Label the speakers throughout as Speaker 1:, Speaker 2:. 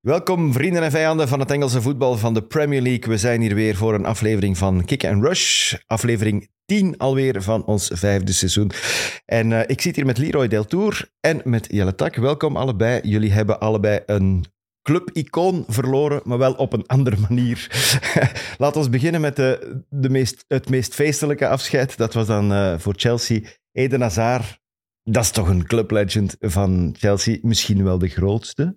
Speaker 1: Welkom vrienden en vijanden van het Engelse voetbal van de Premier League. We zijn hier weer voor een aflevering van Kick and Rush. Aflevering 10 alweer van ons vijfde seizoen. En eh, ik zit hier met Leroy Deltour en met Jelle Tak. Welkom allebei. Jullie hebben allebei een clubicoon verloren, maar wel op een andere manier. Laten we beginnen met de, de meest, het meest feestelijke afscheid. Dat was dan eh, voor Chelsea Eden Hazard. Dat is toch een clublegend van Chelsea. Misschien wel de grootste.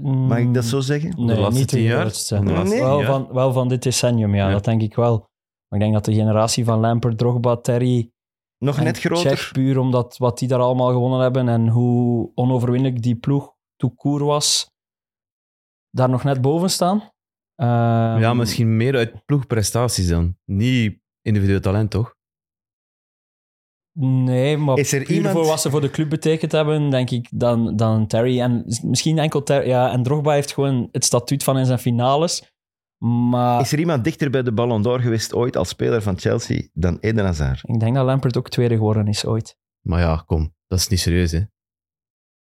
Speaker 1: Mag ik dat
Speaker 2: Mm,
Speaker 1: zo zeggen?
Speaker 2: Nee,
Speaker 3: De laatste
Speaker 2: niet de
Speaker 3: tien jaar?
Speaker 2: grootste.
Speaker 3: De
Speaker 1: laatste
Speaker 2: wel,
Speaker 3: tien jaar?
Speaker 2: van, wel van dit decennium, ja,
Speaker 3: Ja.
Speaker 2: dat denk ik wel. Maar ik denk dat de generatie van Lampert, Drogba, Terry...
Speaker 1: Nog
Speaker 2: en
Speaker 1: net
Speaker 2: Cech,
Speaker 1: groter.
Speaker 2: puur omdat wat die daar allemaal gewonnen hebben en hoe onoverwinnelijk die ploeg tout court was, daar nog net boven staan. Ehm,
Speaker 3: ja, misschien meer uit ploegprestaties dan. Niet individueel talent, toch?
Speaker 2: Nee, maar
Speaker 1: Is er
Speaker 2: puur
Speaker 1: iemand-
Speaker 2: voor wat ze voor de club betekend hebben, denk ik, dan, dan Terry. En s- misschien enkel Terry. Ja, en Drogba heeft gewoon het statuut van in zijn finales. Maar
Speaker 1: Is er iemand dichter bij de Ballon d'Or geweest ooit als speler van Chelsea dan Eden Hazard?
Speaker 2: ik denk dat Lampert ook tweede geworden is ooit.
Speaker 3: Maar ja, kom. Dat is niet serieus, hè.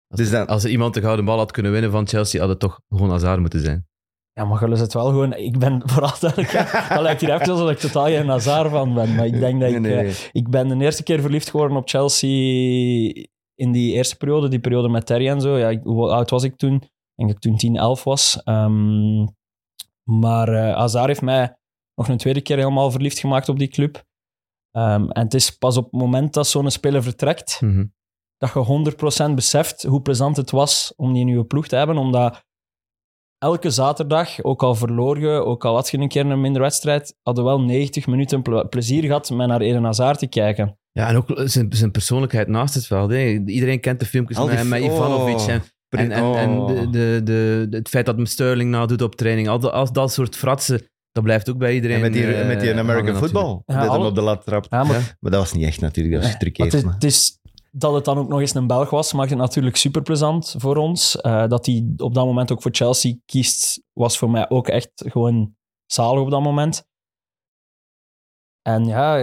Speaker 3: Als,
Speaker 1: Dus dan-
Speaker 3: als er iemand de gouden bal had kunnen winnen van Chelsea, had het toch gewoon Hazard moeten zijn.
Speaker 2: Ja, maar Gullis het wel gewoon... Ik ben vooral duidelijk... Dat lijkt hier even alsof ik totaal geen Hazard van ben. Maar ik denk dat ik... eh, Ik ben de eerste keer verliefd geworden op Chelsea in die eerste periode. Die periode met Terry en zo. Ja, ik- hoe oud was ik toen? Ik denk dat ik toen 10, 11 was. Ehm, maar eh Hazard heeft mij nog een tweede keer helemaal verliefd gemaakt op die club. Ehm, en het is pas op het moment dat zo'n speler vertrekt
Speaker 3: Mhm.
Speaker 2: dat je 100% beseft hoe plezant het was om die nieuwe ploeg te hebben. Omdat elke zaterdag, ook al verloor je, ook al had je een keer een minder wedstrijd, hadden wel 90 minuten ple- plezier gehad met naar Eden Hazard te kijken.
Speaker 3: Ja, en ook zijn, zijn persoonlijkheid naast het veld. Hè. Iedereen kent de filmpjes
Speaker 1: Al
Speaker 3: met,
Speaker 1: die
Speaker 3: hem, met
Speaker 1: f-
Speaker 3: Ivanovic.
Speaker 1: oh.
Speaker 3: en en, en, en de, de, de, de- het feit dat hem Sterling nadoet op training. Al, dat- al dat soort fratsen, dat blijft ook bij iedereen.
Speaker 1: En met die,
Speaker 3: eh,
Speaker 1: met die
Speaker 3: hangen
Speaker 1: American
Speaker 3: natuurlijk.
Speaker 1: football.
Speaker 2: Ja,
Speaker 1: dat hem
Speaker 2: alle-
Speaker 1: op de lat trapt.
Speaker 2: Ja, maar
Speaker 3: Ja.
Speaker 1: Maar dat was niet echt natuurlijk, dat was
Speaker 2: maar het,
Speaker 1: getrickeerd.
Speaker 2: is,
Speaker 1: maar-
Speaker 2: het is- dat het dan ook nog eens een Belg was, maakt het natuurlijk super plezant voor ons. Eh, dat hij op dat moment ook voor Chelsea kiest, was voor mij ook echt gewoon zalig op dat moment. En ja,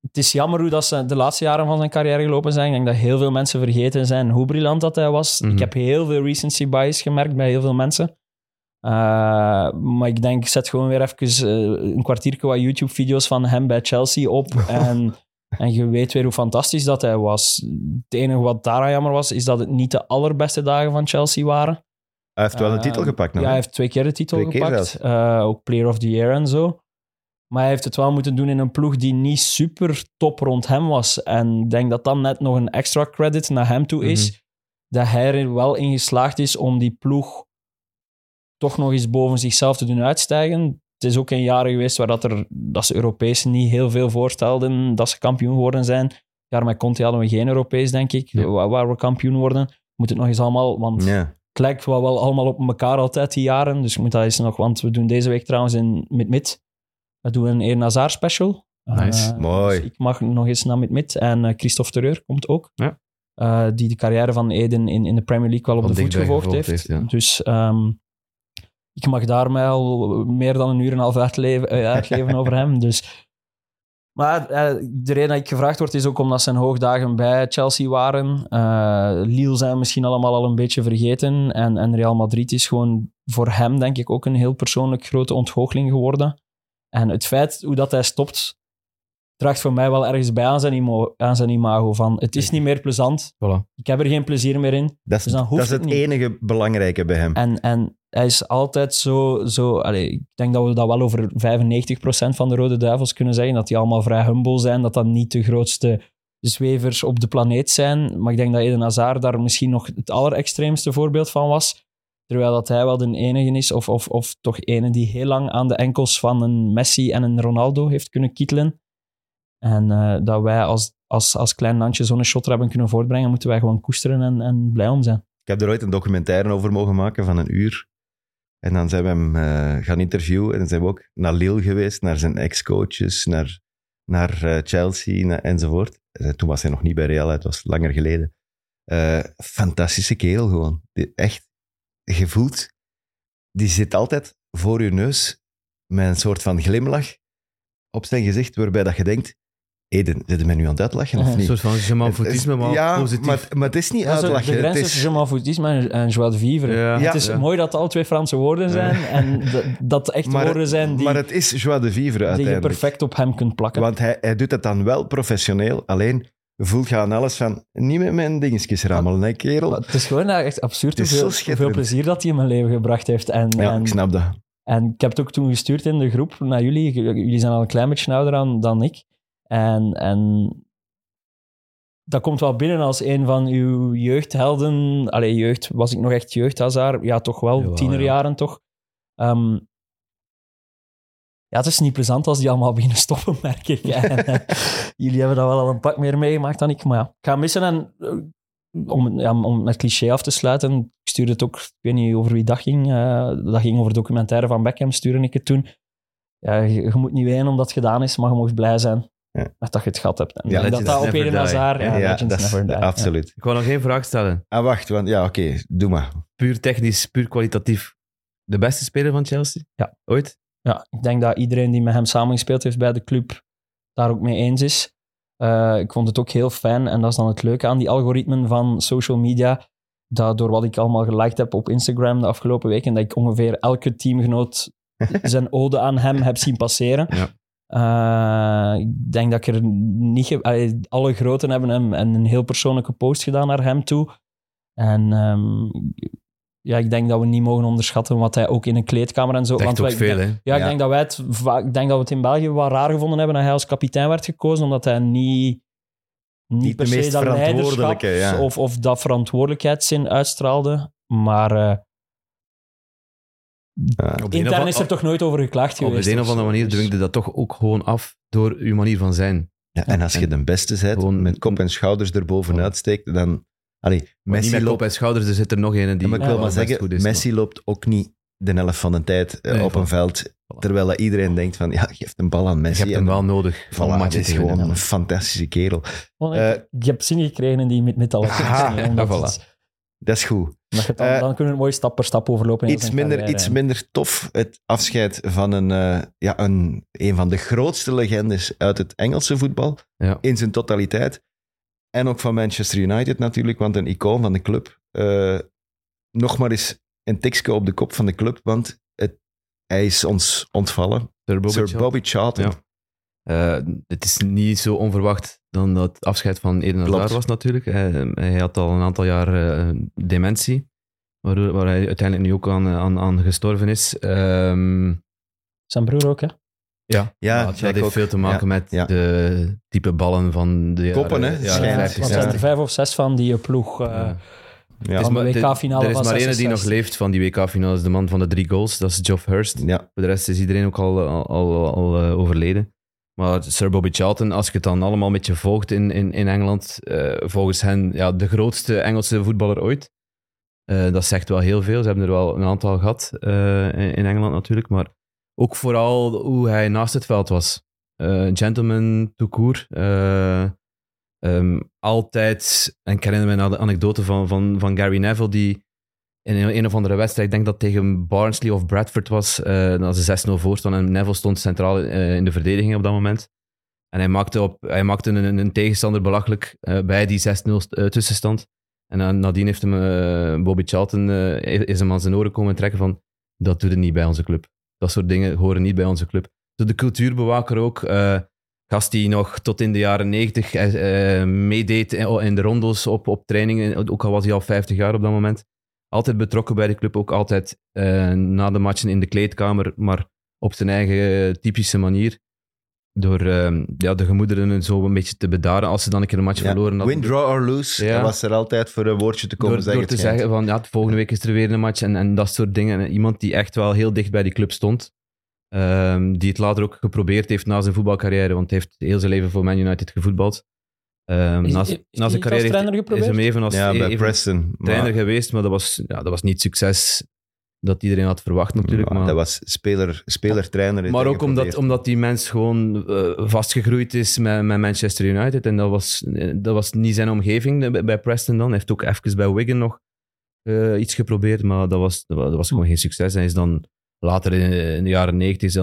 Speaker 2: het is jammer hoe dat ze de laatste jaren van zijn carrière gelopen zijn. Ik denk dat heel veel mensen vergeten zijn hoe briljant dat hij was.
Speaker 3: Mhm.
Speaker 2: Ik heb heel veel recency bias gemerkt bij heel veel mensen. Eh, maar ik denk, zet gewoon weer even eh, een kwartiertje wat YouTube-video's van hem bij Chelsea op. en, en je weet weer hoe fantastisch dat hij was. Het enige wat daaraan jammer was, is dat het niet de allerbeste dagen van Chelsea waren.
Speaker 1: Hij heeft wel een
Speaker 2: Eh,
Speaker 1: titel gepakt. Nou.
Speaker 2: Ja, hij heeft twee keer de titel
Speaker 1: Twee keer
Speaker 2: gepakt. Eh, ook Player of the Year en zo. Maar hij heeft het wel moeten doen in een ploeg die niet super top rond hem was. En ik denk dat dan net nog een extra credit naar hem toe is.
Speaker 1: Mhm.
Speaker 2: Dat hij er wel in geslaagd is om die ploeg toch nog eens boven zichzelf te doen uitstijgen. Het is ook een jaren geweest waar dat er, dat ze Europees niet heel veel voorstelden dat ze kampioen geworden zijn. Jaar met Conte hadden we geen Europees, denk ik,
Speaker 3: Ja.
Speaker 2: waar, waar we kampioen worden. Moet het nog eens allemaal, want
Speaker 1: Ja.
Speaker 2: het lijkt wel, wel allemaal op elkaar altijd die jaren. Dus ik moet dat eens nog, want we doen deze week trouwens in Mid-Mid. We doen een Eden Hazard special.
Speaker 3: Nice.
Speaker 2: Eh,
Speaker 1: Mooi.
Speaker 2: dus ik mag nog eens naar Mid-Mid. En eh, Christophe Terreur komt ook.
Speaker 3: Ja.
Speaker 2: Eh, die de carrière van Eden in, in de Premier League wel op
Speaker 3: Van
Speaker 2: de voet
Speaker 3: dichtbij
Speaker 2: gevolgd heeft.
Speaker 3: gevolgd heeft, ja.
Speaker 2: Dus ehm, ik mag daar mij al meer dan een uur en een half uitleven, eh, uitleven over hem. Dus. Maar eh, de reden dat ik gevraagd word is ook omdat zijn hoogdagen bij Chelsea waren. Eh Lille zijn we misschien allemaal al een beetje vergeten. En, en Real Madrid is gewoon voor hem, denk ik, ook een heel persoonlijk grote ontgoocheling geworden. En het feit hoe dat hij stopt, draagt voor mij wel ergens bij aan zijn, imo- aan zijn imago. Van, het is niet meer plezant.
Speaker 3: Voilà.
Speaker 2: Ik heb er geen plezier meer in.
Speaker 1: Dat is,
Speaker 2: Dus dan
Speaker 1: dat
Speaker 2: hoeft
Speaker 1: is
Speaker 2: het
Speaker 1: het
Speaker 2: niet.
Speaker 1: enige belangrijke bij hem.
Speaker 2: En, en hij is altijd zo... zo allee, ik denk dat we dat wel over 95% van de Rode Duivels kunnen zeggen. Dat die allemaal vrij humble zijn. Dat dat niet de grootste zwevers op de planeet zijn. Maar ik denk dat Eden Hazard daar misschien nog het allerextreemste voorbeeld van was. Terwijl dat hij wel de enige is, of, of, of toch ene die heel lang aan de enkels van een Messi en een Ronaldo heeft kunnen kietelen. En eh, dat wij als, als, als klein landje zo'n shot hebben kunnen voortbrengen, moeten wij gewoon koesteren en, en blij om zijn.
Speaker 1: Ik heb er ooit een documentaire over mogen maken van een uur. En dan zijn we hem eh, gaan interviewen. En dan zijn we ook naar Lille geweest, naar zijn ex-coaches, naar, naar eh, Chelsea na- enzovoort. En toen was hij nog niet bij Real, het was langer geleden. Eh, fantastische kerel gewoon. Die- echt gevoeld. Die zit altijd voor je neus met een soort van glimlach op zijn gezicht, waarbij dat je denkt, Eden, zitten mij nu aan het uitlachen
Speaker 2: Ja,
Speaker 1: of
Speaker 3: Een
Speaker 1: niet?
Speaker 3: soort van gemanfoutisme, maar
Speaker 1: ja,
Speaker 3: positief.
Speaker 1: Maar, maar het is niet
Speaker 2: Dat is de-
Speaker 1: uitlachen.
Speaker 2: de grens
Speaker 1: het
Speaker 2: tussen
Speaker 1: is,
Speaker 2: je m'en foutisme en, en joie de vivre.
Speaker 3: Ja,
Speaker 1: Ja.
Speaker 2: Het is
Speaker 3: ja.
Speaker 2: mooi dat het al twee Franse woorden zijn en dat- dat echt
Speaker 1: maar,
Speaker 2: woorden zijn die,
Speaker 1: maar het is joie de vivre
Speaker 2: die je
Speaker 1: uiteindelijk.
Speaker 2: perfect op hem kunt plakken.
Speaker 1: Want hij, hij doet dat dan wel professioneel, alleen voelt je aan alles van, niet met mijn dingetjes rammelen, hè kerel.
Speaker 2: Maar het is gewoon eigenlijk echt absurd
Speaker 1: Het is zo
Speaker 2: hoeveel,
Speaker 1: schitterend.
Speaker 2: hoeveel plezier dat hij in mijn leven gebracht heeft. En,
Speaker 1: Ja,
Speaker 2: en,
Speaker 1: ik snap dat.
Speaker 2: en ik heb het ook toen gestuurd in de groep naar jullie. J- Jullie zijn al een klein beetje ouder aan dan ik. En, en dat komt wel binnen als een van uw jeugdhelden. Allee, jeugd, was ik nog echt jeugdhazaar? Ja, toch wel,
Speaker 3: Jawel,
Speaker 2: tienerjaren toch. Ehm, ja, het is niet plezant als die allemaal beginnen stoppen, merk ik. En, eh, jullie hebben dat wel al een pak meer meegemaakt dan ik, maar ja. Ik ga missen en eh, om, ja, om met cliché af te sluiten, ik stuurde het ook, ik weet niet over wie dat ging, eh, dat ging over documentaire van Beckham, stuurde ik het toen. Ja, je, je moet niet wenen omdat het gedaan is, maar je mocht blij zijn
Speaker 1: Ja.
Speaker 2: met dat je het gehad hebt. En
Speaker 1: Ja,
Speaker 2: ik denk dat
Speaker 3: legends
Speaker 2: dat op
Speaker 3: never
Speaker 2: Eden
Speaker 3: die.
Speaker 2: Hazard, ja,
Speaker 1: Ja,
Speaker 2: legends
Speaker 1: dat is-
Speaker 2: never die. Ja.
Speaker 1: absoluut.
Speaker 3: Ik wil nog één vraag stellen.
Speaker 1: Ah, wacht, want ja, oké, doe maar.
Speaker 3: Puur technisch, puur kwalitatief. De beste speler van Chelsea?
Speaker 2: Ja.
Speaker 3: Ooit?
Speaker 2: Ja, ik denk dat iedereen die met hem samengespeeld heeft bij de club daar ook mee eens is. Eh, ik vond het ook heel fijn en dat is dan het leuke aan die algoritmen van social media. Dat door wat ik allemaal geliked heb op Instagram de afgelopen weken, dat ik ongeveer elke teamgenoot zijn ode aan hem heb zien passeren.
Speaker 3: Ja.
Speaker 2: Eh, ik denk dat ik er niet... ge- allee, alle groten hebben hem en een heel persoonlijke post gedaan naar hem toe. En ehm, ja, ik denk dat we niet mogen onderschatten wat hij ook in een kleedkamer en zo...
Speaker 3: Dat is echt ook
Speaker 2: wij-
Speaker 3: veel, hè?
Speaker 2: ja, ik
Speaker 1: Ja.
Speaker 2: denk dat wij het, va- ik denk dat we het in België wel raar gevonden hebben dat hij als kapitein werd gekozen, omdat hij niet, niet,
Speaker 1: Niet
Speaker 2: per
Speaker 1: de
Speaker 2: se
Speaker 1: meest
Speaker 2: dat leiderschap
Speaker 1: verantwoordelijke, ja.
Speaker 2: of, of dat verantwoordelijkheidszin uitstraalde. Maar eh,
Speaker 3: Op de een of
Speaker 2: intern
Speaker 3: an-
Speaker 2: is er toch nooit over geklaagd
Speaker 3: Op
Speaker 2: geweest.
Speaker 3: de een
Speaker 2: of
Speaker 3: of andere
Speaker 2: zo,
Speaker 3: manier
Speaker 2: dus-
Speaker 3: dwingt je dat toch ook gewoon af door uw manier van zijn.
Speaker 1: Ja, en als je de beste bent,
Speaker 3: Gewoon-
Speaker 1: met kop en schouders erbovenuit steekt, dan... Allee,
Speaker 3: Messi
Speaker 1: Messi
Speaker 3: niet met kop
Speaker 1: loopt...
Speaker 3: en schouders, er zit er nog een die
Speaker 1: Ja, maar ik wil
Speaker 3: wel
Speaker 1: maar
Speaker 3: best
Speaker 1: zeggen,
Speaker 3: goed is,
Speaker 1: Messi loopt ook niet de helft van de tijd eh,
Speaker 3: Nee,
Speaker 1: op
Speaker 3: voilà.
Speaker 1: een veld, terwijl dat iedereen denkt van, ja, geef een bal aan
Speaker 3: maar
Speaker 1: Messi.
Speaker 3: Je hebt hem
Speaker 1: en-
Speaker 3: wel nodig. om
Speaker 1: Voilà, het
Speaker 3: matchen
Speaker 1: is
Speaker 3: te winnen.
Speaker 1: gewoon een fantastische kerel.
Speaker 2: Want ik,
Speaker 1: Eh,
Speaker 2: ik heb zin gekregen in die met metal.
Speaker 1: Aha,
Speaker 2: omdat
Speaker 3: ja, voilà.
Speaker 2: het-
Speaker 1: Dat is goed.
Speaker 2: omdat je het dan,
Speaker 1: Eh,
Speaker 2: dan kunnen we het mooi stap per stap overlopen. in
Speaker 1: Iets
Speaker 2: zijn
Speaker 1: minder,
Speaker 2: carrière.
Speaker 1: iets minder tof, het afscheid van een, eh, ja, een, een van de grootste legendes uit het Engelse voetbal.
Speaker 3: Ja.
Speaker 1: in zijn totaliteit. En ook van Manchester United natuurlijk, want een icoon van de club. Eh, nog maar eens een tikje op de kop van de club, want het, hij is ons ontvallen.
Speaker 3: Sir Bobby
Speaker 1: Sir
Speaker 3: Charlton.
Speaker 1: Bobby Charlton.
Speaker 3: Ja. Eh, het is niet zo onverwacht dan dat het afscheid van Eden Hazard
Speaker 1: Klopt.
Speaker 3: was natuurlijk. Eh, hij had al een aantal jaar eh, dementie, waardoor, waar hij uiteindelijk nu ook aan, eh, aan, aan gestorven is. Ehm,
Speaker 2: Zijn broer ook, hè?
Speaker 3: ja,
Speaker 1: Ja,
Speaker 3: Nou, dat
Speaker 1: Jack
Speaker 3: heeft
Speaker 1: ook.
Speaker 3: veel te maken met
Speaker 1: ja.
Speaker 3: de type ballen van de jaren-
Speaker 1: Koppen, hè,
Speaker 3: jaren
Speaker 1: schijnt.
Speaker 3: 50,
Speaker 2: want
Speaker 1: ja.
Speaker 2: er zijn er
Speaker 3: 60.
Speaker 2: vijf of zes van die eh, ploeg. eh,
Speaker 3: Ja.
Speaker 1: Ja.
Speaker 3: Het is
Speaker 2: Van de
Speaker 3: maar- de-
Speaker 2: WK-finale
Speaker 3: Er is
Speaker 2: van
Speaker 3: maar één die
Speaker 2: 66.
Speaker 3: nog leeft van die WK-finale, is de man van de drie goals, dat is Geoff Hurst.
Speaker 1: Ja.
Speaker 3: Voor de rest is iedereen ook al, al, al, al, eh, overleden. Maar Sir Bobby Charlton, als je het dan allemaal een beetje volgt in, in, in Engeland, eh, volgens hen ja, de grootste Engelse voetballer ooit. Eh, dat zegt wel heel veel. Ze hebben er wel een aantal gehad eh, in, in Engeland natuurlijk. Maar ook vooral hoe hij naast het veld was. Eh, gentleman, tout court. Eh, ehm, altijd, en ik herinner me een anekdote van, van, van Gary Neville, die in een, een of andere wedstrijd, ik denk dat tegen Barnsley of Bradford was, eh dat ze 6-0 voor stonden en Neville stond centraal eh, in de verdediging op dat moment. En hij maakte, op, hij maakte een- een, een tegenstander belachelijk eh, bij die 6-0 st- eh, tussenstand. En dan nadien heeft hem, eh, Bobby Charlton eh, is hem aan zijn oren komen trekken van dat doet het niet bij onze club. Dat soort dingen horen niet bij onze club. Dus de cultuurbewaker ook. eh, gast die nog tot in de jaren 90 eh, eh, meedeed in, in de rondos op, op trainingen. Ook al was hij al 50 jaar op dat moment. Altijd betrokken bij de club, ook altijd eh, na de matchen in de kleedkamer, maar op zijn eigen eh, typische manier. Door eh, ja, de gemoederen zo een beetje te bedaren. Als ze dan een keer een match
Speaker 1: Ja.
Speaker 3: verloren hadden,
Speaker 1: Win, draw or lose,
Speaker 3: Ja.
Speaker 1: hij was er altijd voor een woordje te komen
Speaker 3: door,
Speaker 1: zeggen.
Speaker 3: door te
Speaker 1: het schijnt.
Speaker 3: zeggen van ja, volgende week is er weer een match en, en dat soort dingen. En iemand die echt wel heel dicht bij die club stond. ehm, die het later ook geprobeerd heeft na zijn voetbalcarrière, want hij heeft heel zijn leven voor Man United gevoetbald. Ehm,
Speaker 2: Is-
Speaker 3: na,
Speaker 2: is-
Speaker 3: zijn-
Speaker 2: is
Speaker 3: na
Speaker 2: hij
Speaker 3: zijn
Speaker 2: niet
Speaker 3: carrière
Speaker 2: als trainer
Speaker 3: heeft- is
Speaker 2: geprobeerd?
Speaker 3: hem even als
Speaker 1: Ja, bij
Speaker 3: even
Speaker 1: Preston. Maar,
Speaker 3: trainer geweest, maar dat was, ja, dat was niet het succes dat iedereen had verwacht natuurlijk.
Speaker 1: maar
Speaker 3: maar
Speaker 1: dat was speler, speler trainer. heeft
Speaker 3: maar
Speaker 1: hij
Speaker 3: ook omdat,
Speaker 1: geprobeerd.
Speaker 3: omdat die mens gewoon eh, vastgegroeid is met, met Manchester United. En dat was, eh, dat was niet zijn omgeving eh, bij- bij Preston dan. Hij heeft ook even bij Wigan nog eh, iets geprobeerd, maar dat was, dat was gewoon geen succes. Hij is dan Later in, in de jaren negentig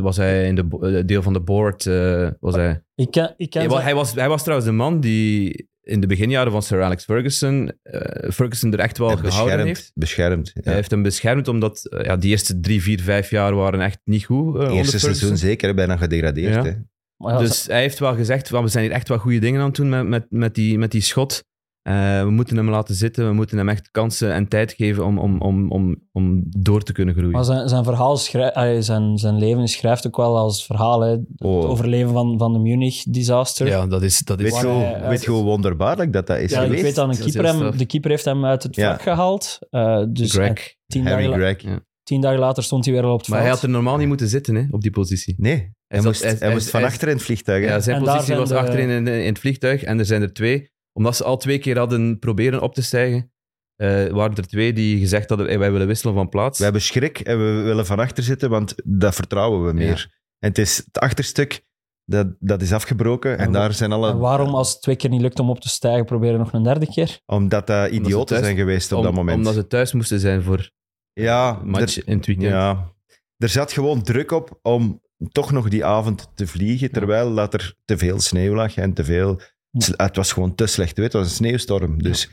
Speaker 3: was hij in de bo- eh, deel van de board. eh, was hij,
Speaker 2: Ik ken, ik ken
Speaker 3: hij, wa-
Speaker 2: zijn-
Speaker 3: hij was, hij was trouwens de man die in de beginjaren van Sir Alex Ferguson eh, Ferguson er echt wel
Speaker 1: En
Speaker 3: gehouden heeft.
Speaker 1: Beschermd. Ja.
Speaker 3: Hij heeft hem beschermd omdat eh, ja, die eerste drie, vier, vijf jaar waren echt niet goed. eh, onder
Speaker 1: Eerste
Speaker 3: Ferguson.
Speaker 1: seizoen zeker, hè, bijna gedegradeerd.
Speaker 3: Ja.
Speaker 1: Hè.
Speaker 2: maar ja,
Speaker 3: Dus hij heeft wel gezegd, "Wel, we zijn hier echt wel goede dingen aan het doen met, met, met, die, met die schot. Eh, we moeten hem laten zitten, we moeten hem echt kansen en tijd geven om, om, om, om, om door te kunnen groeien.
Speaker 2: Maar zijn, zijn verhaal schrij- eh, zijn, zijn leven schrijft ook wel als verhaal. Hè. Het
Speaker 3: Oh.
Speaker 2: overleven van, van de Munich-disaster.
Speaker 3: Ja, dat is... Dat
Speaker 1: Weet
Speaker 3: is
Speaker 1: je
Speaker 2: Waar
Speaker 1: hoe-
Speaker 2: hij- hij-
Speaker 1: weet je hoe wonderbaarlijk dat, dat is
Speaker 2: Ja, ik
Speaker 1: geweest?
Speaker 2: weet dat een
Speaker 3: Dat is
Speaker 2: keeper hem-
Speaker 3: heel straf.
Speaker 2: de keeper heeft hem uit het
Speaker 1: Ja.
Speaker 2: vak gehaald. Eh, dus eh,
Speaker 3: Greg.
Speaker 2: tien,
Speaker 1: Harry
Speaker 2: dagen la-
Speaker 1: Greg.
Speaker 3: Ja.
Speaker 2: tien dagen later stond hij weer al op het
Speaker 3: Maar hij
Speaker 2: veld.
Speaker 3: had er normaal niet moeten zitten hè, op die positie.
Speaker 1: Nee, hij
Speaker 3: zat-
Speaker 1: moest, hij, moest van achter in het vliegtuig. hè.
Speaker 3: Ja, zijn
Speaker 2: En daar
Speaker 3: positie
Speaker 2: zijn
Speaker 3: was
Speaker 2: de-
Speaker 3: achterin in, in het vliegtuig en er zijn er twee. Omdat ze al twee keer hadden proberen op te stijgen, eh, waren er twee die gezegd hadden, "Hey, wij willen wisselen van plaats.
Speaker 1: We hebben schrik en we willen van achter zitten, want dat vertrouwen we meer. En het is het achterstuk, dat, dat is afgebroken. En,
Speaker 2: En wa-
Speaker 1: daar zijn alle...
Speaker 2: En waarom, als het twee keer niet lukt om op te stijgen, proberen nog een derde keer?
Speaker 1: Omdat dat
Speaker 3: Omdat ze
Speaker 1: idioten
Speaker 3: thuis-
Speaker 1: zijn geweest op
Speaker 3: Om-
Speaker 1: dat moment.
Speaker 3: Omdat ze thuis moesten zijn voor
Speaker 1: ja,
Speaker 3: match
Speaker 1: er,
Speaker 3: in het weekend.
Speaker 1: ja, er zat gewoon druk op om toch nog die avond te vliegen, terwijl dat er te veel sneeuw lag en te veel...
Speaker 2: Ja.
Speaker 1: Het was gewoon te slecht, weet je, het was een sneeuwstorm. Dus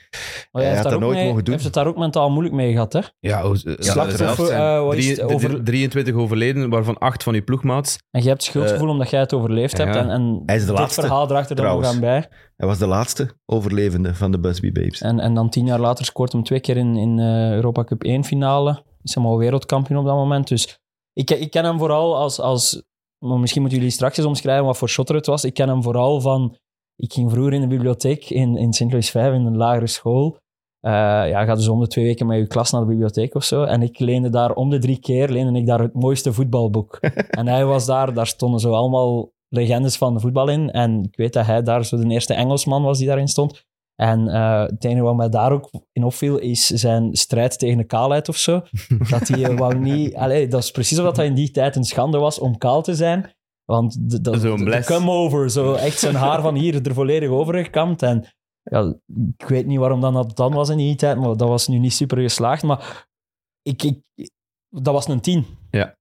Speaker 2: Maar
Speaker 1: Hij had
Speaker 2: heeft daar
Speaker 1: dat
Speaker 2: ook
Speaker 1: nooit
Speaker 2: mee-
Speaker 1: mogen doen.
Speaker 2: heeft het daar ook mentaal moeilijk mee gehad, hè?
Speaker 3: Ja, hoe-
Speaker 1: Slachtoffer,
Speaker 3: zelf zijn.
Speaker 2: eh, wat is het,
Speaker 3: Drie- de-
Speaker 2: over-
Speaker 3: de- 23 overleden, waarvan 8 van uw ploegmaats.
Speaker 2: En je hebt schuldgevoel omdat jij het overleefd hebt.
Speaker 3: ja.
Speaker 2: En, en
Speaker 1: Eh, Hij is de
Speaker 2: dit
Speaker 1: laatste,
Speaker 2: verhaal draagt er dan nog
Speaker 1: trouwens.
Speaker 2: aan bij.
Speaker 1: hij was de laatste overlevende van de Busby Babes.
Speaker 2: En, en dan tien jaar later scoort hem twee keer in, in eh, Europa Cup 1 finale. Is hem al wereldkampioen op dat moment. Dus ik, ik ken hem vooral als, als... Maar misschien moeten jullie straks eens omschrijven wat voor shotter het was. Ik ken hem vooral van... Ik ging vroeger in de bibliotheek in, in Sint Louis 5 in een lagere school. Eh, ja, ga dus om de twee weken met je klas naar de bibliotheek of zo. En ik leende daar om de drie keer leende ik daar het mooiste voetbalboek. en hij was daar, daar stonden zo allemaal legendes van de voetbal in. En ik weet dat hij daar zo de eerste Engelsman was die daarin stond. En eh, het enige wat mij daar ook in opviel, is zijn strijd tegen de kaalheid of zo. Dat hij eh, wou niet... Allee, dat is precies omdat hij in die tijd een schande was om kaal te zijn. Want de, dat-
Speaker 3: Zo'n
Speaker 2: de
Speaker 3: bles.
Speaker 2: come-over, zo echt zijn haar van hier er volledig over gekamd. En ja, ik weet niet waarom dan dat dan was in die tijd, maar dat was nu niet super geslaagd. Maar ik, ik, dat was een tien.
Speaker 3: Ja.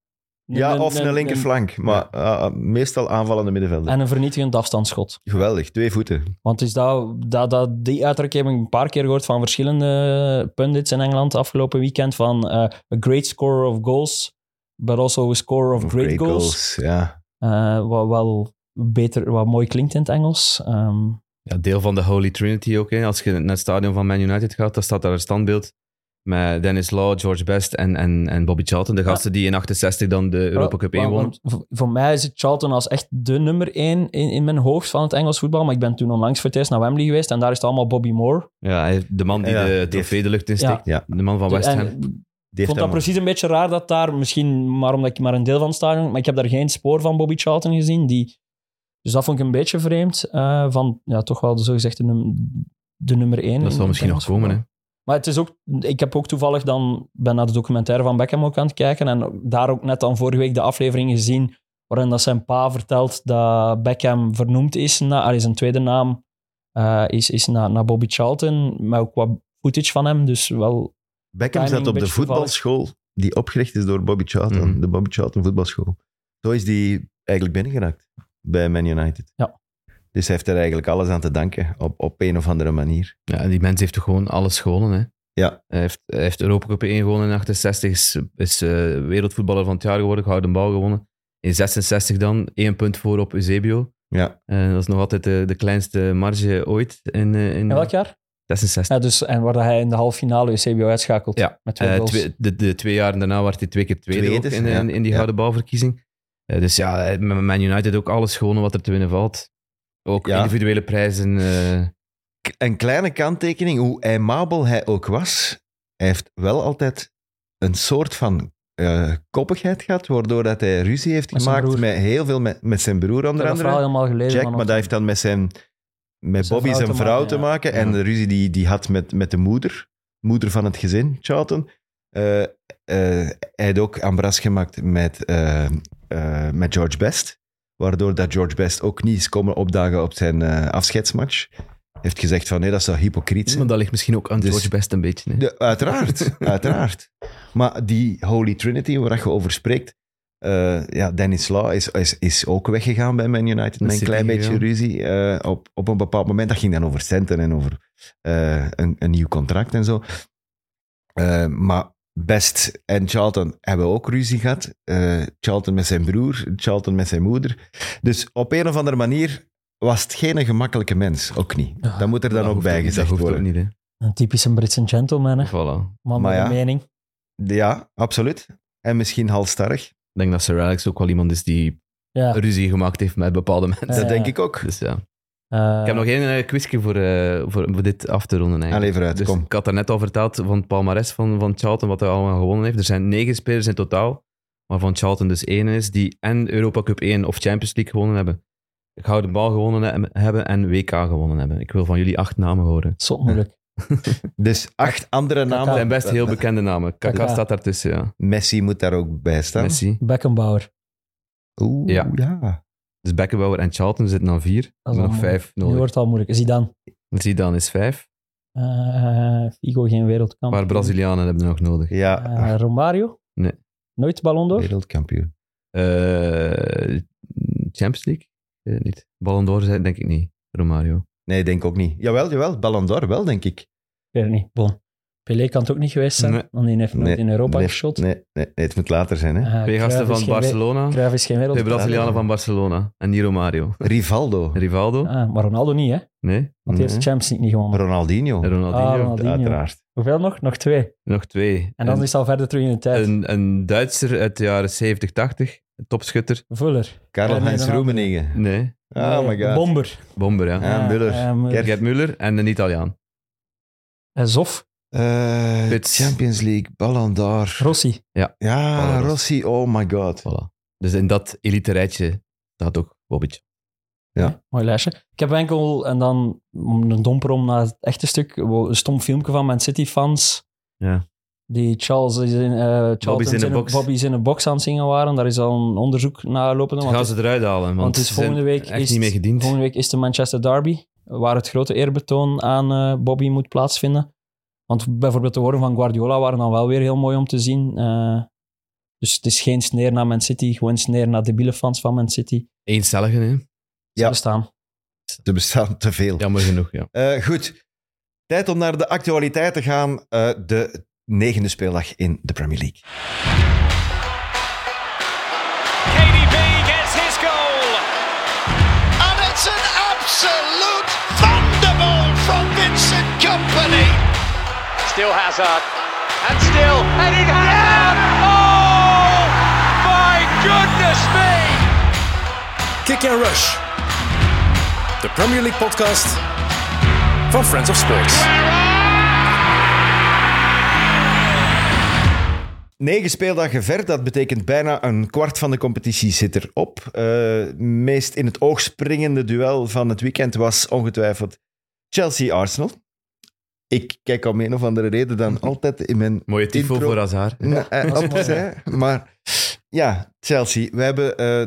Speaker 1: Ja, of een linkerflank, maar eh, meestal aanvallende middenvelder.
Speaker 2: En een vernietigend afstandsschot.
Speaker 1: Geweldig, twee voeten.
Speaker 2: Want is dat, dat, dat, die uitdrukking heb ik een paar keer gehoord van verschillende pundits in Engeland afgelopen weekend. Van eh, a great scorer of goals, but also a scorer of, great, goals.
Speaker 1: Ja.
Speaker 2: Eh, wat wel beter, wat mooi klinkt in het Engels. Ehm,
Speaker 3: Ja, deel van de Holy Trinity ook. Hè. Als je naar het stadion van Man United gaat, dan staat daar een standbeeld met Dennis Law, George Best en, en, en Bobby Charlton. De
Speaker 2: Ah.
Speaker 3: gasten die in 68 dan
Speaker 2: Oh,
Speaker 3: de Europa Cup
Speaker 2: Wel,
Speaker 3: 1 wonnen.
Speaker 2: want voor- Voor mij zit Charlton als echt de nummer één in, in mijn hoofd van het Engels voetbal. Maar ik ben toen onlangs voor het eerst naar Wembley geweest en daar is het allemaal Bobby Moore.
Speaker 3: Ja, hij- de man die
Speaker 1: Ja, die
Speaker 3: de
Speaker 1: heeft-
Speaker 3: trofee de lucht insteekt.
Speaker 1: Ja.
Speaker 3: De man van West
Speaker 2: En
Speaker 3: Ham.
Speaker 1: Die
Speaker 2: ik vond
Speaker 1: heeft
Speaker 2: dat
Speaker 1: hem-
Speaker 2: precies een beetje raar dat daar, misschien maar omdat ik maar een deel van het stadion, maar ik heb daar geen spoor van Bobby Charlton gezien. Die, dus dat vond ik een beetje vreemd. eh, van ja, toch wel de zogezegd de, num- de nummer één. in
Speaker 3: dat zal
Speaker 2: het
Speaker 3: misschien nog
Speaker 2: Engels
Speaker 3: komen. Hè.
Speaker 2: voetbal. Maar het is ook, ik heb ook toevallig dan, ben naar de documentaire van Beckham ook aan het kijken en daar ook net dan vorige week de aflevering gezien waarin dat zijn pa vertelt dat Beckham vernoemd is, na, allee, zijn tweede naam eh, is, is naar naar Bobby Charlton, maar ook wat footage van hem, dus wel...
Speaker 1: Beckham
Speaker 2: timing
Speaker 1: zat
Speaker 2: een
Speaker 1: op de
Speaker 2: beetje toevallig.
Speaker 1: voetbalschool die opgericht is door Bobby Charlton.
Speaker 3: Mhm.
Speaker 1: De Bobby Charlton voetbalschool. Zo is die eigenlijk binnengeraakt bij Man United.
Speaker 2: Ja.
Speaker 1: Dus hij heeft er eigenlijk alles aan te danken, op, op een of andere manier.
Speaker 3: Ja, en die mens heeft toch gewoon alles gewonnen. Hè.
Speaker 1: Ja.
Speaker 3: Hij heeft, hij heeft Europa Cup 1 gewonnen in 68, is, is eh, wereldvoetballer van het jaar geworden, gouden bal gewonnen. In 66 dan, één punt voor op Eusebio.
Speaker 1: Ja.
Speaker 3: Eh, dat is nog altijd de, de kleinste marge ooit in, eh, in
Speaker 2: In welk jaar?
Speaker 3: 66.
Speaker 2: Ja, dus, en waar dat hij in de halve finale UCBO uitschakelt
Speaker 3: Ja,
Speaker 2: met twee
Speaker 3: Eh,
Speaker 2: goals.
Speaker 3: twee- de, de twee jaren daarna werd hij twee keer tweede,
Speaker 1: Tweede, dus,
Speaker 3: ook in, eh,
Speaker 1: ja.
Speaker 3: in, in die
Speaker 1: Ja.
Speaker 3: gouden balverkiezing. Eh, dus ja, hij heeft met Man United ook alles gewonnen wat er te winnen valt. Ook
Speaker 1: Ja.
Speaker 3: individuele prijzen. eh,
Speaker 1: K- Een kleine kanttekening, hoe aimabel hij ook was, hij heeft wel altijd een soort van eh, koppigheid gehad, waardoor dat hij ruzie heeft
Speaker 2: Met zijn
Speaker 1: gemaakt
Speaker 2: broer.
Speaker 1: met heel veel, met, met zijn broer onder
Speaker 2: ik heb dat
Speaker 1: andere.
Speaker 2: verhaal helemaal gelezen.
Speaker 1: Jack,
Speaker 2: man,
Speaker 1: maar dat heeft dan met zijn... Met
Speaker 2: zijn
Speaker 1: Bobby
Speaker 2: vrouw
Speaker 1: zijn
Speaker 2: te
Speaker 1: vrouw
Speaker 2: maken,
Speaker 1: te
Speaker 2: ja.
Speaker 1: maken. En
Speaker 3: Ja.
Speaker 1: de ruzie die die had met, met de moeder. Moeder van het gezin, Charlton. Eh, eh, hij had ook ambras gemaakt met, eh, eh, met George Best. Waardoor dat George Best ook niet is komen opdagen op zijn eh, afscheidsmatch. heeft gezegd van nee, dat zou hypocriet zijn.
Speaker 3: Maar dat ligt misschien ook aan
Speaker 1: Dus-
Speaker 3: George Best een beetje. Hè.
Speaker 1: De- uiteraard, uiteraard. Maar die Holy Trinity waar je over spreekt, eh, ja, Dennis Law is, is, is ook weggegaan bij Man United met een
Speaker 3: City,
Speaker 1: klein beetje
Speaker 3: ja.
Speaker 1: ruzie. eh, op, op een bepaald moment, dat ging dan over centen en over eh, een, een nieuw contract en zo. Eh, maar Best en Charlton hebben ook ruzie gehad. Eh, Charlton met zijn broer, Charlton met zijn moeder. Dus op een of andere manier was het geen gemakkelijke mens, ook niet.
Speaker 2: Ja,
Speaker 1: Dat moet er dan
Speaker 3: Ah, Dat
Speaker 1: ook
Speaker 3: hoeft
Speaker 1: bij gezegd
Speaker 3: dat hoeft
Speaker 1: worden.
Speaker 3: ook niet,
Speaker 2: Een typische Britse gentleman, hè.
Speaker 3: hè. Voilà.
Speaker 1: Maar
Speaker 2: man met
Speaker 1: ja.
Speaker 2: een mening.
Speaker 1: Ja, absoluut. En misschien halstarrig.
Speaker 3: Ik denk dat Sir Alex ook wel iemand is die
Speaker 2: Ja.
Speaker 3: ruzie gemaakt heeft met bepaalde mensen.
Speaker 2: Ja,
Speaker 1: dat
Speaker 2: ja.
Speaker 1: denk ik ook.
Speaker 3: Dus ja. Ik
Speaker 2: Eh,
Speaker 3: heb nog één eh, quizje voor, eh, voor, voor dit af te ronden. Eigenlijk.
Speaker 1: Allee, vooruit,
Speaker 3: Dus
Speaker 1: kom.
Speaker 3: ik had daar net al verteld van het palmarès van, van Charlton, wat hij allemaal gewonnen heeft. Er zijn negen spelers in totaal, waarvan Charlton dus één is, die en Europa Cup 1 of Champions League gewonnen hebben. Gouden bal gewonnen he- hebben en WK gewonnen hebben. Ik wil van jullie acht namen horen.
Speaker 2: zot moeilijk.
Speaker 1: Dus acht andere
Speaker 3: Het
Speaker 1: namen.
Speaker 3: zijn best heel bekende namen. Kaka
Speaker 2: Kaka.
Speaker 3: staat daartussen, ja.
Speaker 1: Messi moet daar ook bij staan.
Speaker 3: Messi.
Speaker 2: Beckenbauer.
Speaker 1: Oeh, ja.
Speaker 3: Ja. Dus Beckenbauer en Charlton zitten aan vier. Er
Speaker 2: Dat is
Speaker 3: zijn nog
Speaker 2: allemaal-
Speaker 3: vijf
Speaker 2: Nu
Speaker 3: nodig.
Speaker 2: wordt het al moeilijk. Zidane.
Speaker 3: Zidane is vijf.
Speaker 2: Eh Figo geen
Speaker 3: Een
Speaker 2: wereldkampioen.
Speaker 3: paar Brazilianen hebben we nog nodig.
Speaker 1: Ja,
Speaker 2: Eh, Romario?
Speaker 3: Nee.
Speaker 2: Nooit Ballon d'Or?
Speaker 1: wereldkampioen.
Speaker 3: Eh, Champions League? Ik weet het niet. Ballon d'Or zijn denk ik niet. Romario.
Speaker 1: Nee, denk ook niet. Jawel, jawel. Ballon d'Or wel, denk ik.
Speaker 2: Ik weet het niet. Bon. Pelé kan het ook niet geweest zijn,
Speaker 3: Nee.
Speaker 2: want die heeft nooit
Speaker 1: Nee,
Speaker 2: in Europa
Speaker 1: nee,
Speaker 2: geschot.
Speaker 1: Nee, nee, nee, het moet later zijn. Hè?
Speaker 2: Eh,
Speaker 3: Twee
Speaker 2: Cruyff
Speaker 3: gasten
Speaker 2: is
Speaker 3: van
Speaker 2: geen we-
Speaker 3: Barcelona.
Speaker 2: Cruyff is geen
Speaker 3: Twee
Speaker 2: wereldkampioen.
Speaker 3: Brazilianen van Barcelona. En niet Romario.
Speaker 1: Rivaldo. Mm,
Speaker 3: Rivaldo?
Speaker 2: Ah, maar Ronaldo niet, hè?
Speaker 3: Nee.
Speaker 2: Want die heeft
Speaker 3: Nee.
Speaker 2: de Champions League niet gewonnen.
Speaker 1: Ronaldinho.
Speaker 3: En Ronaldinho.
Speaker 2: Ah, Ronaldinho.
Speaker 1: Uiteraard.
Speaker 2: Hoeveel nog? Nog twee.
Speaker 3: Nog twee.
Speaker 2: En dan
Speaker 3: Een-
Speaker 2: is het al verder terug in de tijd.
Speaker 3: een, een Duitser uit de jaren 70, 80. Een Topschutter.
Speaker 2: Vuller. Nee,
Speaker 1: Karl-Heinz
Speaker 2: Ronaldo.
Speaker 1: Roemeningen.
Speaker 3: Nee.
Speaker 1: Oh
Speaker 2: Nee,
Speaker 1: my god.
Speaker 2: Bomber.
Speaker 3: Bomber, Ah, ja.
Speaker 1: Ja, Müller.
Speaker 2: eh,
Speaker 1: Kerk.
Speaker 3: Gerd Muller en een Italiaan.
Speaker 2: Eh, Zof.
Speaker 1: Eh,
Speaker 3: Pits.
Speaker 1: Champions League, Ballon d'Or.
Speaker 2: Rossi.
Speaker 1: Ja,
Speaker 3: Ballon d'Or.
Speaker 1: Rossi. Oh my god.
Speaker 3: Voilà. Dus in dat elite rijtje staat ook Bobic.
Speaker 2: Mooi lijstje. Ik heb enkel, en dan om een domper om naar het echte stuk, wo- een stom filmpje van Man City-fans.
Speaker 3: Ja.
Speaker 2: Die Charles is in, eh Charlton
Speaker 3: in de
Speaker 2: een-
Speaker 3: box.
Speaker 2: Bobby's in een box aan het zingen waren. Daar is al een onderzoek naar lopende. Want,
Speaker 3: gaan ze eruit halen, want,
Speaker 2: want het is
Speaker 3: ze
Speaker 2: volgende
Speaker 3: zijn
Speaker 2: week
Speaker 3: echt
Speaker 2: is
Speaker 3: niet
Speaker 2: het-
Speaker 3: meer gediend.
Speaker 2: volgende week is de Manchester Derby, waar het grote eerbetoon aan eh, Bobby moet plaatsvinden. Want bijvoorbeeld de woorden van Guardiola waren dan wel weer heel mooi om te zien. Eh, dus het is geen sneer naar Man City, gewoon sneer naar debiele fans van Man City.
Speaker 3: Eencelligen, hè?
Speaker 2: Ze
Speaker 1: Ja.
Speaker 2: bestaan.
Speaker 1: Er bestaan te veel.
Speaker 3: Jammer genoeg, ja.
Speaker 1: Eh, goed. Tijd om naar de actualiteit te gaan. Eh, de negende speeldag in de Premier League.
Speaker 4: KDB gets his goal. And it's an absolute thunderbolt from Vincent Company. Still Hazard. And still Eden Hazard. Oh, my goodness me.
Speaker 5: Kick and Rush. De Premier League podcast van Friends of Sports.
Speaker 1: Negen speeldagen ver, dat betekent bijna een kwart van de competitie zit erop. Eh meest in het oog springende duel van het weekend was ongetwijfeld Chelsea-Arsenal. Ik kijk om een of andere reden dan altijd in mijn...
Speaker 3: Mooie tifo
Speaker 1: Intro.
Speaker 3: voor Hazard.
Speaker 1: Ja,
Speaker 2: dat is mooi,
Speaker 1: eh, maar ja, Chelsea, wij, hebben, eh,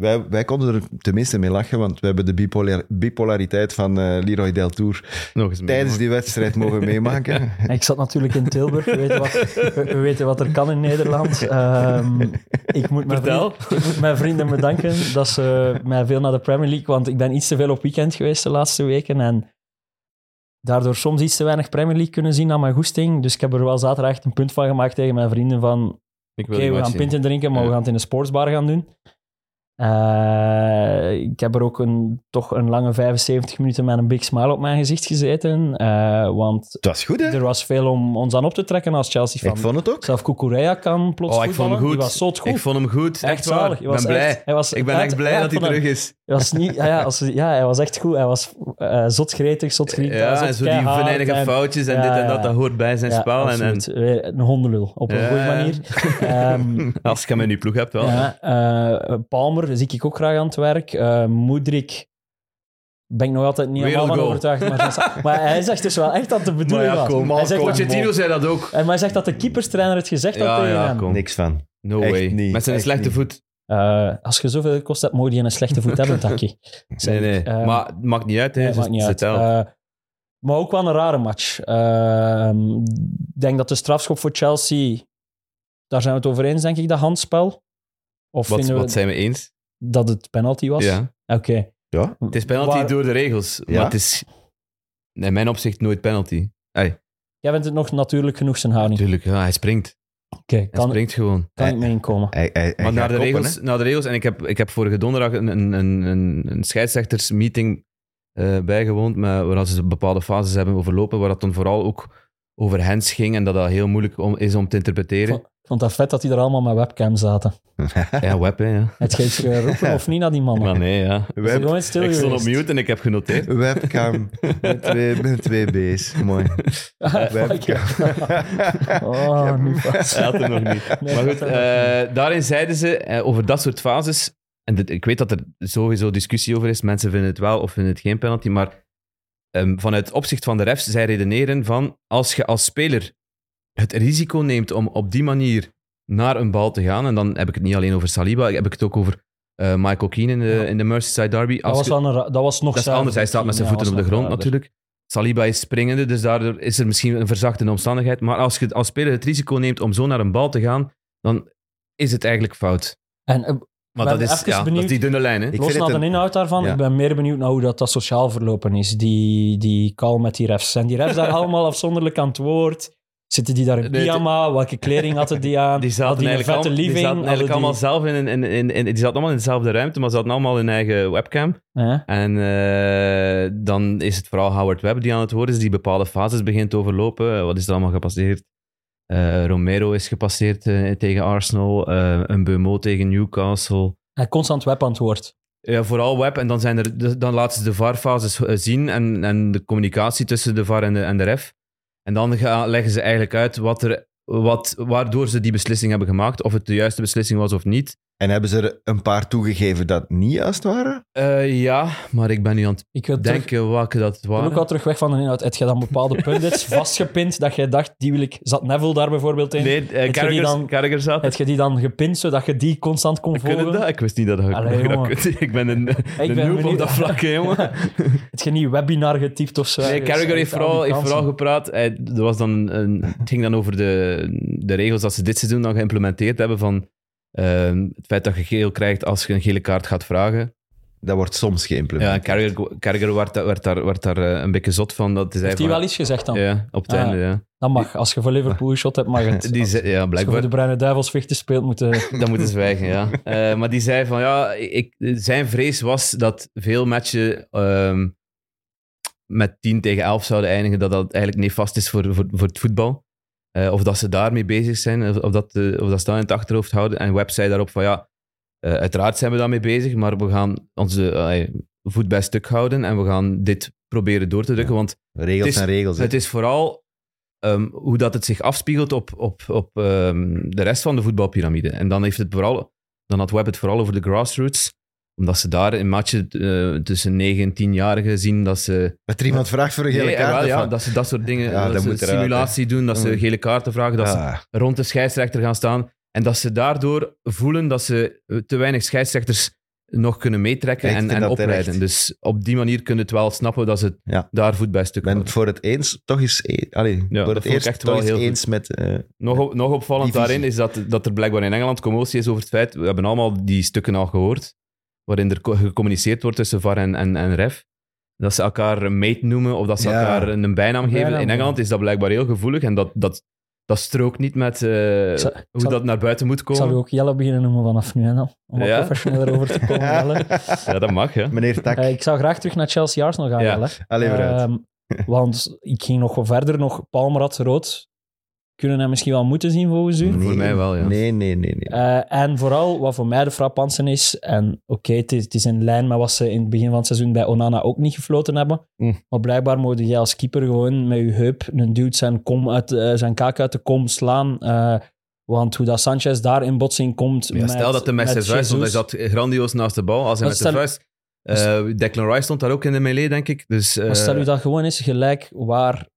Speaker 1: wij, wij konden er tenminste mee lachen, want we hebben de bipolar- bipolariteit van eh, Leroy Deltour
Speaker 3: Nog eens mee.
Speaker 1: tijdens die wedstrijd mogen meemaken.
Speaker 2: Ik zat natuurlijk in Tilburg. We weten wat, we- we weten wat er kan in Nederland. Ehm, ik, moet mijn
Speaker 3: Vertel.
Speaker 2: vrienden, ik moet mijn vrienden bedanken dat ze mij veel naar de Premier League... Want ik ben iets te veel op weekend geweest de laatste weken. En daardoor soms iets te weinig Premier League kunnen zien aan mijn goesting. Dus ik heb er wel zaterdag echt een punt van gemaakt tegen mijn vrienden van...
Speaker 3: Ik wil
Speaker 2: Oké,
Speaker 3: die
Speaker 2: we
Speaker 3: match
Speaker 2: gaan
Speaker 3: zien.
Speaker 2: pinten drinken, maar we
Speaker 3: Ja.
Speaker 2: gaan het in een sportsbar gaan doen. Eh, ik heb er ook een, toch een lange 75 minuten met een big smile op mijn gezicht gezeten. eh, want
Speaker 1: Het was goed, hè?
Speaker 2: er was veel om ons aan op te trekken als Chelsea-fan.
Speaker 1: Ik vond het ook.
Speaker 2: Zelf Kukurea kan plots
Speaker 3: Oh, ik vond
Speaker 2: voetballen.
Speaker 3: hem goed.
Speaker 2: Die was zot goed.
Speaker 3: Ik vond hem goed. Echt
Speaker 2: zalig. Hij
Speaker 3: waar. Ik
Speaker 2: was
Speaker 3: ben blij.
Speaker 2: echt- hij was
Speaker 3: Ik ben
Speaker 2: uit-
Speaker 3: echt blij
Speaker 2: uit
Speaker 3: dat hij
Speaker 2: van hem.
Speaker 3: terug is.
Speaker 2: Hij was niet, ja, ja, als, ja, hij was echt goed. Hij was eh zot gretig, zot gretig.
Speaker 3: Ja, en zo die venijnige
Speaker 2: fout
Speaker 3: foutjes en
Speaker 2: Ja,
Speaker 3: dit en
Speaker 2: ja,
Speaker 3: dat,
Speaker 2: ja.
Speaker 3: dat hoort bij zijn spel. En, en
Speaker 2: Een hondenlul, op een
Speaker 3: Ja.
Speaker 2: goede manier. Ehm,
Speaker 3: als je hem in je ploeg hebt, wel.
Speaker 2: ja, eh, Palmer zie ik ook graag aan het werk. Eh Moedrik ben ik nog altijd niet helemaal van
Speaker 3: Wereldgoal.
Speaker 2: overtuigd. Maar, maar hij zegt dus wel echt dat de
Speaker 3: Maar
Speaker 2: bedoeling
Speaker 3: ja,
Speaker 2: was.
Speaker 3: kom
Speaker 2: hij,
Speaker 3: maar.
Speaker 2: zegt dat,
Speaker 3: Pochettino zei dat ook.
Speaker 2: en hij zegt dat de keeperstrainer het gezegd had
Speaker 3: Ja,
Speaker 2: tegen
Speaker 3: ja,
Speaker 2: hem.
Speaker 3: kom.
Speaker 1: Niks van.
Speaker 3: No
Speaker 1: Echt
Speaker 3: way.
Speaker 1: niet,
Speaker 3: Met zijn
Speaker 1: echt
Speaker 3: slechte
Speaker 1: niet.
Speaker 3: voet.
Speaker 2: Eh, als je zoveel kost hebt, moet je een slechte voet hebben, Taki.
Speaker 3: Nee, nee.
Speaker 2: Eh,
Speaker 3: Maar het maakt niet uit, hè.
Speaker 2: Nee,
Speaker 3: Ze-
Speaker 2: maakt niet
Speaker 3: ze
Speaker 2: uit.
Speaker 3: telt.
Speaker 2: Eh, Maar ook wel een rare match. Ehm, ik denk dat de strafschop voor Chelsea, daar zijn we het over eens, denk ik, dat handspel. Of
Speaker 3: Wat,
Speaker 2: vinden we
Speaker 3: wat zijn we eens?
Speaker 2: dat het penalty was?
Speaker 3: Ja.
Speaker 2: Oké.
Speaker 1: Ja.
Speaker 3: Het is penalty
Speaker 2: Waar-
Speaker 3: door de regels,
Speaker 1: Ja?
Speaker 3: maar het is in mijn opzicht nooit penalty. Hey,
Speaker 2: Jij bent het nog natuurlijk genoeg zijn houding.
Speaker 3: natuurlijk, ja, hij springt.
Speaker 2: Oké,
Speaker 3: Hij
Speaker 2: kan,
Speaker 3: springt gewoon.
Speaker 2: kan ik mee inkomen.
Speaker 1: Hij, hij, hij
Speaker 3: Maar
Speaker 1: gaat
Speaker 3: naar de,
Speaker 1: koppen,
Speaker 3: regels,
Speaker 1: hè.
Speaker 3: naar de regels, en ik heb, ik heb vorige donderdag een, een, een, een- een scheidsrechtersmeeting eh, bijgewoond, maar waar ze bepaalde fases hebben overlopen, waar dat dan vooral ook over hens ging en dat dat heel moeilijk om, is om te interpreteren.
Speaker 2: Ik vond dat vet dat die er allemaal met webcam zaten.
Speaker 3: Ja, web, hè, ja.
Speaker 2: Het geeft eh, roepen of niet naar die mannen.
Speaker 3: Maar nee, ja.
Speaker 2: Ze zijn
Speaker 1: Web-
Speaker 2: gewoon stil
Speaker 3: Ik stond op
Speaker 2: geweest.
Speaker 3: mute en ik heb genoteerd.
Speaker 1: webcam. met, twee, met twee B's. Mooi.
Speaker 3: Oh,
Speaker 2: Ah,
Speaker 1: Webcam.
Speaker 2: Oh, nu pas.
Speaker 3: Hij had hem nog niet.
Speaker 2: Nee,
Speaker 3: maar
Speaker 2: dat
Speaker 3: goed,
Speaker 2: had
Speaker 3: eh, daarin zeiden ze eh, over dat soort fases. En dit- ik weet dat er sowieso discussie over is. Mensen vinden het wel of vinden het geen penalty. Maar ehm, vanuit opzicht van de refs, zij redeneren van als je als speler het risico neemt om op die manier naar een bal te gaan. En dan heb ik het niet alleen over Saliba, heb ik het ook over eh, Michael Keane in de, in de Merseyside Derby.
Speaker 2: Dat
Speaker 3: Als
Speaker 2: was,
Speaker 3: je-
Speaker 2: wel een ra- dat was nog
Speaker 3: dat is
Speaker 2: zuiver.
Speaker 3: anders. Hij staat met zijn
Speaker 2: Ja,
Speaker 3: voeten op
Speaker 2: was
Speaker 3: de
Speaker 2: nog
Speaker 3: grond
Speaker 2: zuiver.
Speaker 3: natuurlijk. Saliba is springende, dus daardoor is er misschien een verzachtende omstandigheid. Maar als je als speler het risico neemt om zo naar een bal te gaan, dan is het eigenlijk fout.
Speaker 2: En eh,
Speaker 3: Maar
Speaker 2: We
Speaker 3: dat
Speaker 2: hebben
Speaker 3: is,
Speaker 2: even
Speaker 3: ja, dat
Speaker 2: benieuwd-
Speaker 3: is die dunne lijn. Hè?
Speaker 1: Ik
Speaker 2: los
Speaker 1: vind
Speaker 2: naar
Speaker 1: het
Speaker 2: de
Speaker 1: een-
Speaker 2: inhoud daarvan,
Speaker 1: Ja.
Speaker 2: ik ben meer benieuwd naar hoe dat, dat sociaal verlopen is. Die, die call met die refs. Zijn die refs daar allemaal afzonderlijk aan het woord? Zitten die daar in
Speaker 3: Nee, het-
Speaker 2: pyjama? Welke kleding hadden die aan?
Speaker 3: Die
Speaker 2: Hadden
Speaker 3: zaten
Speaker 2: die een
Speaker 3: eigenlijk,
Speaker 2: vette
Speaker 3: al- die
Speaker 2: living?
Speaker 3: zaten eigenlijk
Speaker 2: Hadden
Speaker 3: allemaal zelf in, in, in, in, in- die zaten allemaal in dezelfde ruimte, maar ze hadden allemaal hun eigen webcam.
Speaker 2: die- Hè?
Speaker 3: En eh, dan is het vooral Howard Webb die aan het woord is, die bepaalde fases begint te overlopen. Eh, Wat is er allemaal gepasseerd? Eh, Romero is gepasseerd eh, tegen Arsenal, eh een Beumo tegen Newcastle.
Speaker 2: En constant web aan het woord.
Speaker 3: Ja, vooral web. En dan, zijn er, de- dan laten ze de VAR-fases eh, zien en, en de communicatie tussen de VAR en de, en de ref. En dan ga- leggen ze eigenlijk uit wat er, wat, waardoor ze die beslissing hebben gemaakt. Of het de juiste beslissing was of niet.
Speaker 1: En hebben ze er een paar toegegeven dat niet juist waren?
Speaker 3: Eh, ja, maar ik ben nu aan het
Speaker 2: Ik wil terug,
Speaker 3: denken welke dat
Speaker 2: ik wil
Speaker 3: waren.
Speaker 2: ook al terug weg van de inhoud. Heb je dan bepaalde pundits vastgepind dat jij dacht, die wil ik... Zat Neville daar bijvoorbeeld in?
Speaker 3: Nee, eh,
Speaker 2: Het zijn die
Speaker 3: Carragher-
Speaker 2: dan-
Speaker 3: Carragher zat.
Speaker 2: Heb je die dan gepind, zodat je die constant kon
Speaker 3: Kunnen
Speaker 2: volgen?
Speaker 3: dat? Ik wist niet dat dat,
Speaker 2: Allee,
Speaker 3: dat je dat
Speaker 2: jongen.
Speaker 3: kunt. Ik ben een, een
Speaker 2: ben
Speaker 3: noob op
Speaker 2: benieuwd.
Speaker 3: dat vlak, hè, jongen.
Speaker 2: Heb je niet webinar getypt of zo?
Speaker 3: Nee,
Speaker 2: ergens?
Speaker 3: Carragher heeft
Speaker 2: Al die
Speaker 3: vooral, heeft
Speaker 2: kansen.
Speaker 3: vooral gepraat. Hij, er was dan een, het ging dan over de, de regels dat ze dit seizoen dan geïmplementeerd hebben van ehm, het feit dat je geel krijgt als je een gele kaart gaat vragen.
Speaker 1: Dat wordt soms
Speaker 3: Ja,
Speaker 1: geïmplementeerd.
Speaker 3: en Carragher, Carragher werd, daar- werd daar, werd daar eh, een beetje zot van. Dat hij zei
Speaker 2: Heeft hij
Speaker 3: van-
Speaker 2: wel iets gezegd dan?
Speaker 3: Ja, op het
Speaker 2: Ah.
Speaker 3: einde, ja.
Speaker 2: Dat mag. Als je voor Liverpool shot hebt, mag het.
Speaker 3: Die zei- ja,
Speaker 2: Als je
Speaker 3: blijkbaar.
Speaker 2: voor de Bruine Duivels vechten speelt, moet eh, je...
Speaker 3: Dan moeten zwijgen, ja. Eh, maar die zei van ja, ik, zijn vrees was dat veel matchen ehm, met 10 tegen 11 zouden eindigen, dat dat eigenlijk nefast is voor, voor, voor het voetbal. Eh, of dat ze daarmee bezig zijn, of, of dat, eh, of dat ze dat in het achterhoofd houden. En Web zei daarop van ja, eh, uiteraard zijn we daarmee bezig, maar we gaan onze eh, voet bij stuk houden en we gaan dit proberen door te drukken. Want
Speaker 1: Regels
Speaker 3: Het is-
Speaker 1: zijn regels. hè.
Speaker 3: het is vooral ehm, hoe dat het zich afspiegelt op, op, op ehm, de rest van de voetbalpyramide. En dan, heeft het vooral, dan had Web het vooral over de grassroots. Omdat ze daar in matchen eh, tussen 9 en 10-jarigen zien dat ze...
Speaker 1: Dat er iemand vraagt voor een gele
Speaker 3: Nee, eh,
Speaker 1: kaart.
Speaker 3: wel,
Speaker 1: of
Speaker 3: ja,
Speaker 1: wat?
Speaker 3: dat ze dat soort dingen...
Speaker 1: Ja, dat
Speaker 3: dat ze
Speaker 1: moet eruit,
Speaker 3: simulatie doen, dat ze
Speaker 1: Mm.
Speaker 3: gele kaarten vragen, dat
Speaker 1: Ah,
Speaker 3: ze rond de scheidsrechter gaan staan. En dat ze daardoor voelen dat ze eh, te weinig scheidsrechters nog kunnen meetrekken
Speaker 1: Ik
Speaker 3: en,
Speaker 1: vind
Speaker 3: en
Speaker 1: dat
Speaker 3: opleiden.
Speaker 1: terecht.
Speaker 3: Dus op die manier kunnen het wel snappen dat ze
Speaker 1: Ja.
Speaker 3: daar voet bij stuk
Speaker 1: Ik ben het
Speaker 3: houden.
Speaker 1: voor het eens, toch eens... e- Allee,
Speaker 3: dat
Speaker 1: voor
Speaker 3: vond
Speaker 1: het
Speaker 3: ik
Speaker 1: eerst
Speaker 3: echt
Speaker 1: toch
Speaker 3: wel
Speaker 1: eens
Speaker 3: heel goed.
Speaker 1: eens met... eh,
Speaker 3: Nog, op- nog opvallend
Speaker 1: Die visie.
Speaker 3: daarin is dat, dat er blijkbaar in Engeland commotie is over het feit, we hebben allemaal die stukken al gehoord, waarin er co- gecommuniceerd wordt tussen VAR en, en, en ref. Dat ze elkaar mate noemen of dat ze
Speaker 1: Ja.
Speaker 3: elkaar een, een bijnaam geven.
Speaker 2: Bijnaam,
Speaker 3: in
Speaker 2: ja.
Speaker 3: Engeland is dat blijkbaar heel gevoelig en dat, dat, dat strookt niet met eh,
Speaker 2: zal- ik
Speaker 3: hoe
Speaker 2: zal-
Speaker 3: dat naar buiten moet
Speaker 2: Ik zal u
Speaker 3: komen.
Speaker 2: ook Jelle beginnen noemen vanaf nu. Hè, dan. Om wat
Speaker 3: Ja?
Speaker 2: professioneler over te komen, Jelle.
Speaker 3: Ja, dat mag, ja.
Speaker 1: Meneer Tak,
Speaker 2: Eh, ik zou graag terug naar Chelsea Arsenal gaan,
Speaker 3: Ja.
Speaker 2: Jelle.
Speaker 1: allee, vooruit.
Speaker 2: Ehm, want ik ging nog wel verder. Nog Palmer had rood. Kunnen hem misschien wel moeten zien, volgens u?
Speaker 1: Nee,
Speaker 3: mij wel, ja.
Speaker 1: Nee, nee, nee. nee.
Speaker 2: Eh, en vooral wat voor mij de frappantste is, en oké, het, is- het is in lijn met wat ze in het begin van het seizoen bij Onana ook niet gefloten hebben.
Speaker 3: Mm.
Speaker 2: Maar blijkbaar mogen jij als keeper gewoon met je heup een dude zijn, kom uit, eh, zijn kaak uit de kom slaan. eh, want hoe dat Sanchez daar in botsing komt.
Speaker 3: Ja, stel dat de met zijn vuist, want hij zat grandioos naast de bal. Als
Speaker 2: Maar
Speaker 3: hij met zijn
Speaker 2: stel-
Speaker 3: vuist... eh, Declan Rice stond daar ook in de melee, denk ik. Dus, eh,
Speaker 2: Maar stel u dat gewoon eens gelijk waar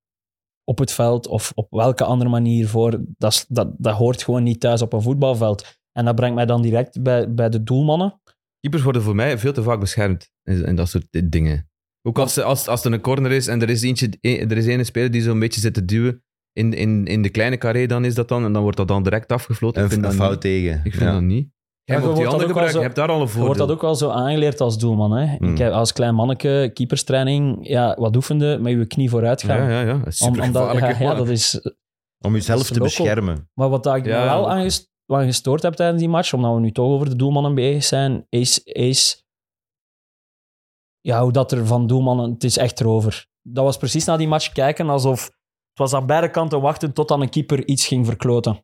Speaker 2: op het veld of op welke andere manier voor. Dat, is- dat, dat hoort gewoon niet thuis op een voetbalveld. En dat brengt mij dan direct bij, bij de doelmannen.
Speaker 3: Keepers worden voor mij veel te vaak beschermd in, in dat soort dingen. Ook als, ze- als, als er een corner is en er is, eentje, e- er is ene speler die zo'n beetje zit te duwen in, in, in de kleine carré, dan is dat dan. En dan wordt dat dan direct afgefloten.
Speaker 1: Een,
Speaker 3: ik vind
Speaker 1: een
Speaker 3: dat
Speaker 1: fout
Speaker 3: niet.
Speaker 1: tegen.
Speaker 3: Ik vind
Speaker 1: Ja.
Speaker 3: dat niet.
Speaker 2: Ja,
Speaker 3: Jij
Speaker 2: je
Speaker 3: moet die
Speaker 2: wordt
Speaker 3: handen
Speaker 2: dat ook wel
Speaker 3: gebruiken.
Speaker 2: zo-
Speaker 3: Je hebt daar al een
Speaker 2: Je
Speaker 3: voordeel.
Speaker 2: wordt dat ook wel zo aangeleerd als doelman. Hè?
Speaker 1: Hmm.
Speaker 2: Ik heb als klein manneke keeperstraining, ja, wat oefende, met je knie vooruit gaan.
Speaker 3: Ja, ja, ja. Dat is
Speaker 2: Om- omdat,
Speaker 3: supergevaarlijk,
Speaker 2: ja,
Speaker 3: hè,
Speaker 2: ja,
Speaker 3: man.
Speaker 2: dat is,
Speaker 1: Om jezelf
Speaker 2: Dat is
Speaker 1: te
Speaker 2: loco.
Speaker 1: beschermen.
Speaker 2: maar wat dat ik me
Speaker 3: Ja,
Speaker 2: wel
Speaker 3: ook.
Speaker 2: aan ges- wat gestoord heb tijdens die match, omdat we nu toch over de doelmannen bezig zijn, is, is ja, hoe dat er van doelmannen... Het is echt erover. Dat was precies na die match kijken alsof... Het was aan beide kanten wachten tot aan een keeper iets ging verkloten.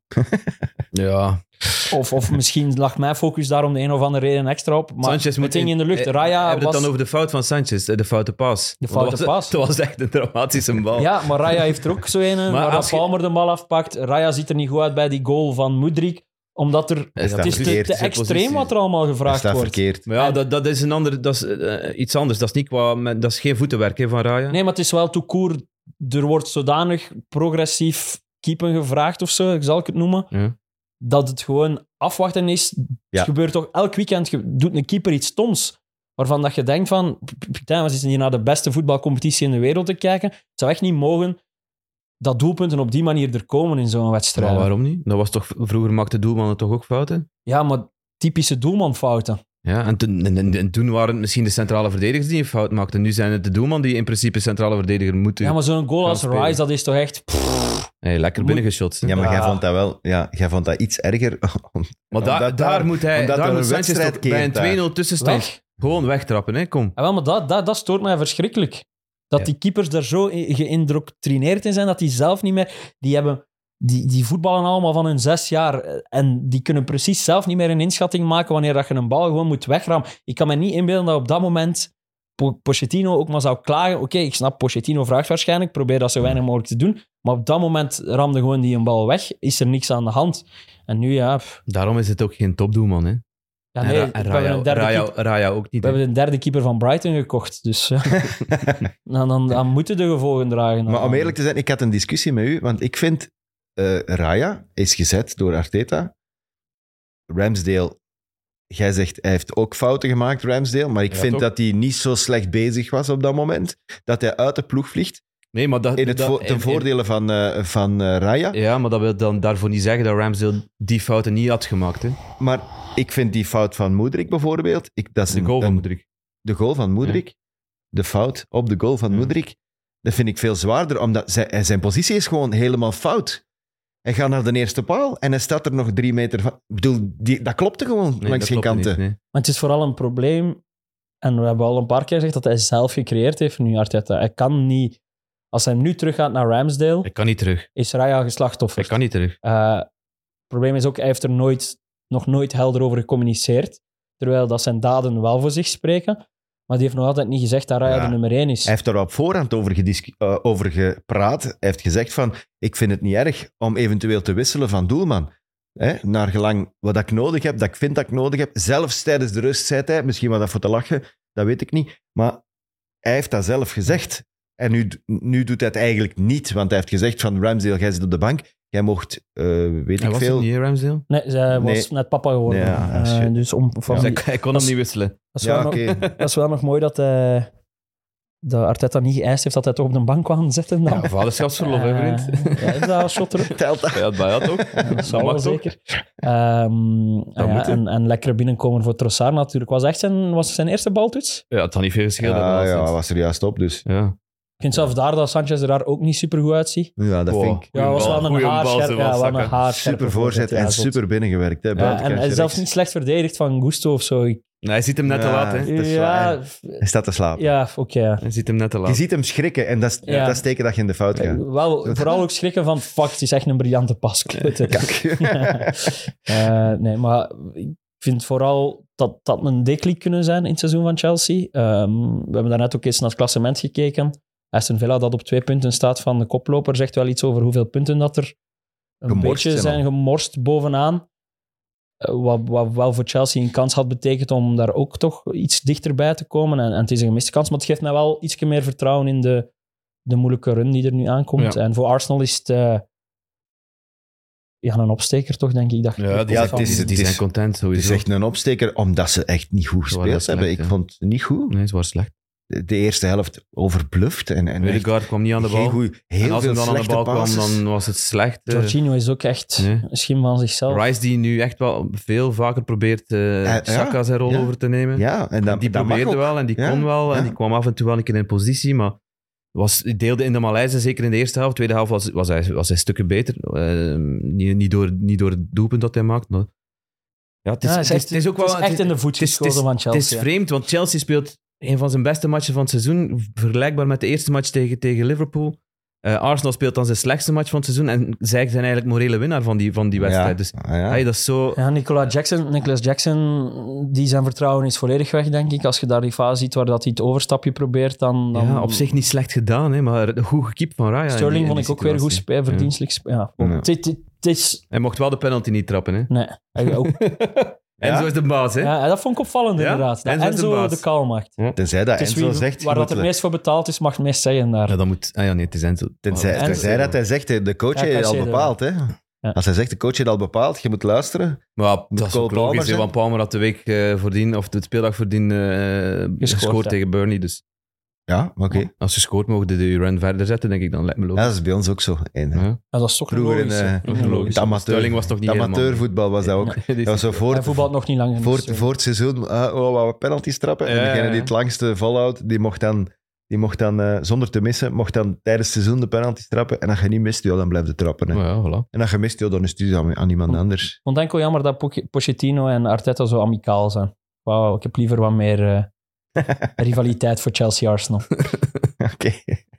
Speaker 3: Ja.
Speaker 2: Of, of misschien lag mijn focus daar om de een of andere reden extra op. Maar
Speaker 3: Sanchez moet
Speaker 2: het ging in de lucht.
Speaker 3: eh,
Speaker 2: Raya
Speaker 3: Heb je het
Speaker 2: was-
Speaker 3: dan over de fout van Sanchez? eh, De foute pas.
Speaker 2: De foute
Speaker 3: dat was,
Speaker 2: pas.
Speaker 3: Dat was echt een dramatische
Speaker 1: Oh.
Speaker 3: bal.
Speaker 2: Ja, maar Raya heeft er ook zo een. waar
Speaker 3: als
Speaker 2: dat
Speaker 3: je-
Speaker 2: Palmer de bal afpakt. Raya ziet er niet goed uit bij die goal van Mudrik. Omdat er...
Speaker 1: Hij staat
Speaker 2: Het is te,
Speaker 1: verkeerd.
Speaker 2: te
Speaker 3: zijn
Speaker 2: extreem
Speaker 3: positie.
Speaker 2: wat er allemaal
Speaker 1: Hij
Speaker 2: gevraagd
Speaker 1: staat
Speaker 2: wordt.
Speaker 1: verkeerd.
Speaker 3: Maar ja,
Speaker 2: En-
Speaker 3: dat, dat is, een ander, dat is eh, iets anders. Dat is, niet qua, men- dat is geen voetenwerk hè, van Raya.
Speaker 2: Nee, maar het is wel tout court. Er wordt zodanig progressief keepen gevraagd of zo, zal ik het noemen.
Speaker 3: Ja.
Speaker 2: Dat het gewoon afwachten is.
Speaker 1: Ja.
Speaker 2: Het gebeurt toch elk weekend. ge- Doet een keeper iets stoms. Waarvan dat je denkt van... Putain, we zitten hier naar de beste voetbalcompetitie in de wereld te kijken. Het zou echt niet mogen dat doelpunten op die manier er komen in zo'n wedstrijd.
Speaker 3: Maar waarom niet? Dat was toch, vroeger maakte doelmannen toch ook fouten?
Speaker 2: Ja, maar typische doelmanfouten.
Speaker 3: Ja, en toen, en, en- en toen waren het misschien de centrale verdedigers die een fout maakten. Nu zijn het de doelman die in principe centrale verdediger moet doen.
Speaker 2: Ja, maar zo'n goal
Speaker 3: gaan
Speaker 2: als
Speaker 3: spelen.
Speaker 2: Rice, dat is toch echt... pff,
Speaker 3: hey, lekker
Speaker 2: Moet-
Speaker 3: binnengeschoten.
Speaker 1: Ja, maar jij
Speaker 2: Ja.
Speaker 1: vond dat wel... Ja, jij vond dat iets erger.
Speaker 3: maar daar-
Speaker 1: omdat
Speaker 3: daar,
Speaker 1: daar-
Speaker 3: moet hij,
Speaker 1: omdat
Speaker 3: daar
Speaker 1: er
Speaker 3: moet
Speaker 1: een
Speaker 3: Sanchez
Speaker 1: wedstrijd
Speaker 3: toch bij
Speaker 1: keert daar.
Speaker 3: een 2-0 tussenstand
Speaker 2: weg.
Speaker 3: gewoon wegtrappen. Hè? Kom.
Speaker 2: Ja, wel, maar dat, dat, dat stoort mij verschrikkelijk. Dat
Speaker 3: Ja.
Speaker 2: die keepers daar zo i- geïndoctrineerd in zijn, dat die zelf niet meer... Die, hebben, die, die voetballen allemaal van hun zes jaar. eh, En die kunnen precies zelf niet meer een inschatting maken wanneer dat je een bal gewoon moet wegrammen. Ik kan me niet inbeelden dat op dat moment Po- Pochettino ook maar zou klagen. Oké, ik snap, Pochettino vraagt waarschijnlijk. Probeer dat zo weinig mogelijk te doen. Maar op dat moment ramde gewoon die een bal weg. Is er niks aan de hand. En nu, ja... pff.
Speaker 3: Daarom is het ook geen topdoelman. Hè?
Speaker 2: Ja, nee,
Speaker 3: en Ra- en
Speaker 2: we, hebben
Speaker 3: Raya,
Speaker 2: een derde
Speaker 3: Raya,
Speaker 2: keeper,
Speaker 3: Raya ook niet.
Speaker 2: we
Speaker 3: hè.
Speaker 2: hebben een derde keeper van Brighton gekocht. Dus ja. dan, dan, dan moeten de gevolgen dragen.
Speaker 1: Maar om eerlijk te zijn, ik had een discussie met u, want ik vind eh, Raya is gezet door Arteta. Ramsdale, jij zegt hij heeft ook fouten gemaakt, Ramsdale, maar ik
Speaker 3: Ja,
Speaker 1: vind
Speaker 3: toch?
Speaker 1: dat hij niet zo slecht bezig was op dat moment. Dat hij uit de ploeg vliegt
Speaker 3: Nee, maar dat,
Speaker 1: in het
Speaker 3: dat-
Speaker 1: vo-
Speaker 3: in-
Speaker 1: ten
Speaker 3: in-
Speaker 1: voordele van, eh, van eh, Raya.
Speaker 3: Ja, maar dat wil dan daarvoor niet zeggen dat Ramsdale die fouten niet had gemaakt. Hè?
Speaker 1: Maar ik vind die fout van Moedrik bijvoorbeeld, ik, dat is
Speaker 3: De
Speaker 1: een-
Speaker 3: goal van
Speaker 1: een-
Speaker 3: Moedrik.
Speaker 1: de goal van Moedrik, de fout op de goal van
Speaker 3: Ja.
Speaker 1: Moedrik, dat vind ik veel zwaarder, omdat zijn, zijn positie is gewoon helemaal fout. Hij gaat naar de eerste paal en hij staat er nog drie meter van. Ik bedoel, die, dat klopte gewoon
Speaker 3: Nee,
Speaker 1: langs
Speaker 3: dat
Speaker 1: geen
Speaker 3: klopt
Speaker 1: kanten.
Speaker 3: niet, nee.
Speaker 2: Maar het is vooral een probleem. En we hebben al een paar keer gezegd dat hij zelf gecreëerd heeft nu, Arteta. Hij kan niet... Als hij nu teruggaat naar Ramsdale,
Speaker 3: Ik kan niet terug.
Speaker 2: is Raya
Speaker 3: Ik
Speaker 2: geslachtoffer.
Speaker 3: kan niet terug.
Speaker 2: Eh, het probleem is ook, hij heeft er nooit, nog nooit helder over gecommuniceerd. Terwijl dat zijn daden wel voor zich spreken. Maar die heeft nog altijd niet gezegd dat Raya
Speaker 1: Ja.
Speaker 2: de nummer één is.
Speaker 1: Hij heeft er op voorhand over, gediscu- eh, over gepraat. Hij heeft gezegd van, ik vind het niet erg om eventueel te wisselen van doelman. Hè, naar gelang wat ik nodig heb, dat ik vind dat ik nodig heb. Zelfs tijdens de rust zei hij, misschien was dat voor te lachen, dat weet ik niet. Maar hij heeft dat zelf gezegd. En nu, nu doet hij het eigenlijk niet, want hij heeft gezegd van Ramsdale, jij zit op de bank. Jij mocht, eh, weet
Speaker 3: Hij
Speaker 1: ik
Speaker 3: was
Speaker 1: veel...
Speaker 3: het niet, hè, Ramsdale?
Speaker 2: Nee, zij
Speaker 1: Nee.
Speaker 2: was net papa geworden.
Speaker 1: Ja, ah, shit.
Speaker 2: Eh, dus om, van
Speaker 1: Ja.
Speaker 3: Dus
Speaker 2: die-
Speaker 3: hij, hij kon
Speaker 2: Dat
Speaker 3: hem
Speaker 2: is-
Speaker 3: niet wisselen.
Speaker 2: dat, is wel
Speaker 1: Ja,
Speaker 2: nog,
Speaker 1: oké.
Speaker 2: dat is wel nog mooi dat, eh dat Arteta niet geëist heeft dat hij toch op de bank kwam zitten. Dan.
Speaker 3: Ja, vaderschapsverlof, hè, vriend?
Speaker 2: Eh, ja, is dat een shot terug?
Speaker 1: Telt dat?
Speaker 3: Ja, bij jou toch?
Speaker 2: Dat zal
Speaker 3: mag
Speaker 2: wel
Speaker 3: toch?
Speaker 2: zeker. Ehm, ah ja,
Speaker 3: moet, hè.
Speaker 2: en, en lekker binnenkomen voor Trossard natuurlijk. Was echt zijn, was zijn eerste baltoets?
Speaker 3: Ja, het had niet veel
Speaker 1: Ja,
Speaker 3: gescheeld.
Speaker 1: ja,
Speaker 3: dat
Speaker 1: hij
Speaker 3: was het.
Speaker 1: was er juist op, dus...
Speaker 3: ja.
Speaker 2: Ik vind zelfs daar dat Sanchez er daar ook niet super goed uitziet.
Speaker 1: Ja, dat
Speaker 3: Wow.
Speaker 1: vind ik...
Speaker 2: Ja, was
Speaker 3: bal,
Speaker 2: wel een
Speaker 3: goeie bal,
Speaker 2: haarscherp.
Speaker 3: Sebastian.
Speaker 2: Ja, wel een haarscherp.
Speaker 1: Super voorzet en super binnengewerkt. Hè, buitenkantje
Speaker 2: en, en
Speaker 1: rechts.
Speaker 2: zelfs niet slecht verdedigd van Gusto of zo. Ik-
Speaker 3: Nee, hij ziet hem net te
Speaker 1: Ja.
Speaker 3: laat, hè.
Speaker 1: Dat is
Speaker 2: ja,
Speaker 1: waar.
Speaker 2: f-
Speaker 1: Hij staat te slapen.
Speaker 2: ja, oké. ja.
Speaker 3: Hij ziet hem net te
Speaker 1: Je
Speaker 3: laat.
Speaker 1: ziet hem schrikken en dat is,
Speaker 2: Ja.
Speaker 1: dat is teken dat je in de fout gaat.
Speaker 2: Wel, vooral ook schrikken van, fuck, het is echt een briljante pas. Kut, hè. Eh, nee, maar ik vind vooral dat dat een deklik kunnen zijn in het seizoen van Chelsea. Ehm, we hebben daarnet ook eens naar het klassement gekeken. Aston Villa dat op twee punten staat van de koploper zegt wel iets over hoeveel punten dat er een
Speaker 1: Gemorst
Speaker 2: beetje
Speaker 1: zijn al.
Speaker 2: zijn gemorst bovenaan. Eh, wat, wat wel voor Chelsea een kans had betekend om daar ook toch iets dichterbij te komen. En, en het is een gemiste kans, maar het geeft mij wel iets meer vertrouwen in de, de moeilijke run die er nu aankomt.
Speaker 3: Ja.
Speaker 2: En voor Arsenal is het eh, ja, een opsteker toch, denk ik. Dat je
Speaker 3: Ja,
Speaker 2: terugkomt
Speaker 3: die,
Speaker 1: het
Speaker 2: van-
Speaker 1: is-
Speaker 3: die,
Speaker 1: het is-
Speaker 3: zijn content
Speaker 1: Het is
Speaker 3: sowieso.
Speaker 1: echt een opsteker, omdat ze echt niet goed
Speaker 3: Ja, dat
Speaker 1: gespeeld
Speaker 3: is
Speaker 1: hebben.
Speaker 3: slecht,
Speaker 1: Ik
Speaker 3: hè.
Speaker 1: vond het niet goed.
Speaker 3: Nee, het was slecht.
Speaker 1: de eerste helft overbluft. En, en echt
Speaker 3: Ødegaard kwam niet aan de
Speaker 1: geen
Speaker 3: bal.
Speaker 1: goeie-
Speaker 3: en
Speaker 1: heel
Speaker 3: als hij
Speaker 1: veel
Speaker 3: dan aan de
Speaker 1: slechte
Speaker 3: bal
Speaker 1: passes.
Speaker 3: kwam, dan was het slecht. eh.
Speaker 2: Jorginho is ook echt
Speaker 3: nee.
Speaker 2: misschien van zichzelf.
Speaker 3: Rice die nu echt wel veel vaker probeert eh
Speaker 1: ja,
Speaker 3: Saka zijn rol
Speaker 1: ja.
Speaker 3: over te nemen.
Speaker 1: Ja, en dat,
Speaker 3: die
Speaker 1: dat mag
Speaker 3: probeerde
Speaker 1: ook.
Speaker 3: wel en die
Speaker 1: Ja,
Speaker 3: kon wel
Speaker 1: ja.
Speaker 3: en die kwam af en toe wel een keer in positie, maar was, deelde in de Maleise, zeker in de eerste helft. Tweede helft was, was, hij, was hij stukken beter. Eh, niet, niet, door, niet door het doelpunt dat hij maakt. Maar... Ja, het is,
Speaker 2: Ja,
Speaker 3: het, is, het is ook wel...
Speaker 2: het is echt in de voet
Speaker 3: het is- het is-
Speaker 2: geschoten van
Speaker 3: het is
Speaker 2: Chelsea.
Speaker 3: vreemd, want Chelsea speelt een van zijn beste matchen van het seizoen, vergelijkbaar met de eerste match tegen, tegen Liverpool. Eh, Arsenal speelt dan zijn slechtste match van het seizoen en zij zijn eigenlijk morele winnaar van die, van die wedstrijd.
Speaker 1: Ja.
Speaker 3: Dus
Speaker 1: Ah, ja.
Speaker 3: hey, dat is zo...
Speaker 2: Ja, Nicola Jackson, Nicolas Jackson, die zijn vertrouwen is volledig weg, denk ik. Als je daar die fase ziet waar dat hij het overstapje probeert, dan... dan
Speaker 3: Ja, op zich niet slecht gedaan, hè, maar goed gekiept van Raya. in die- in
Speaker 2: Sterling
Speaker 3: die
Speaker 2: vond ik ook weer goed
Speaker 3: situatie.
Speaker 2: spelen, verdienstelijk spelen. Ja.
Speaker 1: Ja.
Speaker 2: Het, het- het is...
Speaker 3: Hij mocht wel de penalty niet trappen. Hè.
Speaker 2: Nee. Hij ook-
Speaker 3: En zo is de baas. Hè.
Speaker 2: Ja, dat vond ik opvallend,
Speaker 3: Ja?
Speaker 2: inderdaad. Dat
Speaker 3: Enzo is de
Speaker 2: Enzo
Speaker 3: baas.
Speaker 2: de kalm maakt.
Speaker 1: Tenzij dat
Speaker 2: Het is
Speaker 1: Enzo
Speaker 2: wie-
Speaker 1: zegt...
Speaker 2: waar
Speaker 1: je
Speaker 2: dat
Speaker 1: moet
Speaker 2: het meest voor betaald is, mag het meest zeggen daar.
Speaker 3: Ja, dat moet... Ah ja, nee, het is Enzo.
Speaker 1: Tenzij,
Speaker 2: En-
Speaker 1: tenzij dat hij zegt, hè, de coach
Speaker 2: Ja,
Speaker 1: heeft het al
Speaker 2: Caicedo.
Speaker 1: bepaald. Hè? Als hij zegt, de coach heeft al bepaald, je moet luisteren.
Speaker 3: Maar ja,
Speaker 1: Moet
Speaker 3: dat is
Speaker 1: Cole
Speaker 3: ook
Speaker 1: Palmer
Speaker 3: logisch, hè,
Speaker 1: zijn.
Speaker 3: want Palmer had de week eh, voordien, of de speeldag voordien, eh, gescoord,
Speaker 2: ja.
Speaker 3: tegen Burnley. Dus
Speaker 1: Ja, maar oké.
Speaker 3: als je scoort, mogen de, de run verder zetten, denk ik. Dan lijkt me
Speaker 1: Ja,
Speaker 3: logisch.
Speaker 1: dat is bij ons ook zo. En,
Speaker 3: Ja,
Speaker 2: Ja, dat is toch
Speaker 1: Vroeger in,
Speaker 2: logisch. hè. Mhm.
Speaker 1: eh,
Speaker 3: Dat is logisch.
Speaker 1: het amateur-
Speaker 3: Sterling was toch niet
Speaker 1: het amateurvoetbal was dat ook.
Speaker 3: helemaal... Nee, die
Speaker 1: Dat was
Speaker 3: is-
Speaker 1: zo voor,
Speaker 2: Hij voetbalt nog niet lang.
Speaker 1: voor,
Speaker 2: dus, eh,
Speaker 1: voor het seizoen, ah, oh, wat we penalties trappen.
Speaker 3: Ja,
Speaker 1: en degene
Speaker 3: ja,
Speaker 1: die
Speaker 3: ja.
Speaker 1: het langste volhoudt, die mocht dan, die mocht dan eh, zonder te missen, mocht dan tijdens het seizoen de penalties trappen. En als je niet mist, joh, dan blijf je trappen. Hè.
Speaker 3: Maar ja, Oh. voilà.
Speaker 1: En als je mist, joh, dan is het dus aan, aan iemand
Speaker 2: Goed.
Speaker 1: anders.
Speaker 2: Ik vond eh. enkel jammer dat Poch- Pochettino en Arteta zo amicaal zijn. Wauw, ik heb liever wat meer eh, rivaliteit voor Chelsea-Arsenal.
Speaker 1: Oké.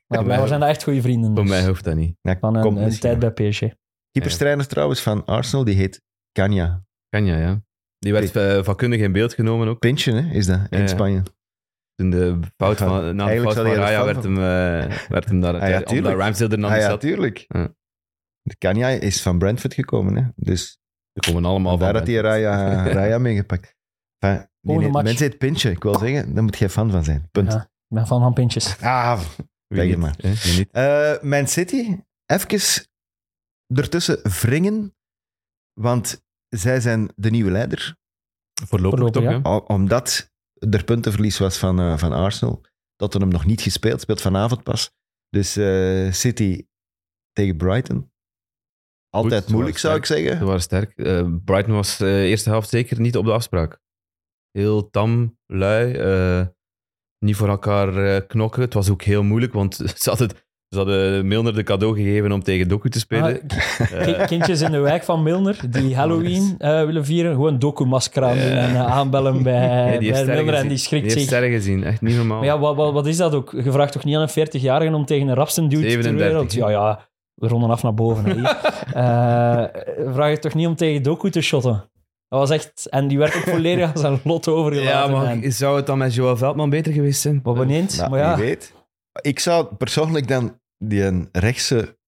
Speaker 2: Maar wij zijn daar echt goede vrienden.
Speaker 3: Voor
Speaker 2: dus.
Speaker 3: mij hoeft dat niet.
Speaker 1: Nou,
Speaker 2: Van een,
Speaker 1: komt
Speaker 2: een
Speaker 1: misschien
Speaker 2: tijd
Speaker 1: nog.
Speaker 2: bij PSG.
Speaker 1: Keeperstrainer trouwens van Arsenal, die heet Kanya.
Speaker 3: Kan ja, ja. Die werd eh, vakkundig in beeld genomen ook.
Speaker 1: Pintje, hè, is dat, in
Speaker 3: Ja, ja.
Speaker 1: Spanje.
Speaker 3: Toen de fout
Speaker 1: Ja,
Speaker 3: van, na de
Speaker 1: eigenlijk zou
Speaker 3: fout van
Speaker 1: hij er
Speaker 3: Raya
Speaker 1: fan
Speaker 3: werd hem, eh, werd hem daar...
Speaker 1: Ah ja,
Speaker 3: omdat
Speaker 1: tuurlijk.
Speaker 3: Ramsdale er dan
Speaker 1: ah,
Speaker 3: niet
Speaker 1: ja,
Speaker 3: zat.
Speaker 1: tuurlijk.
Speaker 3: Ja.
Speaker 1: De Kanya is van Brentford gekomen, hè. Dus
Speaker 3: Ze komen allemaal
Speaker 1: daar
Speaker 3: van
Speaker 1: had hij Raya, Raya meegepakt. Enfin, nee, nee,
Speaker 2: match.
Speaker 1: mensen heet Pintje. Ik wil zeggen, daar moet jij fan van zijn. Punt.
Speaker 2: Ja. Ik ben van van pintjes.
Speaker 1: Ah,
Speaker 3: Wie
Speaker 1: Zeg
Speaker 3: niet,
Speaker 1: maar.
Speaker 3: hè? Wie niet?
Speaker 1: Eh, Man City, even ertussen wringen, want zij zijn de nieuwe leider.
Speaker 3: Voorlopig,
Speaker 2: Voorlopig,
Speaker 3: toch,
Speaker 2: ja.
Speaker 3: hè?
Speaker 1: O- Omdat er puntenverlies was van, eh van Arsenal. Tottenham nog niet gespeeld, speelt vanavond pas. Dus eh, City tegen Brighton. Altijd
Speaker 3: Goed,
Speaker 1: moeilijk, zou ik
Speaker 3: zwaar Ze
Speaker 1: zeggen.
Speaker 3: waren sterk. Eh, Brighton was de eerste helft zeker niet op de afspraak. Heel tam, lui, eh, niet voor elkaar eh, knokken. Het was ook heel moeilijk, want ze hadden, ze hadden Milner de cadeau gegeven om tegen Doku te spelen.
Speaker 2: Ah, ki-
Speaker 3: Eh,
Speaker 2: kindjes in de wijk van Milner die Halloween eh, willen vieren. Gewoon doku-masker aan doen en eh, aanbellen bij,
Speaker 3: nee, die heeft
Speaker 2: bij
Speaker 3: sterren
Speaker 2: Milner en
Speaker 3: gezien.
Speaker 2: die schrikt
Speaker 3: heeft
Speaker 2: zich.
Speaker 3: sterren gezien, echt niet normaal.
Speaker 2: Maar ja, wat, wat, wat is dat ook? Je vraagt toch niet aan een 40-jarige om tegen een rapsen dude ter
Speaker 3: 37,
Speaker 2: wereld?
Speaker 3: hè?
Speaker 2: Ja, ja, we ronden af naar boven. hè, hier. Eh, vraag je toch niet om tegen Doku te shotten? Dat was echt... En die werd ook volledig aan zijn lot
Speaker 3: Ja,
Speaker 2: overgelaten.
Speaker 3: maar
Speaker 2: en-
Speaker 3: zou het dan met Joël Veldman beter geweest zijn?
Speaker 2: Wat benieuwd,
Speaker 1: Nou,
Speaker 2: maar ja.
Speaker 1: wie weet. Ik zou persoonlijk dan die een rechtse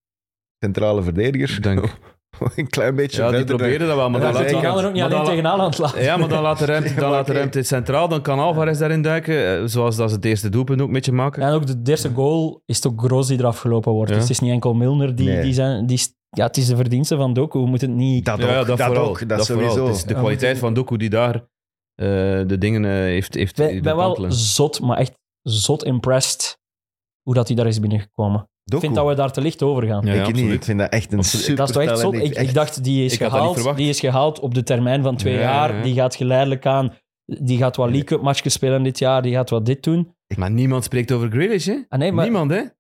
Speaker 1: centrale verdediger
Speaker 3: Dank.
Speaker 1: een klein beetje
Speaker 3: Ja, die
Speaker 1: verder-
Speaker 3: probeerden dat wel, maar
Speaker 1: Ja,
Speaker 3: dan
Speaker 1: dat
Speaker 3: laat
Speaker 2: Die
Speaker 1: zeker.
Speaker 2: gaan er ook niet
Speaker 3: maar
Speaker 2: alleen
Speaker 3: dan-
Speaker 2: tegenaan aan het laten.
Speaker 3: Ja, maar dan laat de ruimte,
Speaker 1: maar
Speaker 3: dan laat de
Speaker 1: oké.
Speaker 3: ruimte centraal. Dan kan Alvarez daarin duiken, eh, zoals dat ze het eerste doelpunt ook met je maken.
Speaker 2: En ook de eerste goal is het ook Groos die eraf gelopen wordt.
Speaker 3: Ja.
Speaker 2: Dus het is niet enkel Milner die,
Speaker 1: Nee.
Speaker 2: die zijn... Die, ja, het is de verdienste van Doku. We moeten het niet...
Speaker 1: Ah, Dat ook,
Speaker 3: ja,
Speaker 1: dat,
Speaker 3: vooral,
Speaker 1: ook, dat,
Speaker 3: vooral.
Speaker 1: sowieso.
Speaker 3: Het is de
Speaker 2: Ja,
Speaker 3: kwaliteit
Speaker 2: maar-
Speaker 3: van Doku die daar eh, de dingen eh, heeft, heeft
Speaker 2: Ik ben-
Speaker 3: doen
Speaker 2: ben wel
Speaker 3: kantelen.
Speaker 2: zot, maar echt zot impressed hoe dat hij daar is binnengekomen.
Speaker 1: Doku.
Speaker 2: Ik vind dat we daar te licht over gaan.
Speaker 3: Ja, ja,
Speaker 1: ik, niet,
Speaker 3: absoluut.
Speaker 1: ik vind dat echt een
Speaker 3: Absoluut.
Speaker 1: super
Speaker 2: dat is toch echt zot? Ik, ik dacht, die is,
Speaker 3: Ik had dat niet
Speaker 2: gehaald,
Speaker 3: verwacht.
Speaker 2: die is gehaald op de termijn van twee
Speaker 3: Ja,
Speaker 2: jaar.
Speaker 3: ja, ja.
Speaker 2: Die gaat geleidelijk aan... Die gaat wat League Cup matchjes spelen dit jaar. Die gaat wat dit doen.
Speaker 3: Maar niemand spreekt over Grealish, hè?
Speaker 2: Ah, nee, maar,
Speaker 3: Niemand, hè?
Speaker 2: ja,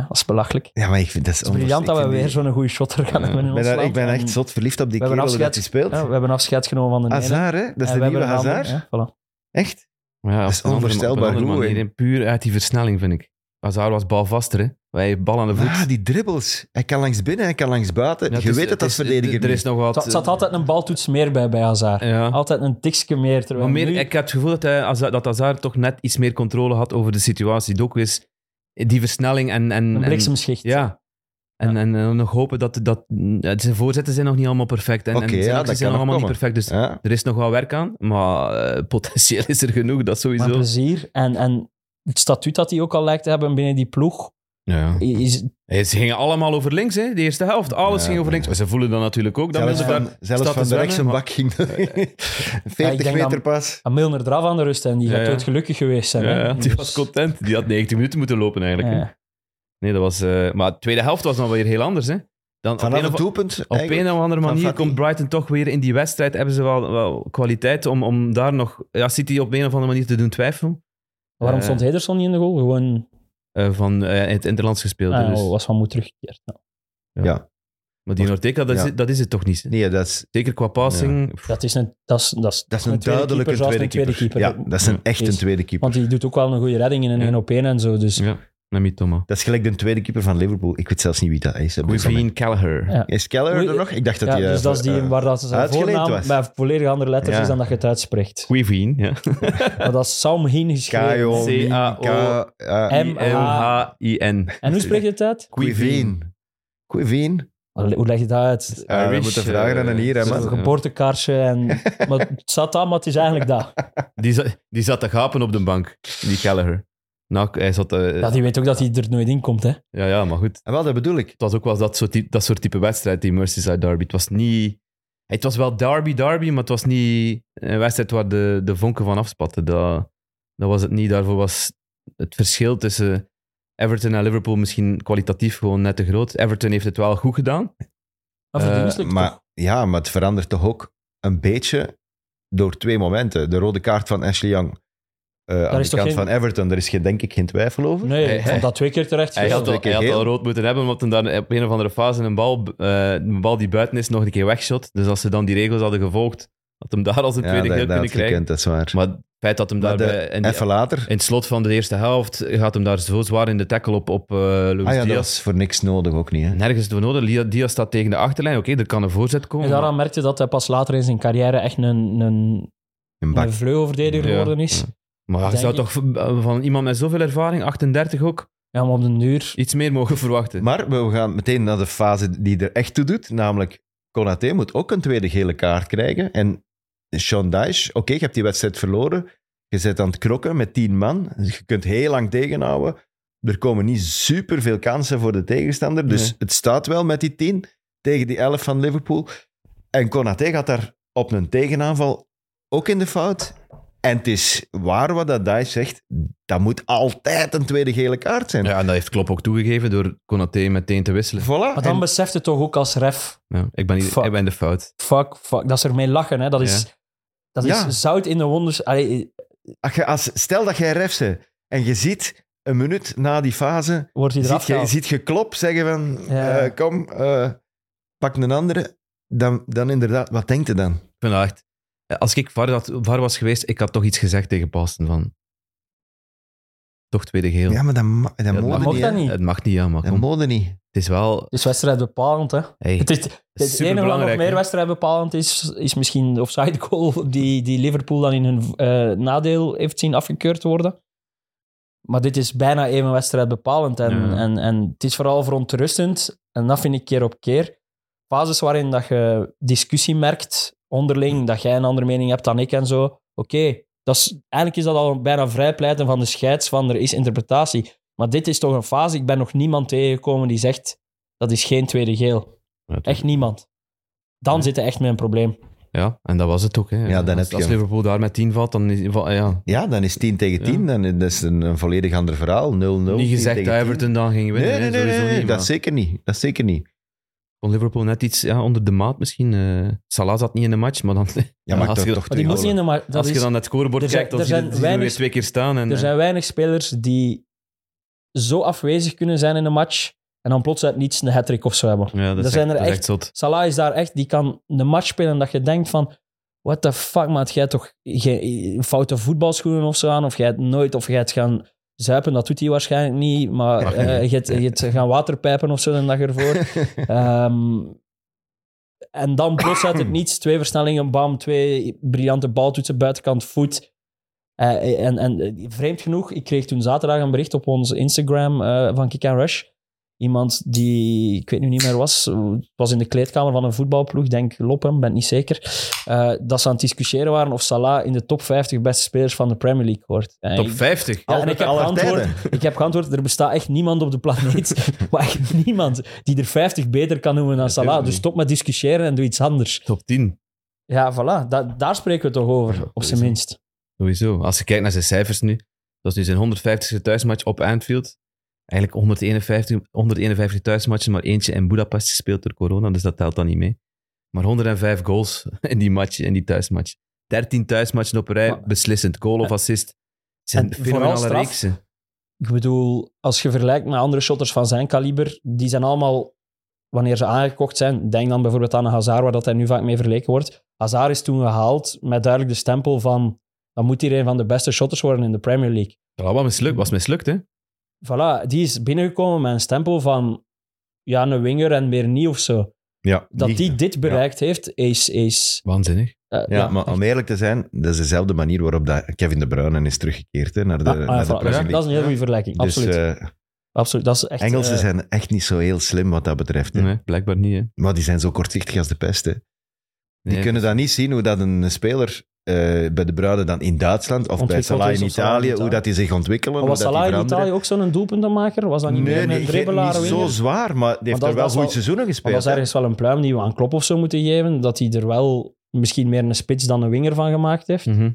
Speaker 2: dat is belachelijk. Het
Speaker 1: Ja, maar ik vind dat is
Speaker 2: is briljant dat
Speaker 1: onvoorstelbaar.
Speaker 2: we weer zo'n goede shotter gaan
Speaker 3: Ja.
Speaker 2: hebben in
Speaker 1: Ik
Speaker 2: ons
Speaker 1: ben, daar- ik
Speaker 2: land.
Speaker 1: ben
Speaker 2: En-
Speaker 1: echt zot verliefd op die
Speaker 2: We
Speaker 1: kerel dat
Speaker 2: hebben
Speaker 1: hij
Speaker 2: afscheid-
Speaker 1: speelt.
Speaker 2: Ja, we hebben afscheid genomen van de ene.
Speaker 1: Hazard, hè? Dat is
Speaker 2: En
Speaker 1: de
Speaker 2: we
Speaker 1: nieuwe
Speaker 2: hebben een
Speaker 1: Hazard.
Speaker 2: ander, hè, voilà.
Speaker 1: Echt?
Speaker 3: Ja,
Speaker 1: is
Speaker 3: op een andere-
Speaker 1: onvoorstelbaar
Speaker 3: op een andere
Speaker 1: hoe,
Speaker 3: manier,
Speaker 1: hè.
Speaker 3: hè. Puur uit die versnelling, vind ik. Hazard was balvaster, hè? Wij bal aan de voet.
Speaker 1: Ah, die dribbles. Hij kan langs binnen, hij kan langs buiten.
Speaker 3: Ja,
Speaker 1: je
Speaker 3: is-
Speaker 1: weet het als
Speaker 3: is-
Speaker 1: verdediger
Speaker 3: Er is
Speaker 1: niet.
Speaker 3: nog wat... eh,
Speaker 2: Er zat altijd een baltoets meer bij bij Hazard.
Speaker 3: Ja.
Speaker 2: Altijd een tikje meer. Terwijl
Speaker 3: Maar meer,
Speaker 2: nu,
Speaker 3: ik heb het gevoel dat, hij, Hazard- dat Hazard toch net iets meer controle had over de situatie. Doku is die versnelling en... en
Speaker 2: een
Speaker 3: en-
Speaker 2: bliksemschicht.
Speaker 3: Ja. En, en, eh, nog hopen dat, dat... eh, Zijn voorzetten zijn nog niet allemaal perfect. En,
Speaker 1: Oké,
Speaker 3: en zijn
Speaker 1: ja, dat
Speaker 3: acties
Speaker 1: kan
Speaker 3: zijn nog
Speaker 1: nog
Speaker 3: allemaal
Speaker 1: komen.
Speaker 3: niet perfect. Dus
Speaker 1: Ja.
Speaker 3: Er is nog wel werk aan, maar eh, potentieel is er genoeg, dat
Speaker 2: maar
Speaker 1: dus-
Speaker 3: sowieso.
Speaker 2: plezier. En, en het statuut dat hij ook al lijkt te hebben binnen die ploeg.
Speaker 3: Ja.
Speaker 2: Is,
Speaker 3: Hey, Ze gingen allemaal over links, hè? de eerste helft. Alles
Speaker 1: Ja,
Speaker 3: ging over
Speaker 1: ja.
Speaker 3: links. Maar Ze voelen dat natuurlijk ook. Dat
Speaker 1: Zelfs
Speaker 3: Milner
Speaker 1: van,
Speaker 3: daar
Speaker 1: zelfs
Speaker 3: staat
Speaker 1: van
Speaker 3: te
Speaker 1: de
Speaker 3: zwemmen. Eh,
Speaker 1: rechtse bak ging dat. 40
Speaker 2: denk
Speaker 1: meter
Speaker 2: dan-
Speaker 1: pas.
Speaker 2: aan Milner eraf aan de rust en die
Speaker 3: Ja,
Speaker 2: gaat
Speaker 3: ja.
Speaker 2: dood gelukkig geweest zijn.
Speaker 3: Ja,
Speaker 2: hè.
Speaker 3: ja, die
Speaker 2: Dus-
Speaker 3: was content. Die had 90 minuten moeten lopen eigenlijk. hè.
Speaker 2: Ja.
Speaker 3: Nee, dat was, eh, maar de tweede helft was dan weer heel anders. Hè? Dan op,
Speaker 1: Vanaf
Speaker 3: een
Speaker 1: het
Speaker 3: of, op
Speaker 1: doelpunt. eigenlijk.
Speaker 3: een of andere
Speaker 1: van
Speaker 3: manier
Speaker 1: Fatih.
Speaker 3: komt Brighton toch weer in die wedstrijd. Hebben ze wel, wel kwaliteit om, om daar nog ja, City op een of andere manier te doen twijfelen.
Speaker 2: Waarom
Speaker 3: Eh.
Speaker 2: stond Hederson niet in de goal? Gewoon,
Speaker 3: Eh, van eh, in het Interlands gespeeld. hè,
Speaker 2: ah,
Speaker 3: dus.
Speaker 2: oh, was van moed teruggekeerd. Nou,
Speaker 3: Maar die Norteka, dat,
Speaker 1: Ja.
Speaker 3: is, dat is het toch niet. hè?
Speaker 1: Nee, dat is,
Speaker 3: Zeker qua passing. pff,
Speaker 2: dat is een, dat is, dat is,
Speaker 1: dat is een,
Speaker 2: tweede
Speaker 1: duidelijke
Speaker 2: keeper,
Speaker 1: tweede,
Speaker 2: zoals een
Speaker 1: keeper. Ja, dat is een echt een
Speaker 2: Is-
Speaker 1: tweede keeper.
Speaker 2: Want die doet ook wel een goede redding in een
Speaker 3: Ja.
Speaker 2: 1 op 1 en zo. Dus
Speaker 3: Ja, Nami Thomas.
Speaker 1: Dat is gelijk de tweede keeper van Liverpool. Ik weet zelfs niet wie dat is. hè, Benjamin.
Speaker 3: Quivin Callagher.
Speaker 2: Ja.
Speaker 1: Is Keller
Speaker 2: Oei,
Speaker 1: er nog? Ik dacht dat
Speaker 2: ja,
Speaker 1: hij... eh,
Speaker 2: dus dat is die
Speaker 1: eh,
Speaker 2: waar dat zijn
Speaker 1: uitgeleend
Speaker 2: voornaam
Speaker 1: was.
Speaker 2: bij volledig andere letters
Speaker 1: Ja.
Speaker 2: is dan dat je het uitspreekt.
Speaker 3: Quivin, ja.
Speaker 2: Maar dat is Sam Hien geschreven.
Speaker 1: K.O.
Speaker 3: C.A.O..
Speaker 1: K- eh,
Speaker 2: M.
Speaker 3: M-H-I-N.
Speaker 2: En hoe spreek je het uit?
Speaker 1: Quiveen. Quiveen?
Speaker 2: Allee, Hoe leg je dat uit?
Speaker 1: Eh, we
Speaker 3: Irish,
Speaker 1: moeten vragen aan
Speaker 3: eh,
Speaker 1: een hier, hè,
Speaker 3: zo-
Speaker 1: man.
Speaker 2: Een geboortekaartje en... maar het zat aan, maar het is eigenlijk dat.
Speaker 3: Die, za- die zat te gapen op de bank, die Gallagher. Nou, hij zat... eh,
Speaker 2: Ja, die weet ook dat hij er nooit in komt, hè.
Speaker 3: ja, ja, maar goed.
Speaker 1: En Ah, wel, dat bedoel ik.
Speaker 3: Het was ook wel dat soort, ty- dat soort type wedstrijd, die Merseyside derby. Het was niet... Het was wel derby-derby, maar het was niet een wedstrijd waar de, de vonken van afspatten. Dat, dat was het niet. Daarvoor was het verschil tussen Everton en Liverpool misschien kwalitatief gewoon net te groot. Everton heeft het wel goed gedaan.
Speaker 2: Maar
Speaker 3: Eh,
Speaker 2: verdienstelijk
Speaker 1: Maar,
Speaker 2: toch?
Speaker 1: ja, maar het verandert toch ook een beetje door twee momenten. De rode kaart van Ashley Young eh, aan
Speaker 2: is
Speaker 1: de
Speaker 2: toch
Speaker 1: kant
Speaker 2: geen-
Speaker 1: van Everton. Daar is geen, denk ik geen twijfel over.
Speaker 2: Nee,
Speaker 3: Hij-
Speaker 2: ik vond dat twee keer terecht.
Speaker 3: Hij had,
Speaker 2: gespeeld.
Speaker 3: al,
Speaker 1: Zeker
Speaker 3: hij had
Speaker 1: heel.
Speaker 3: al rood moeten hebben, omdat hij dan op een of andere fase een bal, eh, een bal die buiten is nog een keer wegshot. Dus als ze dan die regels hadden gevolgd, had hem daar als een
Speaker 1: Ja,
Speaker 3: tweede
Speaker 1: dat,
Speaker 3: keer
Speaker 1: dat
Speaker 3: kunnen
Speaker 1: had
Speaker 3: krijgen.
Speaker 1: gekend, dat is waar.
Speaker 3: Maar het feit dat hem
Speaker 1: Maar
Speaker 3: daar
Speaker 1: de-
Speaker 3: bij- in, die-
Speaker 1: Even later.
Speaker 3: in het slot van de eerste helft gaat hem daar zo zwaar in de tackle op, op eh Luis
Speaker 1: Ah ja, dat
Speaker 3: Diaz.
Speaker 1: is voor niks nodig ook niet. Hè?
Speaker 3: Nergens door nodig. Lia- Diaz staat tegen de achterlijn. Oké, er kan een voorzet komen.
Speaker 2: En daaraan merkte dat hij pas later in zijn carrière echt een, een,
Speaker 1: Een bak.
Speaker 2: een vleugelverdediger
Speaker 3: Ja.
Speaker 2: geworden is.
Speaker 3: Ja. maar je
Speaker 2: denk
Speaker 3: zou
Speaker 2: ik-
Speaker 3: toch van- van iemand met zoveel ervaring, 38 ook,
Speaker 2: Ja, maar op den duur...
Speaker 3: iets meer mogen verwachten.
Speaker 1: Maar we gaan meteen naar de fase die er echt toe doet. Namelijk, Konaté moet ook een tweede gele kaart krijgen. En Sean Dyche, oké, je hebt die wedstrijd verloren. Je zit aan het knokken met tien man. Je kunt heel lang tegenhouden. Er komen niet superveel kansen voor de tegenstander. Dus
Speaker 3: Nee.
Speaker 1: het staat wel met die tien tegen die elf van Liverpool. En Konaté gaat daar op een tegenaanval ook in de fout. En het is waar wat dat Dyche zegt. Dat moet altijd een tweede gele kaart zijn.
Speaker 3: ja, en dat heeft Klopp ook toegegeven door Konaté meteen te wisselen.
Speaker 1: Voilà.
Speaker 2: Maar dan
Speaker 1: En-
Speaker 2: beseft het toch ook als ref...
Speaker 3: Ja, ik, ben niet,
Speaker 2: Fuck.
Speaker 3: ik ben de fout.
Speaker 2: Fuck, fuck. Dat is ermee lachen, hè. Dat is, dat is
Speaker 1: Ja.
Speaker 2: zout in de wonders... Allee,
Speaker 1: Als je- als, stel dat jij refs bent en je ziet een minuut na die fase,
Speaker 2: wordt hij
Speaker 1: ziet
Speaker 2: eraf
Speaker 1: je,
Speaker 2: gehaald.
Speaker 1: ziet je klop zeggen van
Speaker 2: Ja.
Speaker 1: eh, kom, eh, pak een andere, dan, dan inderdaad, wat denkt hij dan?
Speaker 3: Ik vind dat echt... Als ik VAR, had- VAR was geweest, ik had toch iets gezegd tegen Pasten van... Toch tweede geel.
Speaker 1: Ja, maar dat, ma- dat
Speaker 3: Ja,
Speaker 1: mode
Speaker 2: mag
Speaker 1: niet.
Speaker 2: dat
Speaker 1: hè.
Speaker 2: niet.
Speaker 3: Het mag niet, ja, maar
Speaker 1: Dat
Speaker 3: kom.
Speaker 1: mode niet.
Speaker 3: Het is wel...
Speaker 2: Dus wedstrijd bepalend, hè.
Speaker 3: Hey,
Speaker 2: Het, is, het enige wat nog
Speaker 3: superbelangrijk,
Speaker 2: meer
Speaker 3: hè.
Speaker 2: wedstrijd bepalend is, is misschien de offside goal die, die Liverpool dan in hun eh, nadeel heeft zien afgekeurd worden. Maar dit is bijna even wedstrijd bepalend. En,
Speaker 3: Ja.
Speaker 2: en, en het is vooral verontrustend. En dat vind ik keer op keer. Fases waarin dat je discussie merkt onderling, dat jij een andere mening hebt dan ik en zo. Oké, dat is- eigenlijk is dat al bijna vrijpleiten van de scheids, van er is interpretatie. Maar dit is toch een fase, ik ben nog niemand tegengekomen die zegt, dat is geen tweede geel.
Speaker 3: Ja, het-
Speaker 2: Echt niemand. Dan
Speaker 3: Ja.
Speaker 2: zit je echt met een probleem.
Speaker 3: Ja, en dat was het ook. Hè.
Speaker 1: Ja, dan
Speaker 3: als,
Speaker 1: heb je
Speaker 3: als
Speaker 1: hem.
Speaker 3: Liverpool daar met 10 valt, dan is, va- ja.
Speaker 1: Ja, dan is 10 tegen
Speaker 3: Ja.
Speaker 1: 10, dan is dat is een, een volledig ander verhaal. 0-0.
Speaker 3: niet
Speaker 1: 10
Speaker 3: gezegd
Speaker 1: tegen
Speaker 3: dat
Speaker 1: 10.
Speaker 3: Everton dan ging winnen.
Speaker 1: Nee, nee, nee,
Speaker 3: hè,
Speaker 1: nee,
Speaker 3: sowieso
Speaker 1: nee,
Speaker 3: niet,
Speaker 1: dat
Speaker 3: maar
Speaker 1: zeker niet. Dat zeker niet.
Speaker 3: kon Liverpool net iets ja, onder de maat misschien. eh Salah zat niet in de match, maar dan...
Speaker 1: Ja, maar
Speaker 3: als
Speaker 1: toch,
Speaker 3: je,
Speaker 1: toch
Speaker 2: Maar die
Speaker 1: twee
Speaker 2: moet niet in
Speaker 1: golen.
Speaker 2: de maar dat
Speaker 3: als je
Speaker 2: is,
Speaker 3: dan het scorebord
Speaker 2: er zijn-
Speaker 3: kijkt, dan
Speaker 2: er
Speaker 3: zie je
Speaker 2: zijn
Speaker 3: zie je er weer
Speaker 2: weinig-
Speaker 3: twee keer staan. En, eh,
Speaker 2: Er zijn weinig spelers die zo afwezig kunnen zijn in een match en dan plots uit niets een hat-trick of zo hebben.
Speaker 3: ja, dat,
Speaker 2: er
Speaker 3: is
Speaker 2: zijn
Speaker 3: echt-
Speaker 2: er
Speaker 3: dat is
Speaker 2: echt-
Speaker 3: zot.
Speaker 2: Salah is daar echt, die kan een match spelen dat je denkt van, what the fuck, maat, jij hebt toch geen foute voetbalschoenen of zo aan, of jij het nooit, of jij het gaan zuipen, dat doet hij waarschijnlijk niet, maar
Speaker 3: Mag
Speaker 2: eh, je hebt- je hebt gaan waterpijpen of zo een dag ervoor. Ehm, en dan plots uit het niets, twee versnellingen, bam, twee briljante baltoetsen, buitenkant voet. Eh, en, en eh, vreemd genoeg, ik kreeg toen zaterdag een bericht op ons Instagram eh, van Kick and Rush. Iemand die, ik weet nu niet meer was, het was in de kleedkamer van een voetbalploeg, denk Loppen, ben niet zeker, eh, dat ze aan het discussiëren waren of Salah in de top 50 beste spelers van de Premier League hoort. En
Speaker 3: Top
Speaker 2: ik-
Speaker 3: 50.
Speaker 2: ja, en ik heb,
Speaker 1: Aller
Speaker 2: geantwoord,
Speaker 1: tijden.
Speaker 2: ik heb geantwoord, er bestaat echt niemand op de planeet, maar echt niemand, die er 50 beter kan noemen dan Salah.
Speaker 3: Natuurlijk
Speaker 2: Dus
Speaker 3: niet.
Speaker 2: stop met discussiëren en doe iets anders.
Speaker 3: Top 10.
Speaker 2: Ja, voilà, da- daar spreken we toch over, op zijn
Speaker 3: sowieso.
Speaker 2: minst.
Speaker 3: Sowieso. Als je kijkt naar zijn cijfers nu. Dat is nu zijn 150ste thuismatch op Anfield. Eigenlijk 151, 151 thuismatchen, maar eentje in Budapest gespeeld door corona, dus dat telt dan niet mee. Maar 105 goals in die match, in die thuismatch. 13 thuismatchen op rij,
Speaker 2: Maar-
Speaker 3: beslissend. Goal of assist. Het zijn
Speaker 2: En vooral
Speaker 3: fenomenale
Speaker 2: straf.
Speaker 3: reeksen.
Speaker 2: Ik bedoel, als je vergelijkt met andere shotters van zijn kaliber, die zijn allemaal, wanneer ze aangekocht zijn, denk dan bijvoorbeeld aan een Hazard, waar dat hij nu vaak mee vergeleken wordt. Hazard is toen gehaald met duidelijk de stempel van, dan moet hier een van de beste shotters worden in de Premier League.
Speaker 3: Ja, wat mislukt, was mislukt, hè?
Speaker 2: Voilà, die is binnengekomen met een stempel van, ja, een winger en meer niet of zo.
Speaker 1: Ja,
Speaker 2: Dat
Speaker 1: niet.
Speaker 2: die dit bereikt heeft, is... is
Speaker 3: Waanzinnig.
Speaker 2: eh,
Speaker 1: Ja, maar om eerlijk te zijn, dat is dezelfde manier waarop dat Kevin De Bruyne is teruggekeerd hè, naar de,
Speaker 2: Ah, ah,
Speaker 1: naar
Speaker 2: voilà,
Speaker 1: de
Speaker 2: dat, is,
Speaker 1: Premier
Speaker 2: dat is
Speaker 1: League.
Speaker 2: een hele goede vergelijking,
Speaker 1: Dus
Speaker 2: absoluut.
Speaker 1: eh,
Speaker 2: absoluut. Dat is echt,
Speaker 1: Engelsen
Speaker 2: eh,
Speaker 1: zijn echt niet zo heel slim wat dat betreft. hè.
Speaker 3: Nee, blijkbaar niet, hè?
Speaker 1: Maar die zijn zo kortzichtig als de pest. Hè. Die
Speaker 3: Nee.
Speaker 1: kunnen dan niet zien hoe dat een speler eh, bij De Bruyne dan in Duitsland of bij
Speaker 2: Ontwikkeld
Speaker 1: Salah
Speaker 2: is
Speaker 1: in
Speaker 2: of Salah in
Speaker 1: Italië, hoe
Speaker 2: Italië.
Speaker 1: dat die zich ontwikkelen.
Speaker 2: Maar
Speaker 1: hoe
Speaker 2: was
Speaker 1: dat die
Speaker 2: Salah in
Speaker 1: veranderen.
Speaker 2: Italië ook zo'n doelpuntenmaker? Was dat niet meer
Speaker 1: Nee,
Speaker 2: een
Speaker 1: die ge-
Speaker 2: dribbelaar?
Speaker 1: niet zo
Speaker 2: winger?
Speaker 1: zwaar, maar die heeft
Speaker 2: dat-
Speaker 1: er wel
Speaker 2: dat is
Speaker 1: goed
Speaker 2: wel-
Speaker 1: seizoenen
Speaker 2: Maar
Speaker 1: gespeeld.
Speaker 2: dat is ergens wel een pluim die we aan Klopp of zo moeten geven. Dat hij er wel misschien meer een spits dan een winger van gemaakt heeft.
Speaker 3: Mhm.
Speaker 2: Eh,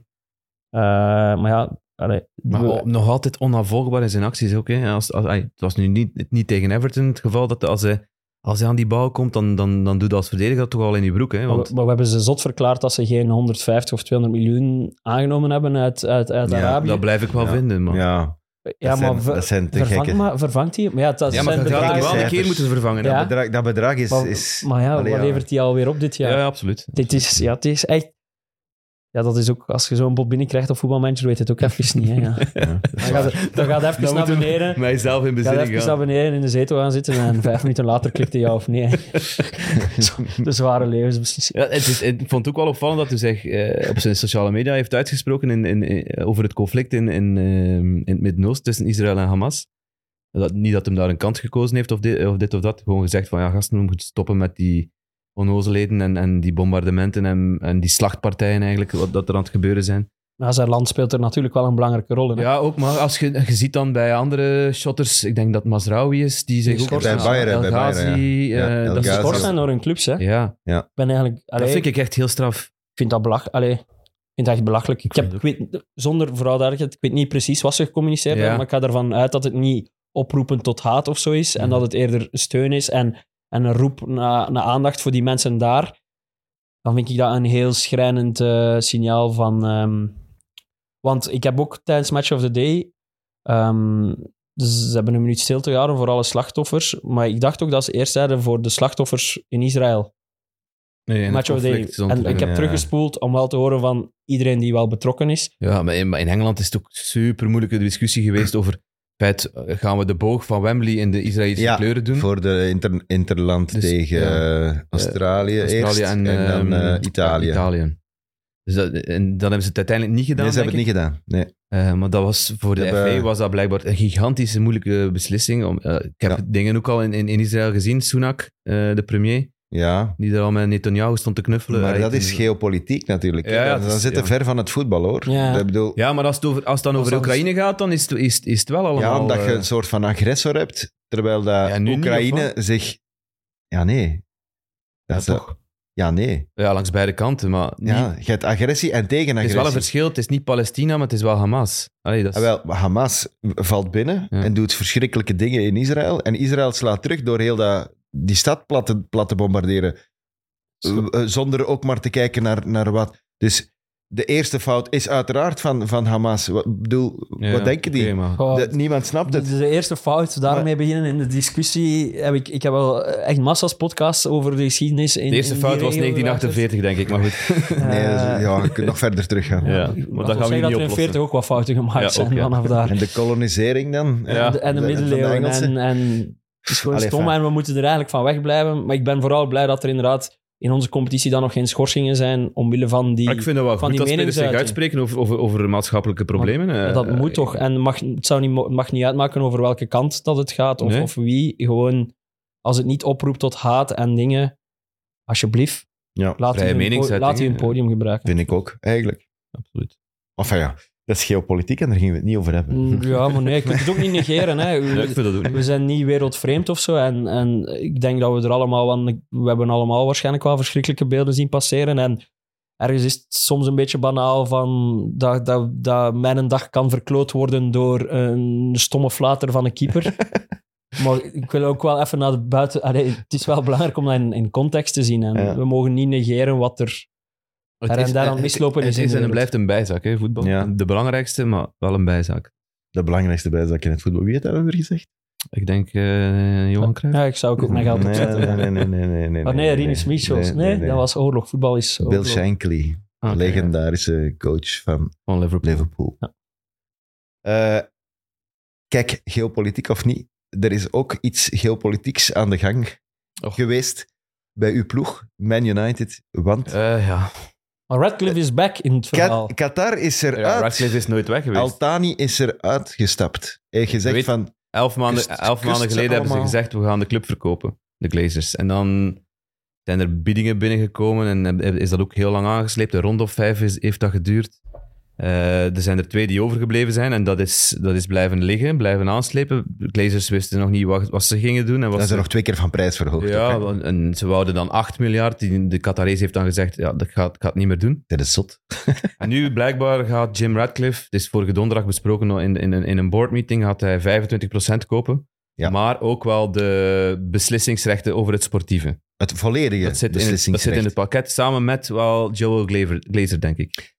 Speaker 2: maar ja, allee,
Speaker 3: Maar oh,
Speaker 2: we-
Speaker 3: o- nog altijd onafvolgbaar in zijn acties ook. Hè. Als, als, ai, het was nu niet, niet tegen Everton het geval dat als hij, als hij aan die bal komt, dan, dan, dan doet hij als verdediger dat toch al in die broek. Hè,
Speaker 2: maar,
Speaker 3: want
Speaker 2: we, maar we hebben ze zot verklaard dat ze geen 150 of 200 miljoen aangenomen hebben uit, uit, uit
Speaker 1: Ja,
Speaker 2: Arabië.
Speaker 3: dat blijf ik wel
Speaker 1: Ja.
Speaker 3: vinden. Man. Ja,
Speaker 1: Ja,
Speaker 2: ja,
Speaker 1: dat,
Speaker 2: maar,
Speaker 1: zijn,
Speaker 2: ver-
Speaker 1: dat zijn te
Speaker 2: vervangt,
Speaker 1: gekke.
Speaker 2: maar vervangt hij? Maar ja, dat
Speaker 3: maar
Speaker 2: zijn
Speaker 3: je gaat hem
Speaker 2: bedragen.
Speaker 3: wel een keer
Speaker 1: cijfers.
Speaker 3: moeten vervangen. hè.
Speaker 2: Ja.
Speaker 1: Dat, bedrag, dat bedrag is...
Speaker 2: Maar-
Speaker 1: is
Speaker 2: Maar ja,
Speaker 1: Allee,
Speaker 2: wat
Speaker 1: ja.
Speaker 2: levert hij alweer op dit jaar?
Speaker 3: Ja, ja, absoluut.
Speaker 2: Dit is, ja, het is echt... Ja, dat is ook... Als je zo'n bot binnenkrijgt op voetbalmanager, weet het ook even niet. Hè, ja.
Speaker 1: ja.
Speaker 2: Dan gaat het dan gaat het even
Speaker 3: Dan
Speaker 2: naar
Speaker 3: moeten we
Speaker 2: beneden.
Speaker 3: Mijzelf in
Speaker 2: Ga
Speaker 3: bezinning
Speaker 2: even naar
Speaker 3: gaan.
Speaker 2: beneden in de zetel gaan zitten en vijf minuten later klikte ja of nee. Zo, De zware levensbeslissing.
Speaker 3: Ja, het is, ik vond het ook wel opvallend dat hij zich eh, op zijn sociale media heeft uitgesproken in, in, in- over het conflict in, in, ehm, in het Midden-Oosten tussen Israël en Hamas. Dat, niet dat hem daar een kant gekozen heeft of dit of, dit of dat. Gewoon gezegd van ja, gasten, we moeten stoppen met die onnozelheden en, en die bombardementen en, en die slachtpartijen eigenlijk, wat dat er aan het gebeuren zijn.
Speaker 2: Maar zijn land speelt er natuurlijk wel een belangrijke rol in. hè.
Speaker 3: Ja, ook, maar als je, je ziet dan bij andere shotters, ik denk dat Masraoui is, die zich ook...
Speaker 1: Bij Bayern,
Speaker 3: El
Speaker 1: bij Bayern,
Speaker 3: Ghazi,
Speaker 1: Ja,
Speaker 3: eh,
Speaker 1: El
Speaker 3: dat
Speaker 2: Die
Speaker 3: is-
Speaker 1: Ghazi.
Speaker 2: geschorst zijn door hun clubs. Hè. Ik
Speaker 3: Ja,
Speaker 2: ben eigenlijk...
Speaker 3: dat
Speaker 2: allee,
Speaker 3: vind
Speaker 2: ik...
Speaker 3: ik echt heel straf.
Speaker 2: vind dat belach... Allee, ik vind dat echt belachelijk. Ik, heb,
Speaker 3: vind
Speaker 2: ik weet, zonder vooral duidelijkheid, ik weet niet precies wat ze gecommuniceerd
Speaker 3: Ja.
Speaker 2: hebben, maar ik ga ervan uit dat het niet oproepen tot haat of zo is en
Speaker 3: Mhm.
Speaker 2: dat het eerder steun is en, en een roep naar naar aandacht voor die mensen daar. Dan vind ik dat een heel schrijnend eh, signaal van... ehm, Want ik heb ook tijdens Match of the Day. ehm, ze hebben een minuut stilte gehouden voor alle slachtoffers. Maar ik dacht ook dat ze eerst zeiden voor de slachtoffers in Israël.
Speaker 3: Nee, in het
Speaker 2: Match of the Day.
Speaker 3: conflict stond
Speaker 2: En
Speaker 3: er-
Speaker 2: ik heb
Speaker 1: ja.
Speaker 2: teruggespoeld om wel te horen van iedereen die wel betrokken is.
Speaker 3: Ja, maar in, maar in Engeland is het ook super moeilijke discussie geweest over het feit, eh, gaan we de boog van Wembley in de Israëlische
Speaker 1: Ja,
Speaker 3: kleuren doen?
Speaker 1: Voor de inter- Interland
Speaker 3: Dus,
Speaker 1: tegen
Speaker 3: ja.
Speaker 1: eh, Australië,
Speaker 3: Australië
Speaker 1: eerst en, dan
Speaker 3: ehm,
Speaker 1: eh, Italië.
Speaker 3: Italië. Dus dat, en dan hebben ze het uiteindelijk niet gedaan,
Speaker 1: Nee, ze hebben het
Speaker 3: denk
Speaker 1: niet gedaan. Nee.
Speaker 3: ik. Eh, maar dat was voor
Speaker 1: Ze
Speaker 3: de
Speaker 1: hebben-
Speaker 3: FA was dat blijkbaar een gigantische moeilijke beslissing. Om, eh, ik heb
Speaker 1: Ja.
Speaker 3: dingen ook al in, in, in Israël gezien. Sunak, eh, de premier,
Speaker 1: Ja,
Speaker 3: die daar al met Netanyahu stond te knuffelen.
Speaker 1: maar
Speaker 3: Hij-
Speaker 1: dat is geopolitiek natuurlijk. hè.
Speaker 3: Ja, ja,
Speaker 1: Dan-
Speaker 3: het
Speaker 1: dan
Speaker 3: is-
Speaker 1: zitten
Speaker 3: ja.
Speaker 1: ver van het voetbal, hoor.
Speaker 2: Ja.
Speaker 1: Ik bedoel,
Speaker 3: Ja, maar als het, over, als het dan over
Speaker 2: anders-
Speaker 3: Oekraïne gaat, dan is het, is, het- is het wel allemaal...
Speaker 1: Ja, omdat je
Speaker 3: eh,
Speaker 1: een soort van agressor hebt, terwijl dat
Speaker 3: Ja, nu niet,
Speaker 1: Oekraïne
Speaker 3: of
Speaker 1: zich... Ja, nee. Dat
Speaker 3: Ja,
Speaker 1: is de-
Speaker 3: toch?
Speaker 1: Ja, nee.
Speaker 3: ja, langs beide kanten, maar niet,
Speaker 1: Ja, je hebt agressie en
Speaker 3: Het is
Speaker 1: tegenagressie.
Speaker 3: wel een verschil. Het is niet Palestina, maar het is wel Hamas. Allee, dat
Speaker 1: Ah,
Speaker 3: is...
Speaker 1: wel, Hamas valt binnen
Speaker 3: Ja.
Speaker 1: en doet verschrikkelijke dingen in Israël. En Israël slaat terug door heel dat, die stad plat te, plat te bombarderen. Eh, eh, Zonder ook maar te kijken naar, naar wat. Dus de eerste fout is uiteraard van, van Hamas. Wat, bedoel,
Speaker 3: Ja,
Speaker 1: wat denken die?
Speaker 3: oké, maar-
Speaker 2: Goh,
Speaker 1: Dat- niemand snapt
Speaker 2: De,
Speaker 1: het.
Speaker 2: de eerste fout, daarmee beginnen in de discussie. Heb ik, ik heb wel echt massa's podcasts over de geschiedenis. In,
Speaker 3: De eerste
Speaker 2: in die
Speaker 3: fout was
Speaker 2: regio geluisterd.
Speaker 3: 1948, denk ik. Maar goed.
Speaker 1: Nee,
Speaker 2: Eh,
Speaker 1: ja, je kunt nog verder teruggaan.
Speaker 3: Ja,
Speaker 2: ik-
Speaker 3: maar
Speaker 2: laat
Speaker 3: dat
Speaker 2: ons
Speaker 3: gaan we
Speaker 2: zeggen
Speaker 3: niet
Speaker 2: dat er in
Speaker 3: oplossen.
Speaker 2: 40 ook wat fouten gemaakt
Speaker 3: Ja,
Speaker 2: zijn
Speaker 3: ook, ja.
Speaker 2: vanaf daar.
Speaker 1: En de kolonisering dan?
Speaker 3: Ja.
Speaker 2: En de, en de
Speaker 1: van
Speaker 2: middeleeuwen.
Speaker 1: Engelsen.
Speaker 2: en, en het is gewoon
Speaker 1: Allee,
Speaker 2: stom
Speaker 1: fijn.
Speaker 2: en we moeten er eigenlijk van wegblijven. Maar ik ben vooral blij dat er inderdaad in onze competitie dan nog geen schorsingen zijn omwille van die...
Speaker 3: Maar ik vind het wel
Speaker 2: van
Speaker 3: goed
Speaker 2: die
Speaker 3: dat spelers zich
Speaker 2: meningsuiting.
Speaker 3: uitspreken over, over, over maatschappelijke problemen.
Speaker 2: Maar
Speaker 3: eh,
Speaker 2: dat
Speaker 3: eh,
Speaker 2: moet toch. En het mag, het zou niet, mo- mag niet uitmaken over welke kant dat het gaat of,
Speaker 3: Nee.
Speaker 2: of wie. Gewoon, als het niet oproept tot haat en dingen, alsjeblieft,
Speaker 1: Ja,
Speaker 2: laat
Speaker 3: Vrije
Speaker 2: die hun, po-
Speaker 3: meningsuiting, eh.
Speaker 2: laat die hun
Speaker 3: hè.
Speaker 2: podium gebruiken.
Speaker 1: vind ik ook, eigenlijk.
Speaker 3: Absoluut.
Speaker 1: Enfin ja, dat is geopolitiek en daar gingen we het niet over hebben.
Speaker 2: Mm, Ja, maar nee, ik moet het ook niet negeren. Hè.
Speaker 3: eh, Ja, ik
Speaker 2: We,
Speaker 3: vind dat ook niet.
Speaker 2: we zijn niet wereldvreemd of zo. En, en ik denk dat we er allemaal... Want we hebben allemaal waarschijnlijk wel verschrikkelijke beelden zien passeren. En ergens is het soms een beetje banaal van dat, dat, dat mijn dag kan verkloot worden door een stomme flater van een keeper. Maar ik wil ook wel even naar de buiten... Allee, het is wel belangrijk om dat in, in context te zien. En
Speaker 1: Ja.
Speaker 2: we mogen niet negeren wat er...
Speaker 3: Het
Speaker 2: Er en
Speaker 3: is-
Speaker 2: daar aan
Speaker 3: het-
Speaker 2: mislopen
Speaker 3: het
Speaker 2: is in
Speaker 3: is
Speaker 2: de
Speaker 3: en het
Speaker 2: wereld.
Speaker 3: blijft een bijzaak, hè, voetbal.
Speaker 1: Ja.
Speaker 3: De belangrijkste, maar wel een bijzaak.
Speaker 1: De belangrijkste bijzaak in het voetbal. Wie heeft dat over gezegd?
Speaker 3: Ik denk eh, Johan Cruijff.
Speaker 2: Ja, ik zou ook op mijn geld
Speaker 1: nee,
Speaker 2: opzetten.
Speaker 1: nee, nee, nee, nee, nee, nee.
Speaker 3: Oh,
Speaker 2: Ah, nee, Rinus Michels. Nee, dat was oorlog. Voetbal is
Speaker 1: Bill
Speaker 2: oorlog.
Speaker 1: Shankly,
Speaker 3: Ah, oké,
Speaker 1: legendarische coach van
Speaker 3: Van Liverpool.
Speaker 1: Liverpool. Eh, kijk, geopolitiek of niet, er is ook iets geopolitieks aan de gang
Speaker 3: Och.
Speaker 1: geweest bij uw ploeg, Man United. Want
Speaker 3: Eh, ja,
Speaker 2: Maar Radcliffe is back in het
Speaker 1: Ka-
Speaker 2: verhaal.
Speaker 1: Qatar is
Speaker 3: ja
Speaker 1: eruit.
Speaker 3: Radcliffe is nooit weg geweest.
Speaker 1: Altani is eruit gestapt. Hij heeft gezegd
Speaker 3: Weet-
Speaker 1: van,
Speaker 3: elf maanden,
Speaker 1: Kust-
Speaker 3: elf maanden
Speaker 1: kust ze
Speaker 3: geleden hebben ze
Speaker 1: allemaal.
Speaker 3: gezegd, we gaan de club verkopen, de Glazers. En dan zijn er biedingen binnengekomen en heb- is dat ook heel lang aangesleept. Een rond of vijf is, heeft dat geduurd. Eh, er zijn er twee die overgebleven zijn en dat is, dat is blijven liggen, blijven aanslepen. De Glazers wisten nog niet wat, wat ze gingen doen. En wat
Speaker 1: dan is
Speaker 3: ze,
Speaker 1: er nog twee keer van prijs verhoogd. ook,
Speaker 3: ja,
Speaker 1: hè.
Speaker 3: want- en ze wouden dan 8 miljard. Die- De Qatarese heeft dan gezegd, ja, dat gaat, gaat niet meer doen.
Speaker 1: Dat is zot.
Speaker 3: En nu blijkbaar gaat Jim Radcliffe, het is vorige donderdag besproken in, in, een- in een boardmeeting, gaat hij 25% kopen.
Speaker 1: Ja.
Speaker 3: Maar ook wel de beslissingsrechten over het sportieve.
Speaker 1: Het volledige
Speaker 3: dat, zit in het, dat
Speaker 1: beslissingsrecht.
Speaker 3: zit in het pakket, samen met wel Joel Glazer, Glazer, denk ik.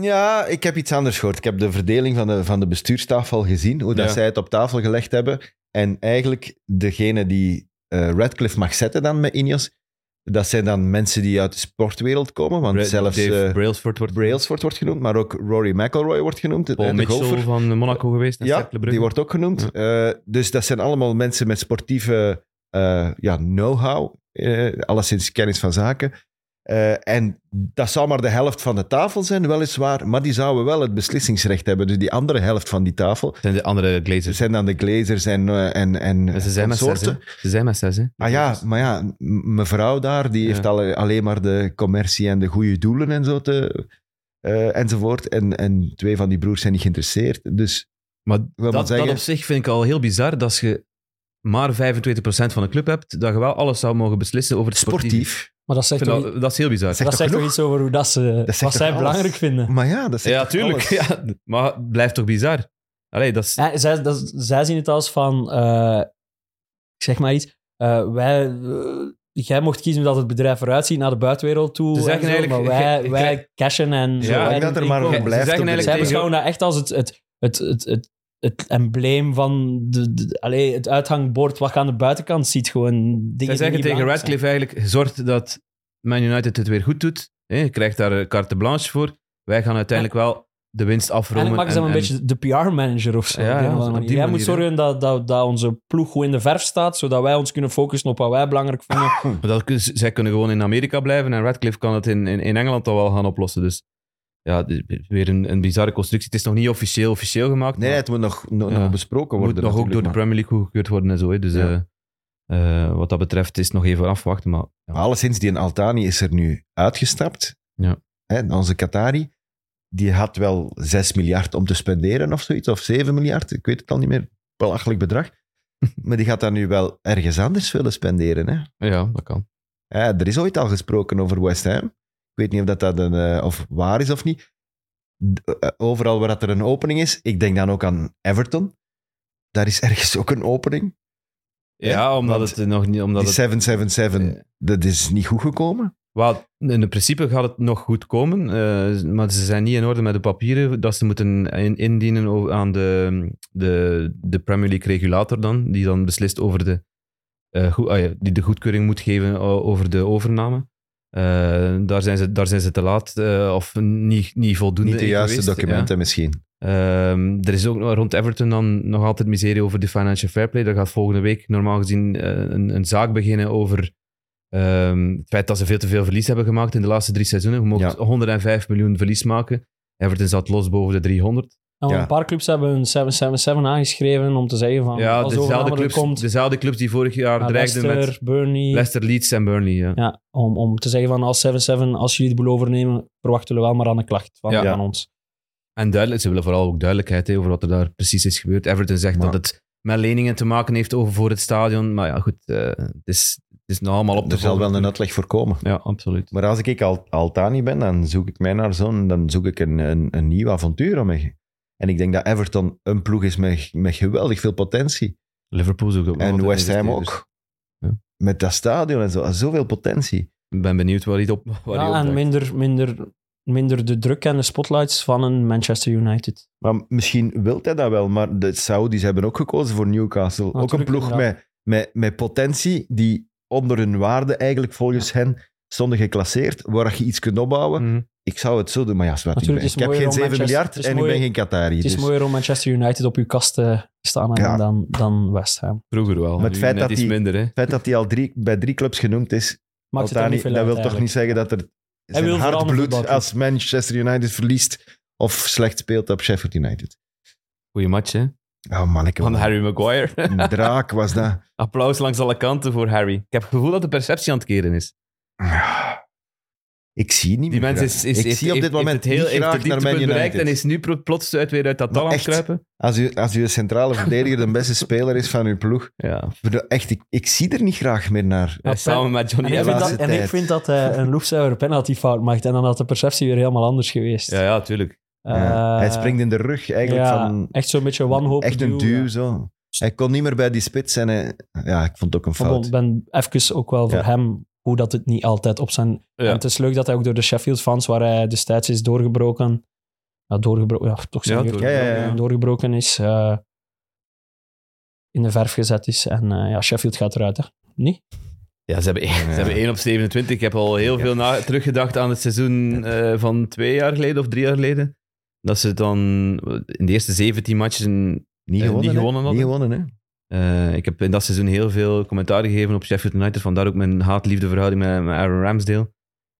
Speaker 1: Ja, ik heb iets anders gehoord. Ik heb de verdeling van de, van de bestuurstafel gezien, hoe dat
Speaker 3: Ja.
Speaker 1: zij het op tafel gelegd hebben. En eigenlijk degene die eh Radcliffe mag zetten dan met Ineos, dat zijn dan mensen die uit de sportwereld komen. Want
Speaker 3: Bra-
Speaker 1: zelfs
Speaker 3: Dave
Speaker 1: eh,
Speaker 3: Brailsford wordt
Speaker 1: Brailsford wordt genoemd, maar ook Rory McIlroy wordt genoemd. eh,
Speaker 3: Paul
Speaker 1: de
Speaker 3: Mitchell
Speaker 1: golfer.
Speaker 3: van Monaco geweest. en
Speaker 1: Ja,
Speaker 3: Cercle Brugge.
Speaker 1: die wordt ook genoemd. Eh, dus dat zijn allemaal mensen met sportieve eh, ja, know-how, eh, alleszins kennis van zaken. Eh, en dat zou maar de helft van de tafel zijn, weliswaar, maar die zouden wel het beslissingsrecht hebben. Dus die andere helft van die tafel,
Speaker 3: zijn de andere
Speaker 1: dat
Speaker 3: Glazers.
Speaker 1: zijn dan de glazers en, eh, en, en
Speaker 3: En Dus- ze zijn met zes, hè.
Speaker 1: consorten.
Speaker 3: Ze zijn met zes, hè. Dus-
Speaker 1: Ah ja, maar ja, m- mevrouw daar, die
Speaker 3: Ja.
Speaker 1: heeft alle- alleen maar de commercie en de goede doelen en zo te, eh, enzovoort. En, en twee van die broers zijn niet geïnteresseerd. Dus
Speaker 3: Maar
Speaker 1: maar
Speaker 3: dat, dat
Speaker 1: zeggen-
Speaker 3: op zich vind ik al heel bizar, dat als je maar 25% van de club hebt, dat je wel alles zou mogen beslissen over het sportieve.
Speaker 1: sportief.
Speaker 2: Maar dat
Speaker 3: Ik
Speaker 2: zegt,
Speaker 3: vind
Speaker 2: toch,
Speaker 3: dat, dat is heel bizar.
Speaker 1: Zeg- toch
Speaker 2: dat zegt toch
Speaker 1: genoeg?
Speaker 2: iets over hoe dat ze,
Speaker 1: zegt
Speaker 2: wat
Speaker 1: toch
Speaker 2: zij
Speaker 1: alles?
Speaker 2: belangrijk vinden.
Speaker 1: Maar ja, dat zegt
Speaker 3: ja,
Speaker 1: toch
Speaker 3: tuurlijk.
Speaker 1: alles?
Speaker 3: Ja, maar het blijft toch bizar? Allee, dat is...
Speaker 2: Ja, zij, dat, zij zien het als van, eh, ik zeg maar iets, eh, wij, eh, jij mocht kiezen hoe dat het bedrijf eruit ziet naar de buitenwereld toe.
Speaker 3: Ze
Speaker 2: en
Speaker 3: zeggen
Speaker 2: zo,
Speaker 3: eigenlijk,
Speaker 2: maar
Speaker 3: je-
Speaker 2: wij,
Speaker 3: je
Speaker 2: wij
Speaker 3: krijgt-
Speaker 2: cashen en zo.
Speaker 3: Ja,
Speaker 2: wij
Speaker 1: ik
Speaker 2: doen
Speaker 1: dat er maar
Speaker 2: inkomen.
Speaker 1: nog blijft.
Speaker 3: zeggen
Speaker 1: op de
Speaker 3: eigenlijk
Speaker 2: Zij
Speaker 1: lijst.
Speaker 3: tegen-
Speaker 2: beschouwen dat echt als het, het, het, het, het, het embleem van de, de- allee, het uithangbord wat je aan de buitenkant ziet. Gewoon dingen die
Speaker 3: Zij zeggen
Speaker 2: niet
Speaker 3: tegen
Speaker 2: belangrijk zijn.
Speaker 3: Radcliffe eigenlijk, zorg dat Man United het weer goed doet. Hè? Je krijgt daar eh, carte blanche voor. Wij gaan uiteindelijk wel de winst afromen.
Speaker 2: Eigenlijk maken ze hem een beetje de PR-manager of zo.
Speaker 3: Ja,
Speaker 2: op een
Speaker 3: ja,
Speaker 2: of andere
Speaker 3: op
Speaker 2: manier.
Speaker 3: die
Speaker 2: Jij moet
Speaker 3: manier,
Speaker 2: zorgen dat, dat, dat onze ploeg goed in de verf staat, zodat wij ons kunnen focussen op wat wij belangrijk vinden.
Speaker 3: Maar dat, kun- zij kunnen gewoon in Amerika blijven en Radcliffe kan het in, in, in Engeland al wel gaan oplossen. Dus ja, dit is weer een, een bizarre constructie. Het is nog niet officieel, officieel gemaakt.
Speaker 1: Nee,
Speaker 3: maar-
Speaker 1: het moet nog, no-
Speaker 3: Ja.
Speaker 1: nog besproken worden.
Speaker 3: moet nog ook door
Speaker 1: natuurlijk,
Speaker 3: de
Speaker 1: maar-
Speaker 3: Premier League goedgekeurd worden en zo. hè. Dus
Speaker 1: Ja.
Speaker 3: eh, eh, wat dat betreft is nog even afwachten. Maar, ja.
Speaker 1: Maar alleszins, die in Altani is er nu uitgestapt.
Speaker 3: Ja.
Speaker 1: Hè, onze Qatari, die had wel 6 miljard om te spenderen of zoiets, of 7 miljard, ik weet het al niet meer. Belachelijk bedrag. maar die gaat dat nu wel ergens anders willen spenderen. Hè?
Speaker 3: ja, dat kan.
Speaker 1: Ja, er is ooit al gesproken over West Ham. Ik weet niet of dat, dat een, eh, of waar is of niet. D- eh, Overal waar dat er een opening is, ik denk dan ook aan Everton. Daar is ergens ook een opening.
Speaker 3: Ja, omdat
Speaker 1: Want
Speaker 3: het nog niet... Omdat
Speaker 1: Die
Speaker 3: het,
Speaker 1: 777,
Speaker 3: Ja.
Speaker 1: dat is niet goed gekomen.
Speaker 3: wel, in principe gaat het nog goed komen, eh, maar ze zijn niet in orde met de papieren dat ze moeten in- indienen o- aan de, de, de Premier League regulator dan, die dan beslist over de... eh, goe- ah ja, die de goedkeuring moet geven o- over de overname. Eh, daar, zijn ze, daar zijn ze te laat eh, of niet, niet voldoende
Speaker 1: Niet de
Speaker 3: in
Speaker 1: juiste
Speaker 3: geweest, ja.
Speaker 1: documenten misschien.
Speaker 3: Ehm, er is ook nog- rond Everton dan nog altijd miserie over de financial fair play. Daar gaat volgende week normaal gezien eh, een, een zaak beginnen over Ehm, het feit dat ze veel te veel verlies hebben gemaakt in de laatste drie seizoenen. Je mocht
Speaker 1: Ja.
Speaker 3: 105 miljoen verlies maken. Everton zat los boven de 300.
Speaker 2: En wel
Speaker 1: Ja.
Speaker 2: Een paar clubs hebben hun 777 aangeschreven om te zeggen van
Speaker 3: ja,
Speaker 2: als overname
Speaker 3: dezelfde
Speaker 2: er
Speaker 3: clubs,
Speaker 2: komt,
Speaker 3: dezelfde clubs die vorig jaar
Speaker 2: naar
Speaker 3: dreigden
Speaker 2: Leicester,
Speaker 3: met
Speaker 2: Burnley.
Speaker 3: Leicester, Leeds en Burnley. Ja.
Speaker 2: Ja, om, om te zeggen van als 7-7, als jullie de boel overnemen, verwachten we wel maar aan een klacht van,
Speaker 3: Ja.
Speaker 2: van ons.
Speaker 3: En duidelijk, ze willen vooral ook duidelijkheid hè, over wat er daar precies is gebeurd. Everton zegt
Speaker 1: Maar-
Speaker 3: dat het met leningen te maken heeft over voor het stadion. Maar ja, goed, eh, het, is, het is nog allemaal op te
Speaker 1: Er zal wel
Speaker 3: volgen.
Speaker 1: een uitleg voor komen.
Speaker 3: Ja, absoluut.
Speaker 1: Maar als ik al, Altani ben, dan zoek ik mij naar zo'n... Dan zoek ik een, een, een nieuw avontuur om mij. En ik denk dat Everton een ploeg is met, met geweldig veel potentie.
Speaker 3: Liverpool zoekt ook nog
Speaker 1: en
Speaker 3: altijd dus
Speaker 1: West Ham
Speaker 3: investeerders.
Speaker 1: ook.
Speaker 3: Ja.
Speaker 1: Met dat stadion en zo. Ah, Zoveel potentie.
Speaker 3: Ik ben benieuwd waar hij het op waar hij
Speaker 2: Ja, en
Speaker 3: opdraait.
Speaker 2: minder, minder, minder de druk en de spotlights van een Manchester United.
Speaker 1: Maar misschien wil hij dat wel. Maar de Saudis hebben ook gekozen voor Newcastle. ook een
Speaker 2: Natuurlijk,
Speaker 1: ploeg
Speaker 2: inderdaad.
Speaker 1: met, met, met potentie die onder hun waarde eigenlijk volgens hen stonden geclasseerd. Waar je iets kunt opbouwen.
Speaker 3: Mhm.
Speaker 1: Ik zou het zo doen. Maar ja, zwart, ik,
Speaker 2: Mm. Natuurlijk,
Speaker 1: ben-
Speaker 2: het
Speaker 1: ik heb
Speaker 2: is mooier
Speaker 1: geen
Speaker 2: om
Speaker 1: 7 miljard
Speaker 2: Manchester- het is
Speaker 1: en ik ben
Speaker 2: mooier-
Speaker 1: geen Qatari.
Speaker 2: Het is
Speaker 1: dus-
Speaker 2: mooier om Manchester United op uw kast te staan hebben
Speaker 1: Ja.
Speaker 2: dan, dan West Ham.
Speaker 3: Vroeger wel.
Speaker 1: Maar het
Speaker 3: Nu
Speaker 1: feit
Speaker 3: net
Speaker 1: dat
Speaker 3: iets
Speaker 1: die-
Speaker 3: minder, hè.
Speaker 1: Het feit dat hij al drie, bij drie clubs genoemd is,
Speaker 2: Maakt het
Speaker 1: Altani,
Speaker 2: dan niet veel
Speaker 1: dat
Speaker 2: uit
Speaker 1: wil toch niet
Speaker 2: eigenlijk.
Speaker 1: zeggen dat er zijn
Speaker 2: wil vooral
Speaker 1: hard
Speaker 2: een
Speaker 1: bloed
Speaker 2: voetbalclub.
Speaker 1: als Manchester United verliest of slecht speelt op Sheffield United.
Speaker 3: Goeie match, hè?
Speaker 1: Oh man, ik
Speaker 3: Van Harry Maguire.
Speaker 1: een draak was dat.
Speaker 3: Applaus langs alle kanten voor Harry. Ik heb het gevoel dat de perceptie aan het keren is.
Speaker 1: Ik zie niet
Speaker 3: Die
Speaker 1: meer
Speaker 3: mens
Speaker 1: graag.
Speaker 3: is, is,
Speaker 1: ik
Speaker 3: heeft-
Speaker 1: zie op dit
Speaker 3: heeft-
Speaker 1: moment
Speaker 3: heeft
Speaker 1: niet
Speaker 3: het heel heeft
Speaker 1: graag
Speaker 3: het
Speaker 1: naar Man
Speaker 3: dieptepunt bereikt
Speaker 1: United.
Speaker 3: en is nu pro- plots uit weer uit dat dal
Speaker 1: Maar
Speaker 3: aan het
Speaker 1: echt.
Speaker 3: kruipen.
Speaker 1: Als je als je centrale verdediger de beste speler is van uw ploeg,
Speaker 3: Ja.
Speaker 1: ik bedoel, echt, ik, ik zie er niet graag meer naar.
Speaker 3: Ja, samen met Johnny
Speaker 2: En ik,
Speaker 1: de
Speaker 2: vind
Speaker 3: Evans.
Speaker 2: dat,
Speaker 1: laatste
Speaker 2: en ik
Speaker 1: tijd.
Speaker 2: vind dat hij een loefzuiger penalty fout maakt. En dan had de perceptie weer helemaal anders geweest.
Speaker 3: Ja, ja, tuurlijk.
Speaker 1: Ja.
Speaker 2: Eh,
Speaker 1: Hij springt in de rug eigenlijk
Speaker 2: ja,
Speaker 1: van
Speaker 2: echt zo'n beetje wanhoop.
Speaker 1: echt een duw zo. Hij kon niet meer bij die spits en hij- ja, ik vond het ook een
Speaker 2: Maar
Speaker 1: fout.
Speaker 2: bon, Ik ben even ook wel voor
Speaker 1: Ja.
Speaker 2: hem hoe dat het niet altijd op zijn.
Speaker 3: Ja.
Speaker 2: En het is leuk dat hij ook door de Sheffield fans, waar hij destijds is doorgebroken. Ja, doorgebroken, ja, toch
Speaker 3: Ja,
Speaker 2: zeker.
Speaker 3: door-
Speaker 1: Ja, ja, ja.
Speaker 2: eh, Doorgebroken is. eh, in de verf gezet is. En eh, ja, Sheffield gaat eruit, hè? Niet?
Speaker 3: Ja, ze hebben, één-
Speaker 1: Ja.
Speaker 3: ze hebben 1 op 27. Ik heb al heel veel na- teruggedacht aan het seizoen eh, van twee jaar geleden of drie jaar geleden. Dat ze dan eh, in de eerste 17 matchen...
Speaker 1: niet
Speaker 3: eh,
Speaker 1: gewonnen,
Speaker 3: niet
Speaker 1: hè?
Speaker 3: gewonnen hadden.
Speaker 1: Niet gewonnen, hè?
Speaker 3: eh, ik heb in dat seizoen heel veel commentaar gegeven op Sheffield United. Vandaar ook mijn haat-liefde verhouding met, met Aaron Ramsdale.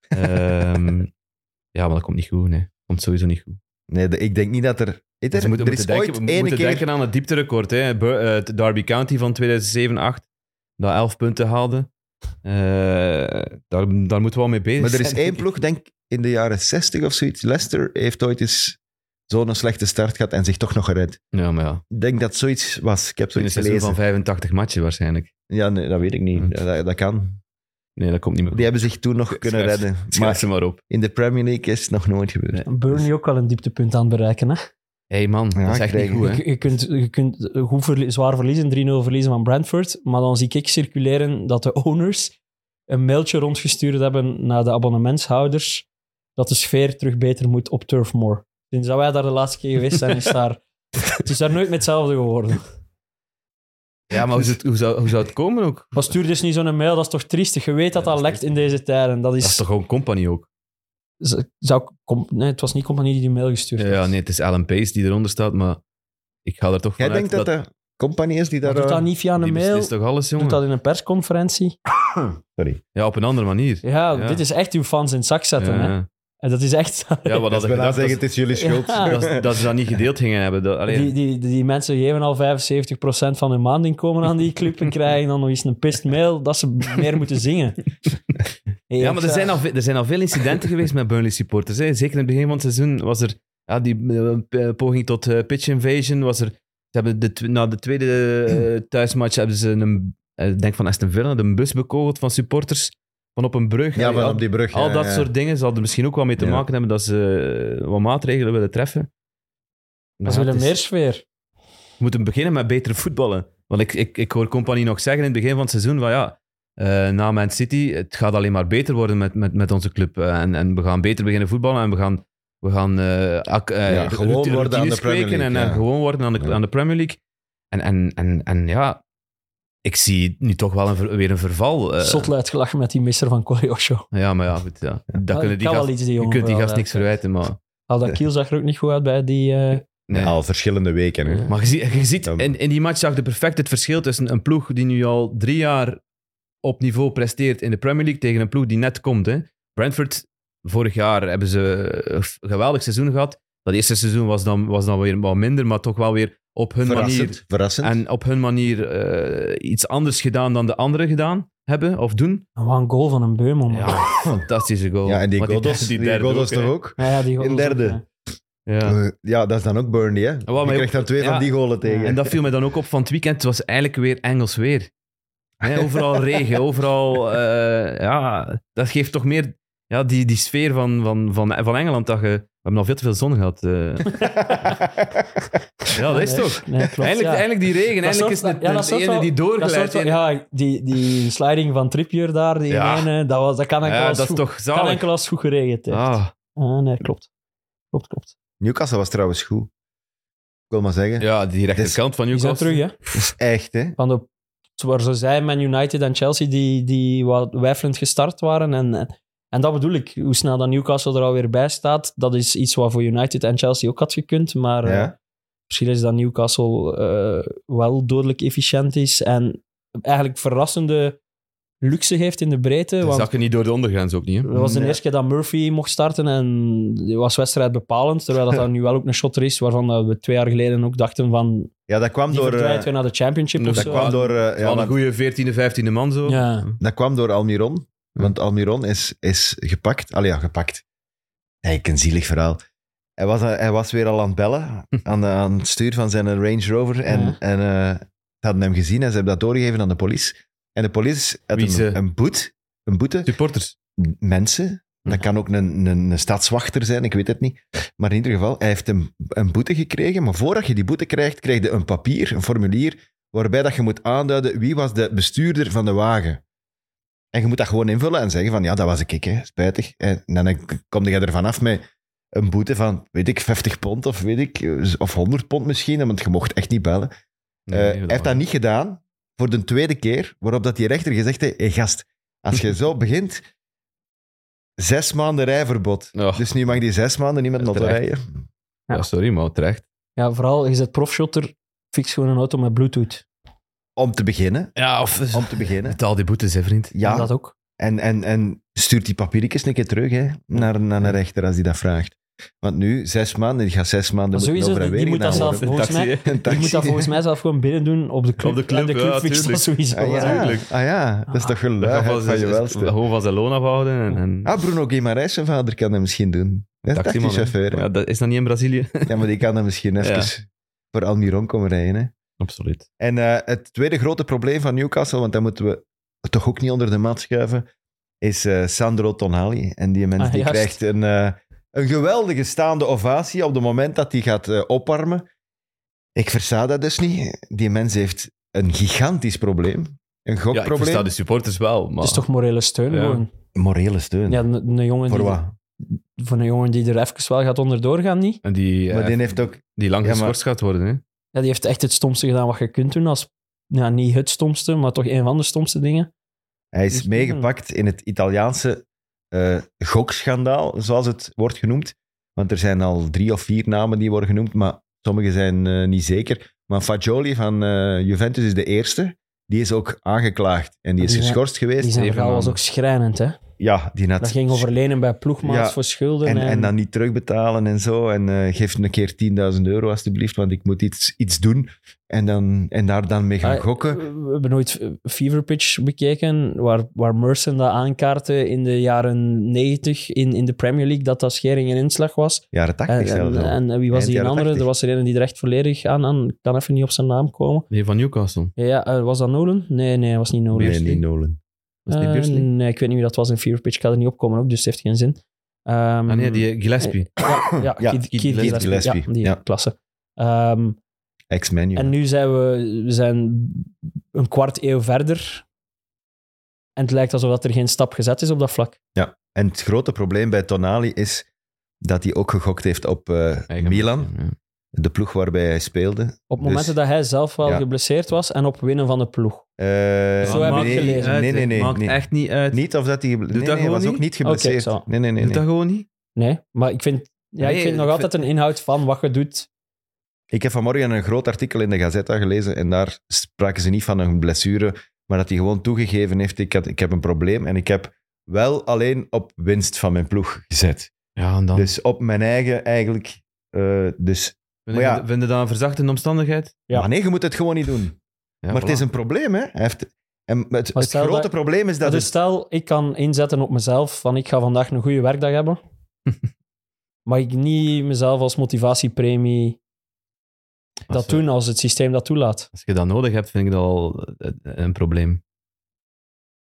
Speaker 3: Ehm, ja, maar dat komt niet goed, nee. Komt sowieso niet goed.
Speaker 1: Nee, de- ik denk niet dat er... Weet je,
Speaker 3: Dus we moeten,
Speaker 1: er
Speaker 3: we
Speaker 1: is
Speaker 3: moeten denken,
Speaker 1: ooit
Speaker 3: we
Speaker 1: ene
Speaker 3: moeten
Speaker 1: keer...
Speaker 3: denken aan het diepterecord. Hè. Bur- eh, het Derby County van 2007-8, dat 11 punten haalde. Eh, daar, daar moeten we wel mee bezig
Speaker 1: maar er
Speaker 3: zijn.
Speaker 1: is één ploeg, denk ik, in de jaren 60 of zoiets. Leicester heeft ooit eens zo'n slechte start gehad en zich toch nog gered.
Speaker 3: Ja, maar ja.
Speaker 1: Ik denk dat zoiets was. Ik heb
Speaker 3: In een
Speaker 1: zoiets
Speaker 3: seizoen
Speaker 1: gelezen.
Speaker 3: van 85 matchen waarschijnlijk.
Speaker 1: Ja, nee, dat weet ik niet.
Speaker 3: Hm.
Speaker 1: Ja, Dat, dat kan.
Speaker 3: Nee, dat komt niet meer
Speaker 1: Die
Speaker 3: goed.
Speaker 1: hebben zich toen nog kunnen
Speaker 3: Schrijf-
Speaker 1: redden.
Speaker 3: Schrijf
Speaker 1: Maar
Speaker 3: ze maar op.
Speaker 1: in de Premier League is het nog nooit gebeurd.
Speaker 3: Nee.
Speaker 2: Burnley ook wel een dieptepunt aan het bereiken, hè?
Speaker 3: Hé hey man,
Speaker 1: Ja,
Speaker 3: dat is echt niet
Speaker 1: krijgen-
Speaker 3: goed. Hè.
Speaker 2: Je, je kunt, je kunt goed verlie- zwaar verliezen, 3-0 verliezen van Brentford. Maar dan zie ik circuleren dat de owners een mailtje rondgestuurd hebben naar de abonnementshouders dat de sfeer terug beter moet op Turfmoor. Sinds dat wij daar de laatste keer geweest zijn, is daar, het is daar nooit meer hetzelfde geworden.
Speaker 3: Ja, maar hoe, zou het- hoe, zou, hoe zou het komen ook?
Speaker 2: Maar stuur dus niet zo'n mail, dat is toch triestig? Je weet dat
Speaker 3: Ja,
Speaker 2: dat
Speaker 3: dat is
Speaker 2: lekt in deze tijden. Dat is,
Speaker 3: Dat is toch gewoon company ook?
Speaker 2: z- zou, kom, nee, het was niet compagnie die die mail gestuurd
Speaker 3: Ja,
Speaker 2: heeft.
Speaker 3: ja, nee, het is Alan Pace die eronder staat, maar ik ga er toch
Speaker 1: Jij
Speaker 3: vanuit
Speaker 1: denkt dat, dat de compagnie is die daar...
Speaker 2: Maar doet dat
Speaker 1: eh,
Speaker 2: niet via een
Speaker 3: die
Speaker 2: mail,
Speaker 3: beslist toch alles, jongen?
Speaker 2: doet dat in een persconferentie.
Speaker 1: Sorry.
Speaker 3: Ja, op een andere manier.
Speaker 2: Ja,
Speaker 3: Ja.
Speaker 2: dit is echt uw fans in het zak zetten. Hè?
Speaker 3: ja.
Speaker 2: En dat is echt...
Speaker 3: ja, wat
Speaker 1: Dat
Speaker 3: hadden
Speaker 1: is bijna
Speaker 3: gedacht
Speaker 1: zeggen,
Speaker 3: dat,
Speaker 1: het is jullie schuld.
Speaker 2: Ja.
Speaker 3: dat, ze- dat ze dat niet gedeeld gingen hebben. Dat, allee,
Speaker 2: Die, die, die, die mensen geven al 75% van hun maandinkomen aan die club en krijgen dan nog eens een pist mail dat ze meer moeten zingen. eh,
Speaker 3: Ja, maar er zijn, al, ve- er zijn al veel incidenten geweest met Burnley supporters. Hè. Zeker in het begin van het seizoen was er ja, die eh, p- eh, poging tot eh, pitch invasion. Was er, ze hebben de, tw- na de tweede eh, thuismatch hebben ze een, eh, ik denk van Aston Villa, een bus bekogeld van supporters van op een brug.
Speaker 1: Ja,
Speaker 3: Allee,
Speaker 1: maar
Speaker 3: al,
Speaker 1: op die brug.
Speaker 3: al
Speaker 1: ja,
Speaker 3: dat
Speaker 1: ja.
Speaker 3: soort dingen zal er misschien ook wel mee te
Speaker 1: Ja.
Speaker 3: maken hebben dat ze eh, wat maatregelen willen treffen. Maar
Speaker 2: Ze
Speaker 3: ja,
Speaker 2: willen
Speaker 3: het is-
Speaker 2: meer sfeer.
Speaker 3: we moeten beginnen met beter voetballen. Want ik, ik, ik hoor Compagnie nog zeggen in het begin van het seizoen van ja, eh, na Man City, het gaat alleen maar beter worden met, met, met onze club. Eh, en, en we gaan beter beginnen voetballen en we gaan, we gaan eh, ac- eh,
Speaker 1: Ja, gewoon
Speaker 3: routine-
Speaker 1: worden aan de
Speaker 3: routines
Speaker 1: Premier
Speaker 3: kweken en,
Speaker 1: League,
Speaker 3: en
Speaker 1: ja.
Speaker 3: gewoon worden aan de,
Speaker 1: Ja.
Speaker 3: aan de Premier League. En, en, en, en ja, ik zie nu toch wel een ver- weer een verval. eh.
Speaker 2: Zot uitgelachen met die mister van Coryosho.
Speaker 3: ja, maar ja, goed. Ja. Dat kunnen die
Speaker 2: kan wel
Speaker 3: gast,
Speaker 2: iets, die
Speaker 3: je
Speaker 2: jongen.
Speaker 3: kunt die
Speaker 2: wel,
Speaker 3: gast
Speaker 2: hè.
Speaker 3: niks verwijten, maar...
Speaker 2: Al dat kiel zag er ook niet goed uit bij die... eh,
Speaker 3: Nee.
Speaker 1: Al verschillende weken. Hè.
Speaker 3: Maar je, zie- je ziet,
Speaker 1: Ja.
Speaker 3: in, in die match zag je perfect het verschil tussen een ploeg die nu al drie jaar op niveau presteert in de Premier League tegen een ploeg die net komt. Hè. Brentford, vorig jaar hebben ze een geweldig seizoen gehad. Dat eerste seizoen was dan, was dan weer wat minder, maar toch wel weer op hun manier.
Speaker 1: Verrassend. Verrassend.
Speaker 3: En op hun manier eh, iets anders gedaan dan de anderen gedaan hebben of doen.
Speaker 2: Wat een goal van een Beumel. man.
Speaker 3: Ja, fantastische goal.
Speaker 1: ja, en die
Speaker 3: Maar
Speaker 1: Godos, die,
Speaker 3: derde
Speaker 1: Godos
Speaker 3: ook,
Speaker 1: toch
Speaker 3: hè.
Speaker 1: ook?
Speaker 2: Ja, ja, die goal
Speaker 1: In
Speaker 2: was ook,
Speaker 1: derde.
Speaker 3: Oh,
Speaker 2: ja.
Speaker 3: Ja.
Speaker 1: Eh, Ja, dat is dan ook Burnley, hè?
Speaker 3: maar
Speaker 1: je
Speaker 3: je-
Speaker 1: krijgt dan twee
Speaker 3: ja.
Speaker 1: van die golen tegen.
Speaker 3: En dat viel me dan ook op van het weekend. Het was eigenlijk weer Engels weer. Hè, overal regen, overal... eh, ja, dat geeft toch meer ja, die, die sfeer van, van, van, van Engeland. Dat je, we hebben al veel te veel zon gehad. eh. ja, dat is
Speaker 2: Nee,
Speaker 3: toch...
Speaker 2: Nee, klopt,
Speaker 3: Eindelijk,
Speaker 2: ja.
Speaker 3: eindelijk die regen.
Speaker 2: Dat
Speaker 3: Eindelijk
Speaker 2: soort-
Speaker 3: is het
Speaker 2: ja, dat
Speaker 3: de
Speaker 2: soort
Speaker 3: ene
Speaker 2: wel-
Speaker 3: die
Speaker 2: Dat
Speaker 3: doorglijdt.
Speaker 2: soort van-
Speaker 3: in-
Speaker 2: ja, die, die sliding van Trippier daar, die
Speaker 3: Ja.
Speaker 2: ene, dat, was, dat kan enkel
Speaker 3: Ja,
Speaker 2: als
Speaker 3: dat is
Speaker 2: goed-
Speaker 3: toch
Speaker 2: kan
Speaker 3: zalig.
Speaker 2: enkel als goed geregend heeft.
Speaker 3: Ah,
Speaker 2: Ah, nee, klopt. Klopt, klopt.
Speaker 1: Newcastle was trouwens goed. Ik wil maar zeggen.
Speaker 3: ja, die rechterkant
Speaker 1: rechterkant
Speaker 3: van
Speaker 2: Die zijn
Speaker 3: Newcastle.
Speaker 2: terug, hè.
Speaker 1: Echt, hè?
Speaker 2: Van de, waar ze zijn, Man United en Chelsea, die, die wat wijfelend gestart waren. En, en dat bedoel ik. Hoe snel dat Newcastle er alweer bij staat, dat is iets wat voor United en Chelsea ook had gekund. Maar eh,
Speaker 1: Ja.
Speaker 2: misschien is dat Newcastle eh, wel dodelijk efficiënt is. En eigenlijk verrassende luxe heeft in de breedte.
Speaker 3: Ze
Speaker 2: want
Speaker 3: zakken niet door de ondergrens ook niet. Hè?
Speaker 2: dat was de
Speaker 1: Nee.
Speaker 2: eerste keer dat Murphy mocht starten en die was wedstrijd bepalend. Terwijl dat, dan nu wel ook een shotter is waarvan dat we twee jaar geleden ook dachten van
Speaker 1: ja, dat kwam
Speaker 2: die
Speaker 1: door... eh,
Speaker 2: verdwijnt weer naar de championship
Speaker 3: dat
Speaker 2: of
Speaker 1: dat
Speaker 2: zo.
Speaker 1: kwam
Speaker 3: Ja,
Speaker 1: door... eh, ja,
Speaker 3: Wel een
Speaker 1: want-
Speaker 3: goede 14e, 15e man zo.
Speaker 2: Ja.
Speaker 1: Dat kwam door Almiron. Want Almiron is, is gepakt. Allee, ja, gepakt. Eigenlijk een zielig verhaal. Hij was, eh, hij was weer al aan het bellen, aan, de- aan het stuur van zijn Range Rover. En,
Speaker 2: Ja.
Speaker 1: en eh, ze hadden hem gezien en ze hebben dat doorgegeven aan de politie. En de politie had
Speaker 3: Wie ze-
Speaker 1: een, een, boet, een boete.
Speaker 3: Supporters.
Speaker 1: Mensen, dat kan ook een, een, een stadswachter zijn, ik weet het niet. Maar in ieder geval, hij heeft een, een boete gekregen. Maar voordat je die boete krijgt, krijg je een papier, een formulier, waarbij dat je moet aanduiden wie was de bestuurder van de wagen. En je moet dat gewoon invullen en zeggen van, ja, dat was ik, hè. spijtig. En dan kom je er vanaf met een boete van, weet ik, 50 pond of weet ik, eh, of 100 pond misschien, want je mocht echt niet bellen. Eh, hij heeft dat niet gedaan voor de tweede keer, waarop dat die rechter gezegd heeft, hey, gast, als je zo begint, zes maanden rijverbod.
Speaker 3: Ja.
Speaker 1: Dus nu mag die zes maanden niet met een auto
Speaker 3: Terecht.
Speaker 1: rijden.
Speaker 3: Oh, Ja, sorry, maar terecht.
Speaker 2: Ja, vooral, je zet profshotter, fix gewoon een auto met bluetooth.
Speaker 1: Om te beginnen.
Speaker 3: Ja, of...
Speaker 1: Om te beginnen.
Speaker 3: Betaal die boetes, hè, vriend.
Speaker 2: En
Speaker 1: Ja,
Speaker 2: Dat ook.
Speaker 1: en, en, en stuurt die papiertjes een keer terug hè, naar, naar een rechter als die dat vraagt. Want nu, zes maanden, die gaat zes maanden
Speaker 2: Maar
Speaker 1: moeten
Speaker 2: sowieso,
Speaker 1: over en
Speaker 2: die,
Speaker 1: weer
Speaker 2: die moet dat
Speaker 1: gedaan
Speaker 2: zelf,
Speaker 1: worden.
Speaker 2: volgens mij,
Speaker 1: Een
Speaker 2: die Dus moet dat
Speaker 1: taxi.
Speaker 2: volgens mij zelf gewoon binnen doen op de club.
Speaker 3: de club,
Speaker 2: en de
Speaker 3: ja,
Speaker 2: club fixt
Speaker 3: tuurlijk.
Speaker 2: dat sowieso.
Speaker 1: Ah
Speaker 2: wel.
Speaker 1: ja.
Speaker 3: Tuurlijk.
Speaker 1: ah ja, dat is toch geluid
Speaker 3: Dat gaat van,
Speaker 1: van je
Speaker 3: van,
Speaker 1: welste.
Speaker 3: van zijn loon afhouden. En, en
Speaker 1: Ah, Bruno Guimaraes, zijn vader, kan dat misschien doen. Dat is
Speaker 3: taximan, hè.
Speaker 1: taxichauffeur. hè.
Speaker 3: Ja, dat is dan niet in Brazilië.
Speaker 1: Ja, maar die kan dan misschien even voor Almiron komen rijden. Hè.
Speaker 3: Absoluut.
Speaker 1: En eh, het tweede grote probleem van Newcastle, want dat moeten we toch ook niet onder de mat schuiven, is eh, Sandro Tonali. En die mens
Speaker 2: Ah,
Speaker 1: die
Speaker 2: juist.
Speaker 1: krijgt een, eh, een geweldige staande ovatie op het moment dat hij gaat eh, opwarmen. Ik versta dat dus niet. Die mens heeft een gigantisch probleem. Een
Speaker 3: Ja, ik
Speaker 1: gokprobleem.
Speaker 3: versta dus de supporters wel, maar...
Speaker 2: Het is toch morele steun
Speaker 3: Ja.
Speaker 2: gewoon.
Speaker 1: Morele steun.
Speaker 2: Ja, een, een jongen
Speaker 1: Voor
Speaker 2: die,
Speaker 1: wat?
Speaker 2: voor een jongen die er even wel gaat onderdoor gaan, niet?
Speaker 3: En die, eh,
Speaker 1: Maar die heeft ook...
Speaker 3: die lang
Speaker 1: Ja, maar-
Speaker 3: geschorst gaat worden, hè.
Speaker 2: Ja, die heeft echt het stomste gedaan wat je kunt doen als... Ja, niet het stomste, maar toch een van de stomste dingen.
Speaker 1: Hij is
Speaker 2: Dus-
Speaker 1: meegepakt in het Italiaanse eh, gokschandaal, zoals het wordt genoemd. Want er zijn al drie of vier namen die worden genoemd, maar sommige zijn eh, niet zeker. Maar Fagioli van eh, Juventus is de eerste. Die is ook aangeklaagd en die is
Speaker 2: Die zijn-
Speaker 1: geschorst
Speaker 2: Die
Speaker 1: geweest.
Speaker 2: zijn
Speaker 3: Zeven
Speaker 2: verhaal was
Speaker 3: maanden.
Speaker 2: ook schrijnend, hè.
Speaker 1: Ja, die had
Speaker 2: Dat ging over eh, lenen bij ploegmaats
Speaker 1: Ja,
Speaker 2: voor schulden.
Speaker 1: en,
Speaker 2: En,
Speaker 1: en dan niet terugbetalen en zo. En eh, geef een keer 10.000 euro alsjeblieft, want ik moet iets, iets doen. En, dan, en daar dan mee gaan
Speaker 2: Ah,
Speaker 1: gokken.
Speaker 2: We hebben nooit eh, Fever Pitch bekeken, waar, waar Merson dat aankaartte in de jaren 90 in, in de Premier League, dat dat schering en inslag was.
Speaker 1: Jaren
Speaker 2: En,
Speaker 1: 80 zelfs
Speaker 2: en,
Speaker 1: al.
Speaker 2: en wie was
Speaker 1: Eind
Speaker 2: die een
Speaker 1: jaren
Speaker 2: andere?
Speaker 1: 80.
Speaker 2: Er was er een die er echt volledig aan, aan ik kan even niet op zijn naam komen.
Speaker 3: Nee, van Newcastle.
Speaker 2: Ja, Ja, eh, was dat Nolan? Nee, nee, was niet Nolan.
Speaker 1: Nee, niet Nolan.
Speaker 3: Was die
Speaker 2: Eh,
Speaker 3: Beersley?
Speaker 2: nee, ik weet niet wie dat was in Fever Pitch. Ik kan er niet opkomen ook, dus het heeft geen zin. Ehm,
Speaker 3: Ah, nee, die Gillespie.
Speaker 1: Eh,
Speaker 2: Ja,
Speaker 1: Ja,
Speaker 2: Keith, Keith
Speaker 3: Keith
Speaker 2: Gillespie.
Speaker 1: Gillespie,
Speaker 2: Ja, die
Speaker 1: ja.
Speaker 2: klasse. Ehm,
Speaker 1: Ex-menu.
Speaker 2: En nu zijn we, we zijn een kwart eeuw verder. En het lijkt alsof dat er geen stap gezet is op dat vlak.
Speaker 1: En het grote probleem bij Tonali is dat hij ook gegokt heeft op eh, Milan,
Speaker 3: Ja.
Speaker 1: de ploeg waarbij hij speelde.
Speaker 2: Op momenten
Speaker 1: Dus-
Speaker 2: dat hij zelf wel
Speaker 1: ja.
Speaker 2: geblesseerd was en op winnen van de ploeg.
Speaker 1: Eh,
Speaker 2: Zo heb ik
Speaker 3: maakt
Speaker 1: nee,
Speaker 2: gelezen.
Speaker 3: niet uit,
Speaker 1: Nee, nee,
Speaker 3: hè.
Speaker 1: nee.
Speaker 3: Maakt
Speaker 1: nee.
Speaker 3: echt niet uit.
Speaker 1: Niet of dat hij... Nee,
Speaker 3: dat
Speaker 1: nee, hij
Speaker 3: gewoon
Speaker 1: was
Speaker 3: niet?
Speaker 1: ook niet geblesseerd.
Speaker 2: Oké, zo.
Speaker 1: nee, nee, nee.
Speaker 3: Doet
Speaker 1: nee.
Speaker 3: dat gewoon niet?
Speaker 2: Nee, maar ik vind, ja,
Speaker 3: Nee,
Speaker 2: ik vind nog
Speaker 3: ik
Speaker 2: altijd een inhoud van wat je doet.
Speaker 1: Ik heb vanmorgen een groot artikel in de Gazetta gelezen en daar spraken ze niet van een blessure Maar dat hij gewoon toegegeven heeft, ik, had, ik heb een probleem en ik heb wel alleen op winst van mijn ploeg gezet.
Speaker 3: Ja, en dan.
Speaker 1: Dus op mijn eigen eigenlijk. eh, dus, maar
Speaker 3: vind, je,
Speaker 1: ja.
Speaker 3: vind je dat een verzachtende omstandigheid?
Speaker 2: Ja.
Speaker 1: Maar nee, je moet het gewoon niet doen.
Speaker 3: Ja,
Speaker 1: maar
Speaker 3: voilà.
Speaker 1: het is een probleem, hè. Hij heeft, en het
Speaker 2: Maar
Speaker 1: het
Speaker 2: stel
Speaker 1: grote
Speaker 2: dat-
Speaker 1: probleem is dat
Speaker 2: dus
Speaker 1: het-
Speaker 2: stel, ik kan inzetten op mezelf van ik ga vandaag een goede werkdag hebben. maar ik niet mezelf als motivatiepremie
Speaker 3: Als,
Speaker 2: dat doen als het systeem dat toelaat.
Speaker 3: Als je dat nodig hebt, vind ik dat al eh, een probleem.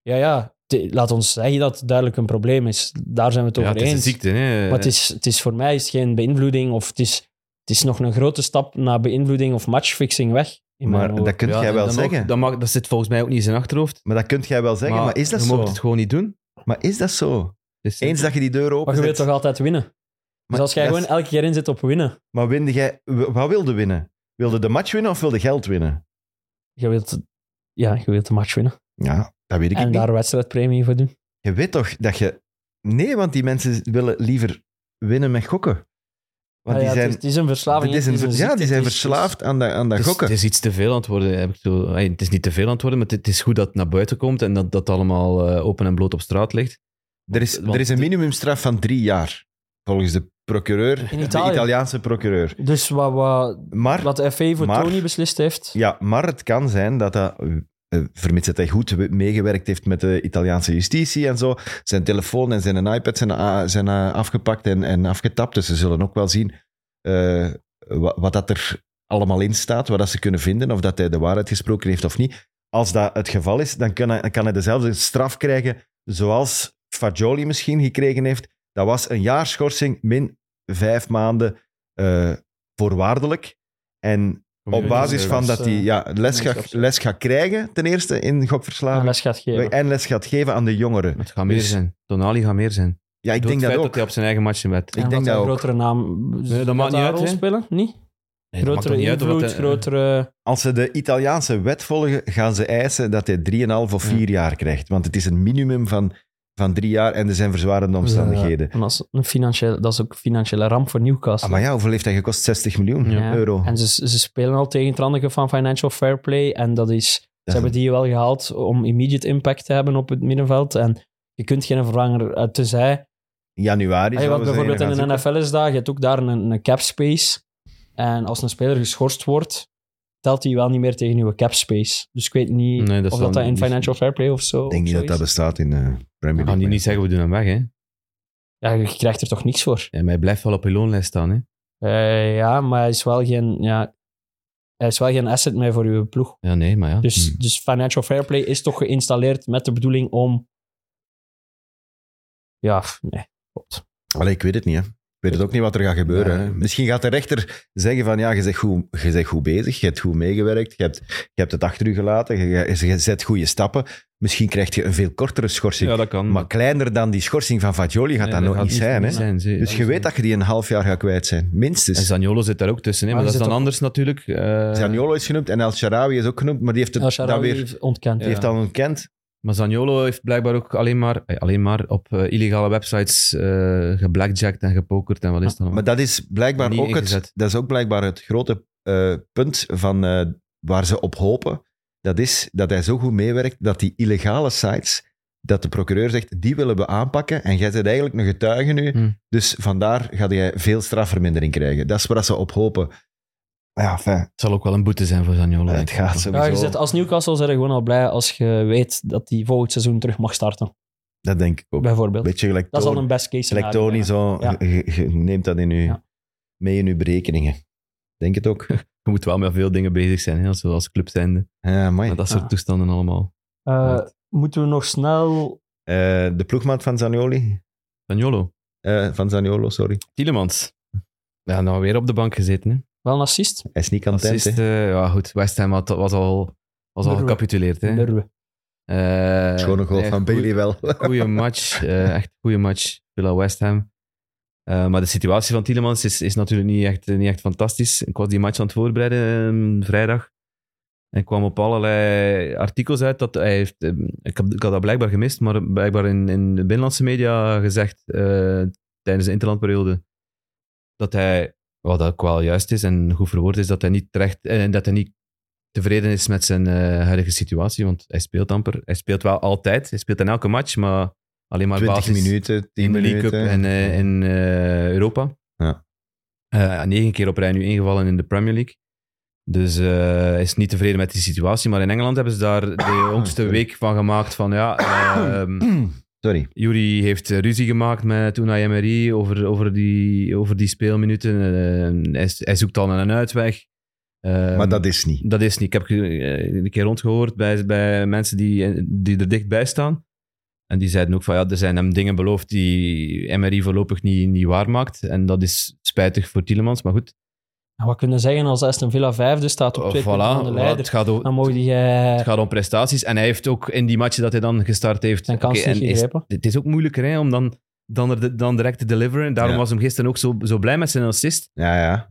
Speaker 2: Ja, ja. de- laat ons zeggen dat het duidelijk een probleem is. Daar zijn we het
Speaker 3: Ja,
Speaker 2: over
Speaker 3: het is een
Speaker 2: eens.
Speaker 3: ziekte.
Speaker 1: Eh,
Speaker 3: Hè.
Speaker 2: Maar het is, het is voor mij is het geen beïnvloeding of het is, het is nog een grote stap naar beïnvloeding of matchfixing weg. In mijn
Speaker 1: Maar
Speaker 2: ogen.
Speaker 1: dat kun
Speaker 3: Ja,
Speaker 1: jij
Speaker 3: en
Speaker 1: wel
Speaker 3: dan ook,
Speaker 1: zeggen.
Speaker 3: dat, mag, dat zit volgens mij ook niet in zijn achterhoofd.
Speaker 1: Maar dat kun jij wel zeggen. Maar, is dat
Speaker 3: je
Speaker 1: zo?
Speaker 3: mag het gewoon niet doen.
Speaker 1: Maar is dat zo?
Speaker 3: Dus-
Speaker 1: Eens dat je die deur opent...
Speaker 2: Maar je wilt toch altijd winnen?
Speaker 1: Maar
Speaker 2: dus als jij
Speaker 1: dat-
Speaker 2: gewoon elke keer inzet op winnen,
Speaker 1: Maar winde jij... w- Wat wilde winnen? Wilde de match winnen of wilde geld winnen?
Speaker 2: je wilt, ja, je wilt de match winnen.
Speaker 1: Ja, dat weet ik
Speaker 2: en
Speaker 1: niet.
Speaker 2: daar een wedstrijdpremie voor doen.
Speaker 1: Je weet toch dat je... Nee, want die mensen willen liever winnen met gokken. Want
Speaker 2: Ah ja,
Speaker 1: die
Speaker 2: het
Speaker 1: zijn...
Speaker 2: is- het is een verslaving.
Speaker 1: dit is
Speaker 2: het
Speaker 1: een
Speaker 2: is
Speaker 1: ver-
Speaker 2: een
Speaker 1: ja,
Speaker 2: ziekte,
Speaker 1: die zijn
Speaker 2: het is-
Speaker 1: verslaafd aan dat, aan dat
Speaker 3: Het is,
Speaker 1: gokken.
Speaker 3: het is iets te veel aan het worden. Heb ik zo, Hey, het is niet te veel aan het worden, maar het, het is goed dat het naar buiten komt en dat dat allemaal eh, open en bloot op straat ligt.
Speaker 1: er, is,
Speaker 3: want-
Speaker 1: er is een minimumstraf van drie jaar, volgens de procureur,
Speaker 2: In
Speaker 1: de
Speaker 2: Italië.
Speaker 1: Italiaanse procureur.
Speaker 2: Dus wat, wat,
Speaker 1: Maar
Speaker 2: wat de FA voor
Speaker 1: Maar-
Speaker 2: Tony beslist heeft,
Speaker 1: Ja, maar het kan zijn dat dat, eh, vermits dat hij goed meegewerkt heeft met de Italiaanse justitie en zo, zijn telefoon en zijn iPad zijn, ah, zijn ah, afgepakt en, en afgetapt. Dus ze zullen ook wel zien eh, wat, wat dat er allemaal in staat, wat dat ze kunnen vinden, of dat hij de waarheid gesproken heeft of niet. Als dat het geval is, dan kan hij, kan hij dezelfde straf krijgen zoals Fagioli misschien gekregen heeft. Dat was een jaar schorsing min vijf maanden eh, voorwaardelijk. En op
Speaker 3: dus
Speaker 1: basis van dat
Speaker 2: eh,
Speaker 1: hij ja, les, gaat,
Speaker 2: gemeenschap.
Speaker 1: les gaat krijgen, ten eerste in
Speaker 2: aan
Speaker 1: gokverslaving.
Speaker 2: les gaat geven.
Speaker 1: en les gaat geven aan de jongeren.
Speaker 3: Het gaat meer
Speaker 1: Dus-
Speaker 3: zijn. Tonali gaat meer zijn.
Speaker 1: Ja, ik
Speaker 3: Door
Speaker 1: denk
Speaker 3: het
Speaker 1: dat
Speaker 3: feit
Speaker 1: ook.
Speaker 3: dat hij op zijn eigen match in bed.
Speaker 1: ik denk dat
Speaker 2: een
Speaker 1: ook.
Speaker 2: grotere naam.
Speaker 3: dat
Speaker 2: gaat
Speaker 3: maakt niet
Speaker 2: een
Speaker 3: uit,
Speaker 2: rol
Speaker 3: hè?
Speaker 2: spelen? Niet? grotere invloed,
Speaker 3: eh,
Speaker 2: grotere...
Speaker 1: Als ze de Italiaanse wet volgen, gaan ze eisen dat hij 3,5 of 4 jaar krijgt. Want het is een minimum van, van 3 jaar en er zijn verzwarende omstandigheden.
Speaker 2: En als een financiële, dat is ook een financiële ramp voor Newcastle.
Speaker 1: Ah, maar ja, hoeveel heeft hij gekost? 60 miljoen
Speaker 2: Ja.
Speaker 1: euro.
Speaker 2: En ze, ze spelen al tegen het randige van Financial Fair Play. En dat is, ze
Speaker 1: is
Speaker 2: hebben die wel gehaald om immediate impact te hebben op het middenveld. En je kunt geen vervanger, eh, tenzij...
Speaker 1: In januari.
Speaker 2: Hey,
Speaker 1: zouden
Speaker 2: wat
Speaker 1: ze
Speaker 2: bijvoorbeeld
Speaker 1: gaan
Speaker 2: in de
Speaker 1: zoeken.
Speaker 2: NFL is dat, je hebt ook daar een, een cap space. En als een speler geschorst wordt, telt hij wel niet meer tegen nieuwe cap space. Dus ik weet niet
Speaker 3: Nee, dat
Speaker 2: of
Speaker 3: zal
Speaker 2: dat, dat in
Speaker 3: niet-
Speaker 2: Financial Fair Play of zo...
Speaker 1: Ik denk niet
Speaker 2: of
Speaker 1: dat dat
Speaker 2: zo is.
Speaker 1: bestaat in de Premier
Speaker 3: We gaan
Speaker 1: League.
Speaker 3: die niet zeggen, we doen hem weg. Hè.
Speaker 2: Ja, je krijgt er toch niks voor?
Speaker 3: En hij blijft wel op je loonlijst staan. Hè.
Speaker 2: Eh, ja, maar hij is wel geen, ja, hij is wel geen asset meer voor uw ploeg.
Speaker 3: Ja, nee, maar ja.
Speaker 2: Dus,
Speaker 1: Hmm.
Speaker 3: Hm.
Speaker 2: dus Financial Fair Play is toch geïnstalleerd met de bedoeling om. Ja, f- nee. Klopt.
Speaker 1: Allee, ik weet het niet. Hè. Ik weet het ook niet wat er gaat gebeuren.
Speaker 3: Nee.
Speaker 1: Hè. Misschien gaat de rechter zeggen van ja, je bent goed, je bent goed bezig, je hebt goed meegewerkt, je hebt, je hebt het achter je gelaten, je, je- je zet goede stappen. Misschien krijg je een veel kortere schorsing.
Speaker 3: ja, dat kan.
Speaker 1: Maar kleiner dan die schorsing van Fagioli gaat
Speaker 3: Nee,
Speaker 1: dat
Speaker 3: dat
Speaker 1: nog
Speaker 3: gaat
Speaker 1: niet zijn. Hè?
Speaker 3: niet zijn, zie-
Speaker 1: Dus je weet dat je die een half jaar gaat kwijt zijn, minstens.
Speaker 3: En Zaniolo zit daar ook tussen. Hè. Maar,
Speaker 2: Maar
Speaker 3: dat is
Speaker 2: je
Speaker 3: dan
Speaker 2: zit
Speaker 3: anders natuurlijk. eh,
Speaker 1: Zaniolo is genoemd en El Sharawi is ook genoemd, maar die heeft
Speaker 2: El
Speaker 1: het dan
Speaker 2: Shaarawy
Speaker 1: weer
Speaker 2: heeft ontkend.
Speaker 1: die heeft
Speaker 3: Ja.
Speaker 1: dan ontkend.
Speaker 3: maar Zaniolo heeft blijkbaar ook alleen maar, eh, alleen maar op eh, illegale websites eh geblackjacked en gepokerd. En wat is dat allemaal.
Speaker 1: Ah, Maar dat is blijkbaar
Speaker 3: Niet
Speaker 1: ook het,
Speaker 3: ingezet.
Speaker 1: dat is ook blijkbaar het grote eh, punt van, eh, waar ze op hopen. Dat is dat hij zo goed meewerkt dat die illegale sites, dat de procureur zegt, die willen we aanpakken. En jij bent eigenlijk een getuige nu.
Speaker 3: Hmm.
Speaker 1: Dus vandaar ga jij veel strafvermindering krijgen. Dat is waar ze op hopen. Ja, fijn.
Speaker 3: Het zal ook wel een boete zijn voor Zaniolo.
Speaker 1: Het
Speaker 3: denk ik.
Speaker 1: gaat
Speaker 2: Ja, je
Speaker 1: sowieso.
Speaker 2: zet, als Newcastle zijn we gewoon al blij als je weet dat hij volgend seizoen terug mag starten,
Speaker 1: dat denk ik ook.
Speaker 2: bijvoorbeeld.
Speaker 1: Beetje gelijk
Speaker 2: dat is al
Speaker 1: Tony-
Speaker 2: een best case
Speaker 1: gelijk
Speaker 2: scenario.
Speaker 1: Tony,
Speaker 2: ja.
Speaker 1: zo.
Speaker 2: Ja.
Speaker 1: Je, je neemt dat in je,
Speaker 2: Ja.
Speaker 1: mee in je berekeningen. Denk het ook.
Speaker 3: Je moet wel met veel dingen bezig zijn, hè, als, als club zijnde.
Speaker 1: Ja, mooi.
Speaker 3: Met dat soort
Speaker 2: Ja.
Speaker 3: toestanden allemaal.
Speaker 2: Eh, moeten we nog snel...
Speaker 1: Eh, de ploegmaat van Zanioli,
Speaker 3: Zaniolo.
Speaker 1: Eh, van Zaniolo, sorry.
Speaker 3: Tielemans. Ja, nou weer op de bank gezeten. Hè.
Speaker 2: Wel een assist?
Speaker 1: Hij is niet content,
Speaker 3: Assist,
Speaker 1: hè.
Speaker 3: eh, ja goed, West Ham had, was al, was al
Speaker 2: Burwe.
Speaker 3: gecapituleerd. Hè.
Speaker 2: Durwe.
Speaker 3: Eh,
Speaker 1: Schone goal
Speaker 3: nee,
Speaker 1: van
Speaker 3: goeie-
Speaker 1: Bailey wel.
Speaker 3: Goeie match, eh, echt goede match. Villa West Ham. Eh, maar de situatie van Tielemans is, is natuurlijk niet echt, niet echt fantastisch. Ik was die match aan het voorbereiden eh, vrijdag. En kwam op allerlei artikels uit dat hij heeft... eh, ik, heb, ik had dat blijkbaar gemist, maar blijkbaar in, in de binnenlandse media gezegd eh, tijdens de interlandperiode eh, dat hij, wat ook wel juist is en goed verwoord is, dat hij niet terecht... En dat hij niet tevreden is met zijn eh, huidige situatie, want hij speelt amper. Hij speelt wel altijd, hij speelt in elke match, maar alleen maar
Speaker 1: 20
Speaker 3: basis
Speaker 1: minuten, 10
Speaker 3: in de League
Speaker 1: minuten.
Speaker 3: Cup en eh, in eh, Europa.
Speaker 1: Ja.
Speaker 3: Eh, negen keer op rij nu ingevallen in de Premier League. Dus eh, hij is niet tevreden met die situatie. Maar in Engeland hebben ze daar de jongste
Speaker 1: Sorry.
Speaker 3: week van gemaakt van ja, ehm
Speaker 1: Sorry.
Speaker 3: Jury heeft eh, ruzie gemaakt met Unai Emery over, over, die, over die speelminuten. Eh, hij, hij zoekt al een uitweg. Eh,
Speaker 1: maar dat is niet.
Speaker 3: dat is niet. Ik heb ge- eh, een keer rondgehoord bij, bij mensen die, eh, die er dichtbij staan. En die zeiden ook van ja, er zijn hem dingen beloofd die MRI voorlopig niet, niet waar maakt. En dat is spijtig voor Tielemans. Maar goed,
Speaker 2: En wat kunnen we zeggen als Aston Villa vijfde staat
Speaker 1: Oh,
Speaker 2: op
Speaker 3: eh,
Speaker 2: twee
Speaker 3: voilà,
Speaker 2: punten van de
Speaker 3: voilà,
Speaker 2: leider?
Speaker 3: het, gaat o-
Speaker 2: Dan mogen die... eh,
Speaker 3: het gaat om prestaties. En hij heeft ook in die matchen dat hij dan gestart heeft...
Speaker 2: Zijn kans
Speaker 3: Oké,
Speaker 2: niet
Speaker 3: en is-
Speaker 2: gegrepen.
Speaker 3: Het is ook moeilijker hè, om dan, dan, er de- dan direct te deliveren. Daarom
Speaker 1: Ja.
Speaker 3: was hem gisteren ook zo, zo blij met zijn assist.
Speaker 1: Ja, ja.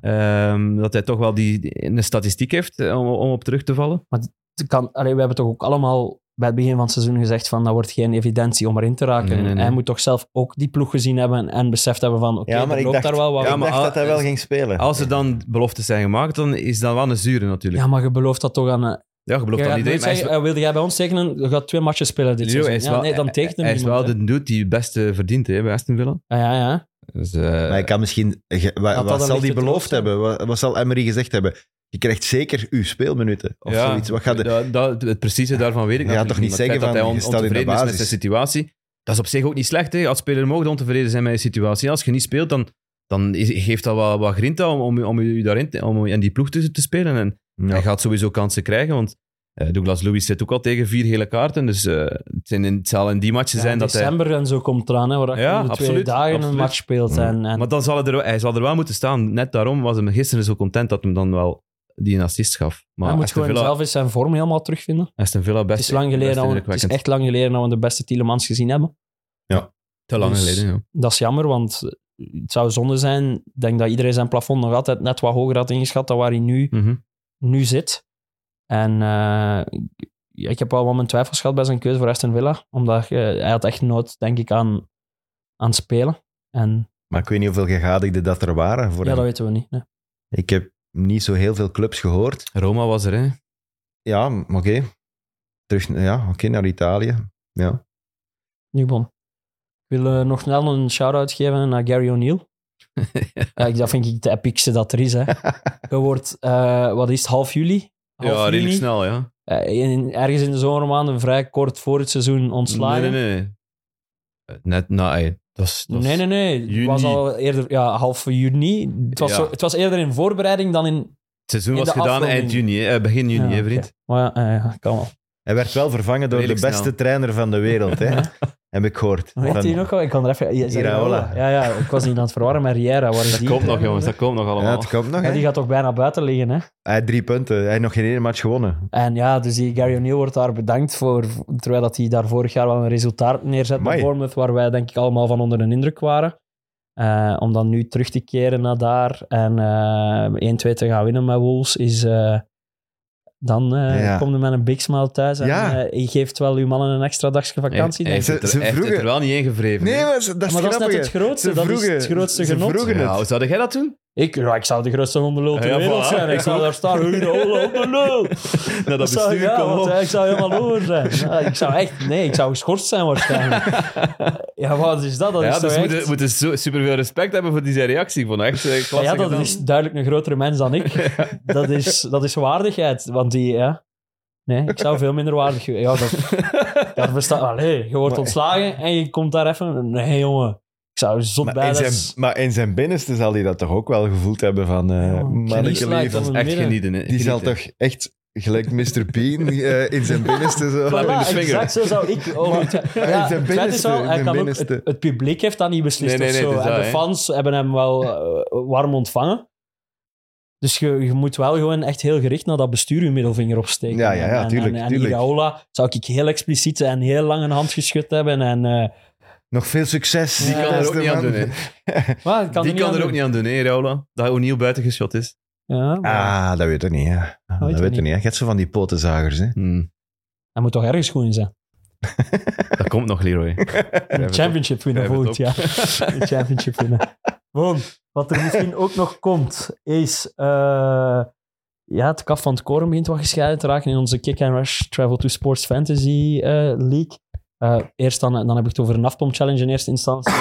Speaker 3: Ehm, dat hij toch wel die, die- een statistiek heeft eh, om, om op terug te vallen.
Speaker 2: het kan, allee, we hebben toch ook allemaal bij het begin van het seizoen gezegd van dat wordt geen evidentie om erin te raken.
Speaker 3: Nee, nee, nee.
Speaker 2: Hij moet toch zelf ook die ploeg gezien hebben en beseft hebben van oké,
Speaker 1: Ja, maar
Speaker 2: er
Speaker 1: ik
Speaker 2: loopt
Speaker 1: dacht-
Speaker 2: daar wel wat.
Speaker 1: Ik
Speaker 3: Ja,
Speaker 2: Ja maar,
Speaker 3: maar
Speaker 1: dacht
Speaker 3: al-
Speaker 1: dat hij wel ging spelen.
Speaker 3: Als er dan beloftes zijn gemaakt, dan is dat wel een zure natuurlijk. Ja,
Speaker 2: je belooft dat toch aan... eh,
Speaker 3: je
Speaker 2: Je
Speaker 3: belooft
Speaker 2: gaat
Speaker 3: dat niet.
Speaker 2: nooit
Speaker 3: hè, maar hij is
Speaker 2: zeggen,
Speaker 3: wel-
Speaker 2: eh, wilde jij bij ons tekenen? Je gaat twee matches spelen dit
Speaker 3: Leo, hij
Speaker 2: seizoen.
Speaker 3: is
Speaker 2: Ja,
Speaker 3: wel-
Speaker 2: nee, dan
Speaker 3: hij-
Speaker 2: tekent hem
Speaker 3: Hij is wel
Speaker 2: niemand, hè.
Speaker 3: de dude die het beste verdient hè, bij Aston Villa.
Speaker 2: Ah, ja, ja.
Speaker 3: Dus, eh,
Speaker 1: Maar hij kan misschien... eh, ge- wa-
Speaker 2: dat
Speaker 1: Wat,
Speaker 2: een
Speaker 1: zal
Speaker 2: lichte
Speaker 1: die beloofd
Speaker 2: troost zijn?
Speaker 1: hebben? Wat, wat zal Emery gezegd hebben? Je krijgt zeker uw speelminuten of
Speaker 3: ja,
Speaker 1: zoiets. Wat gaat er...
Speaker 3: dat, dat- het precieze daarvan weet ik
Speaker 1: Je gaat
Speaker 3: natuurlijk
Speaker 1: toch niet zeggen
Speaker 3: maar het feit
Speaker 1: van, je
Speaker 3: dat
Speaker 1: staat
Speaker 3: hij
Speaker 1: in de
Speaker 3: on- ontevreden is met
Speaker 1: basis.
Speaker 3: zijn situatie, dat is op zich ook niet slecht. Hè. Als speler mogen ontevreden zijn met je situatie. Als je niet speelt, dan, dan is- geeft dat wat, wat grinta om, om, om, je daarin, te- om in die ploeg tussen te spelen. En hij gaat sowieso kansen krijgen, want eh, Douglas Lewis zit ook al tegen vier gele kaarten. Dus eh, het, zijn in- het zal in die matchen
Speaker 2: Ja,
Speaker 3: zijn dat hij...
Speaker 2: december en zo komt eraan, hè, waar je
Speaker 3: Ja,
Speaker 2: om de twee
Speaker 3: absoluut,
Speaker 2: dagen
Speaker 3: absoluut. Mm.
Speaker 2: een match speelt.
Speaker 1: Ja.
Speaker 2: En, en
Speaker 3: Maar dan zal hij, er, hij zal er wel moeten staan. Net daarom was hij gisteren zo content dat hem dan wel die een assist gaf. Maar
Speaker 2: hij moet
Speaker 3: Aston
Speaker 2: gewoon
Speaker 3: Villa,
Speaker 2: zelf eens zijn vorm helemaal terugvinden.
Speaker 3: Aston Villa best,
Speaker 2: het, is lang geleden
Speaker 3: best
Speaker 2: dat we- het is
Speaker 3: indrukwekkend.
Speaker 2: echt lang geleden dat we de beste Tielemans gezien hebben.
Speaker 3: Te lang
Speaker 2: dus-
Speaker 3: geleden, ja.
Speaker 2: Dat is jammer, want het zou zonde zijn. Ik denk dat iedereen zijn plafond nog altijd net wat hoger had ingeschat dan waar hij nu,
Speaker 3: Mhm.
Speaker 2: nu zit. En eh, ja, ik heb wel wat mijn twijfels gehad bij zijn keuze voor Aston Villa. Omdat eh, hij had echt nood, denk ik, aan, aan spelen. En
Speaker 1: Maar ik weet niet hoeveel gegadigden dat er waren voor
Speaker 2: ja, dat
Speaker 1: hem.
Speaker 2: weten we niet. nee.
Speaker 1: Ik heb niet zo heel veel clubs gehoord.
Speaker 3: Roma was er, hè.
Speaker 1: Ja, m- oké. Terug ja, oké naar Italië. Ja.
Speaker 2: Nu bon. Ik wil eh, nog snel een shout-out geven naar Gary O'Neill. ja, ik- dat vind ik de epicste dat er is. Hè. Je wordt, eh, wat is het, half juli? Half
Speaker 3: Ja, redelijk
Speaker 2: juni?
Speaker 3: snel, ja.
Speaker 2: Eh, in, ergens in de zomermaanden, vrij kort voor het seizoen ontslagen.
Speaker 3: Nee, nee, nee. Net, nou, ey, dat is... dat is-
Speaker 2: Nee, nee, nee.
Speaker 3: Juni.
Speaker 2: Het was al eerder, ja, half juni. Het was,
Speaker 3: Ja.
Speaker 2: zo- het was eerder in voorbereiding dan in.
Speaker 3: Het seizoen
Speaker 2: In
Speaker 3: was
Speaker 2: de
Speaker 3: gedaan
Speaker 2: afronding.
Speaker 3: eind juni, hè. Eh, begin juni,
Speaker 2: Ja,
Speaker 3: hè, vriend.
Speaker 2: oké. Maar ja, eh, ja, kan wel.
Speaker 1: Hij werd wel vervangen door de
Speaker 3: Redelijk
Speaker 1: beste
Speaker 3: snel.
Speaker 1: trainer van de wereld, hè?
Speaker 2: Ja.
Speaker 1: heb ik gehoord.
Speaker 2: Hoe heet
Speaker 1: Van-
Speaker 2: die nog al? Ik kan er even. Ja, zeg-
Speaker 1: Iraola.
Speaker 2: Ja, ja, ik was niet aan het verwarren met Riera. Waar is
Speaker 3: Dat
Speaker 2: die? eh,
Speaker 3: komt nog, jongens. Dat komt nog
Speaker 1: ja,
Speaker 3: allemaal.
Speaker 1: het komt nog.
Speaker 2: Ja,
Speaker 1: hè.
Speaker 2: die gaat toch bijna buiten liggen, hè?
Speaker 1: Hij had drie punten. Hij heeft nog geen ene match gewonnen.
Speaker 2: En ja, dus die Gary O'Neill wordt daar bedankt voor. Terwijl dat hij daar vorig jaar wel een resultaat neerzet
Speaker 1: Amai.
Speaker 2: bij Bournemouth, waar wij denk ik allemaal van onder een indruk waren. Eh, om dan nu terug te keren naar daar en eh 1-2 te gaan winnen met Wolves, is, eh, dan eh
Speaker 1: Ja.
Speaker 2: komt hij met een big smile thuis. En
Speaker 1: Ja.
Speaker 2: eh, je geeft wel uw mannen een extra dagje vakantie.
Speaker 3: Hij
Speaker 2: denk ik.
Speaker 3: heeft
Speaker 1: Ze-
Speaker 3: het er-
Speaker 1: ze
Speaker 3: hij heeft het
Speaker 1: vroegen-
Speaker 3: er wel niet ingevreven.
Speaker 1: Nee,
Speaker 3: hè.
Speaker 1: maar dat is
Speaker 2: maar dat is net
Speaker 1: grappig,
Speaker 2: het
Speaker 1: hè.
Speaker 2: grootste.
Speaker 1: Ze
Speaker 2: Dat is
Speaker 1: vroegen-
Speaker 2: het grootste
Speaker 1: ze
Speaker 2: genot.
Speaker 1: vroegen
Speaker 3: Ja,
Speaker 1: het.
Speaker 3: hoe zou jij dat doen?
Speaker 2: Ik, ja, ik zou de grootste hondenlul ter
Speaker 3: Ja,
Speaker 2: wereld
Speaker 3: voilà.
Speaker 2: zijn. Ik zou daar staan. Hondenlul, hondenlul.
Speaker 3: Naar dat
Speaker 2: Ik zou-
Speaker 3: bestuur
Speaker 2: ja,
Speaker 3: komen.
Speaker 2: want, eh, ik zou helemaal over zijn. Ja, ik zou echt... Nee, ik zou geschorst zijn waarschijnlijk. ja, wat is dat? Dat
Speaker 3: ja,
Speaker 2: is toch
Speaker 3: dus we
Speaker 2: echt...
Speaker 3: moeten, moeten zo- superveel respect hebben voor die zijn reactie. Ik vond het echt eh, klasse
Speaker 2: ja, dat
Speaker 3: gedaan.
Speaker 2: is duidelijk een grotere mens dan ik. Dat is, dat is waardigheid. Want die, ja... Nee, ik zou veel minder waardig... Ja, dat, daar bestaat... Allee, je wordt ontslagen en je komt daar even... Nee, jongen. Ik zou zot
Speaker 1: Maar
Speaker 2: bij...
Speaker 1: in,
Speaker 2: dat
Speaker 1: zijn,
Speaker 2: is-
Speaker 1: maar in zijn binnenste zal hij dat toch ook wel gevoeld hebben van... eh
Speaker 2: Ja,
Speaker 1: manneke
Speaker 2: knieslaat
Speaker 1: lief.
Speaker 2: van
Speaker 3: Dat is echt
Speaker 2: Midden.
Speaker 3: genieten. Hè.
Speaker 1: Die zal
Speaker 3: Genieten.
Speaker 1: toch echt, gelijk Mr. Bean, eh, in zijn binnenste zo...
Speaker 3: Flap in de
Speaker 2: Voilà,
Speaker 3: slinger.
Speaker 2: exact zo zou ik over het-
Speaker 1: hij
Speaker 2: Ja,
Speaker 1: is de
Speaker 2: het feit is
Speaker 1: binnenste,
Speaker 2: wel, hij
Speaker 1: de
Speaker 2: kan ook, het,
Speaker 1: binnenste.
Speaker 2: het publiek heeft dat niet beslist
Speaker 3: Nee, nee, nee,
Speaker 2: of zo.
Speaker 3: het is
Speaker 2: en
Speaker 3: dat,
Speaker 2: de
Speaker 3: hè.
Speaker 2: fans hebben hem wel eh, warm ontvangen. Dus je, je moet wel gewoon echt heel gericht naar dat bestuur je middelvinger opsteken.
Speaker 1: Ja, ja, ja,
Speaker 2: En- en-
Speaker 1: tuurlijk,
Speaker 2: En,
Speaker 1: tuurlijk.
Speaker 2: Iraola zou ik heel expliciet en heel lang een hand geschud hebben. En, eh,
Speaker 1: Nog veel succes.
Speaker 3: Die kan er ook
Speaker 1: beste
Speaker 3: niet aan
Speaker 1: man.
Speaker 3: doen. hè.
Speaker 2: maar het kan
Speaker 3: Die
Speaker 2: er niet
Speaker 3: kan
Speaker 2: aan
Speaker 3: er ook
Speaker 2: doen.
Speaker 3: niet aan doen, hè, Raula. Dat O'Neill buitengeschot is.
Speaker 2: Ja, maar
Speaker 1: Ah, dat weet ik niet, hè. Dat
Speaker 2: weet
Speaker 1: weet
Speaker 2: je
Speaker 1: ik
Speaker 2: niet.
Speaker 1: niet, hè. Je hebt zo van die potenzagers, hè.
Speaker 3: Hmm,
Speaker 2: Hij moet toch ergens goed in zijn.
Speaker 3: Dat komt nog, Leroy.
Speaker 2: Een
Speaker 3: het
Speaker 2: championship winnen
Speaker 3: Schrijf
Speaker 2: volgend
Speaker 3: het
Speaker 2: jaar. Een championship winnen. Bon, wat er misschien ook nog komt, is... eh, ja, het kaf van het koren begint wat gescheiden te raken in onze Kick and Rush Travel to Sports Fantasy eh, League. Eh, eerst dan, dan heb ik het over een afpomp challenge in eerste instantie.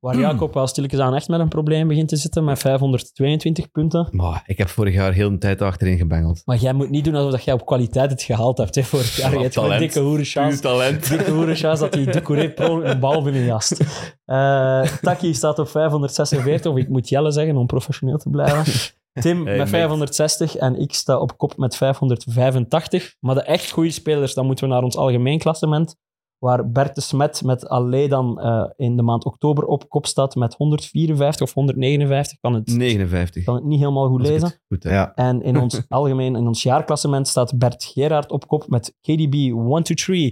Speaker 2: waar Jacob wel stilletjes aan echt met een probleem begint te zitten met 522 punten.
Speaker 3: Maar ik heb vorig jaar heel de tijd achterin gebengeld.
Speaker 2: Maar jij moet niet doen alsof dat jij op kwaliteit het gehaald hebt. Hè, vorig jaar. Je
Speaker 3: Wat
Speaker 2: hebt gewoon een
Speaker 3: talent.
Speaker 2: dikke hoere
Speaker 3: Puur
Speaker 2: chance.
Speaker 3: talent.
Speaker 2: Dikke hoere chance dat die Ducouré pro een bal binnenjast. Eh Taki staat op 546, of ik moet Jelle zeggen om professioneel te blijven. Tim met
Speaker 3: Hey, mate.
Speaker 2: 560 en ik sta op kop met 585. Maar de echt goede spelers, dan moeten we naar ons algemeen klassement. Waar Bert de Smet met alleen dan eh, in de maand oktober op kop staat met 154 of 159. Kan het,
Speaker 3: 59.
Speaker 2: kan het niet helemaal goed
Speaker 3: Als ik het
Speaker 2: lezen.
Speaker 3: Goed, hè.
Speaker 1: Ja.
Speaker 2: En in ons algemeen, in ons jaarklassement, staat Bert Gerard op kop met KDB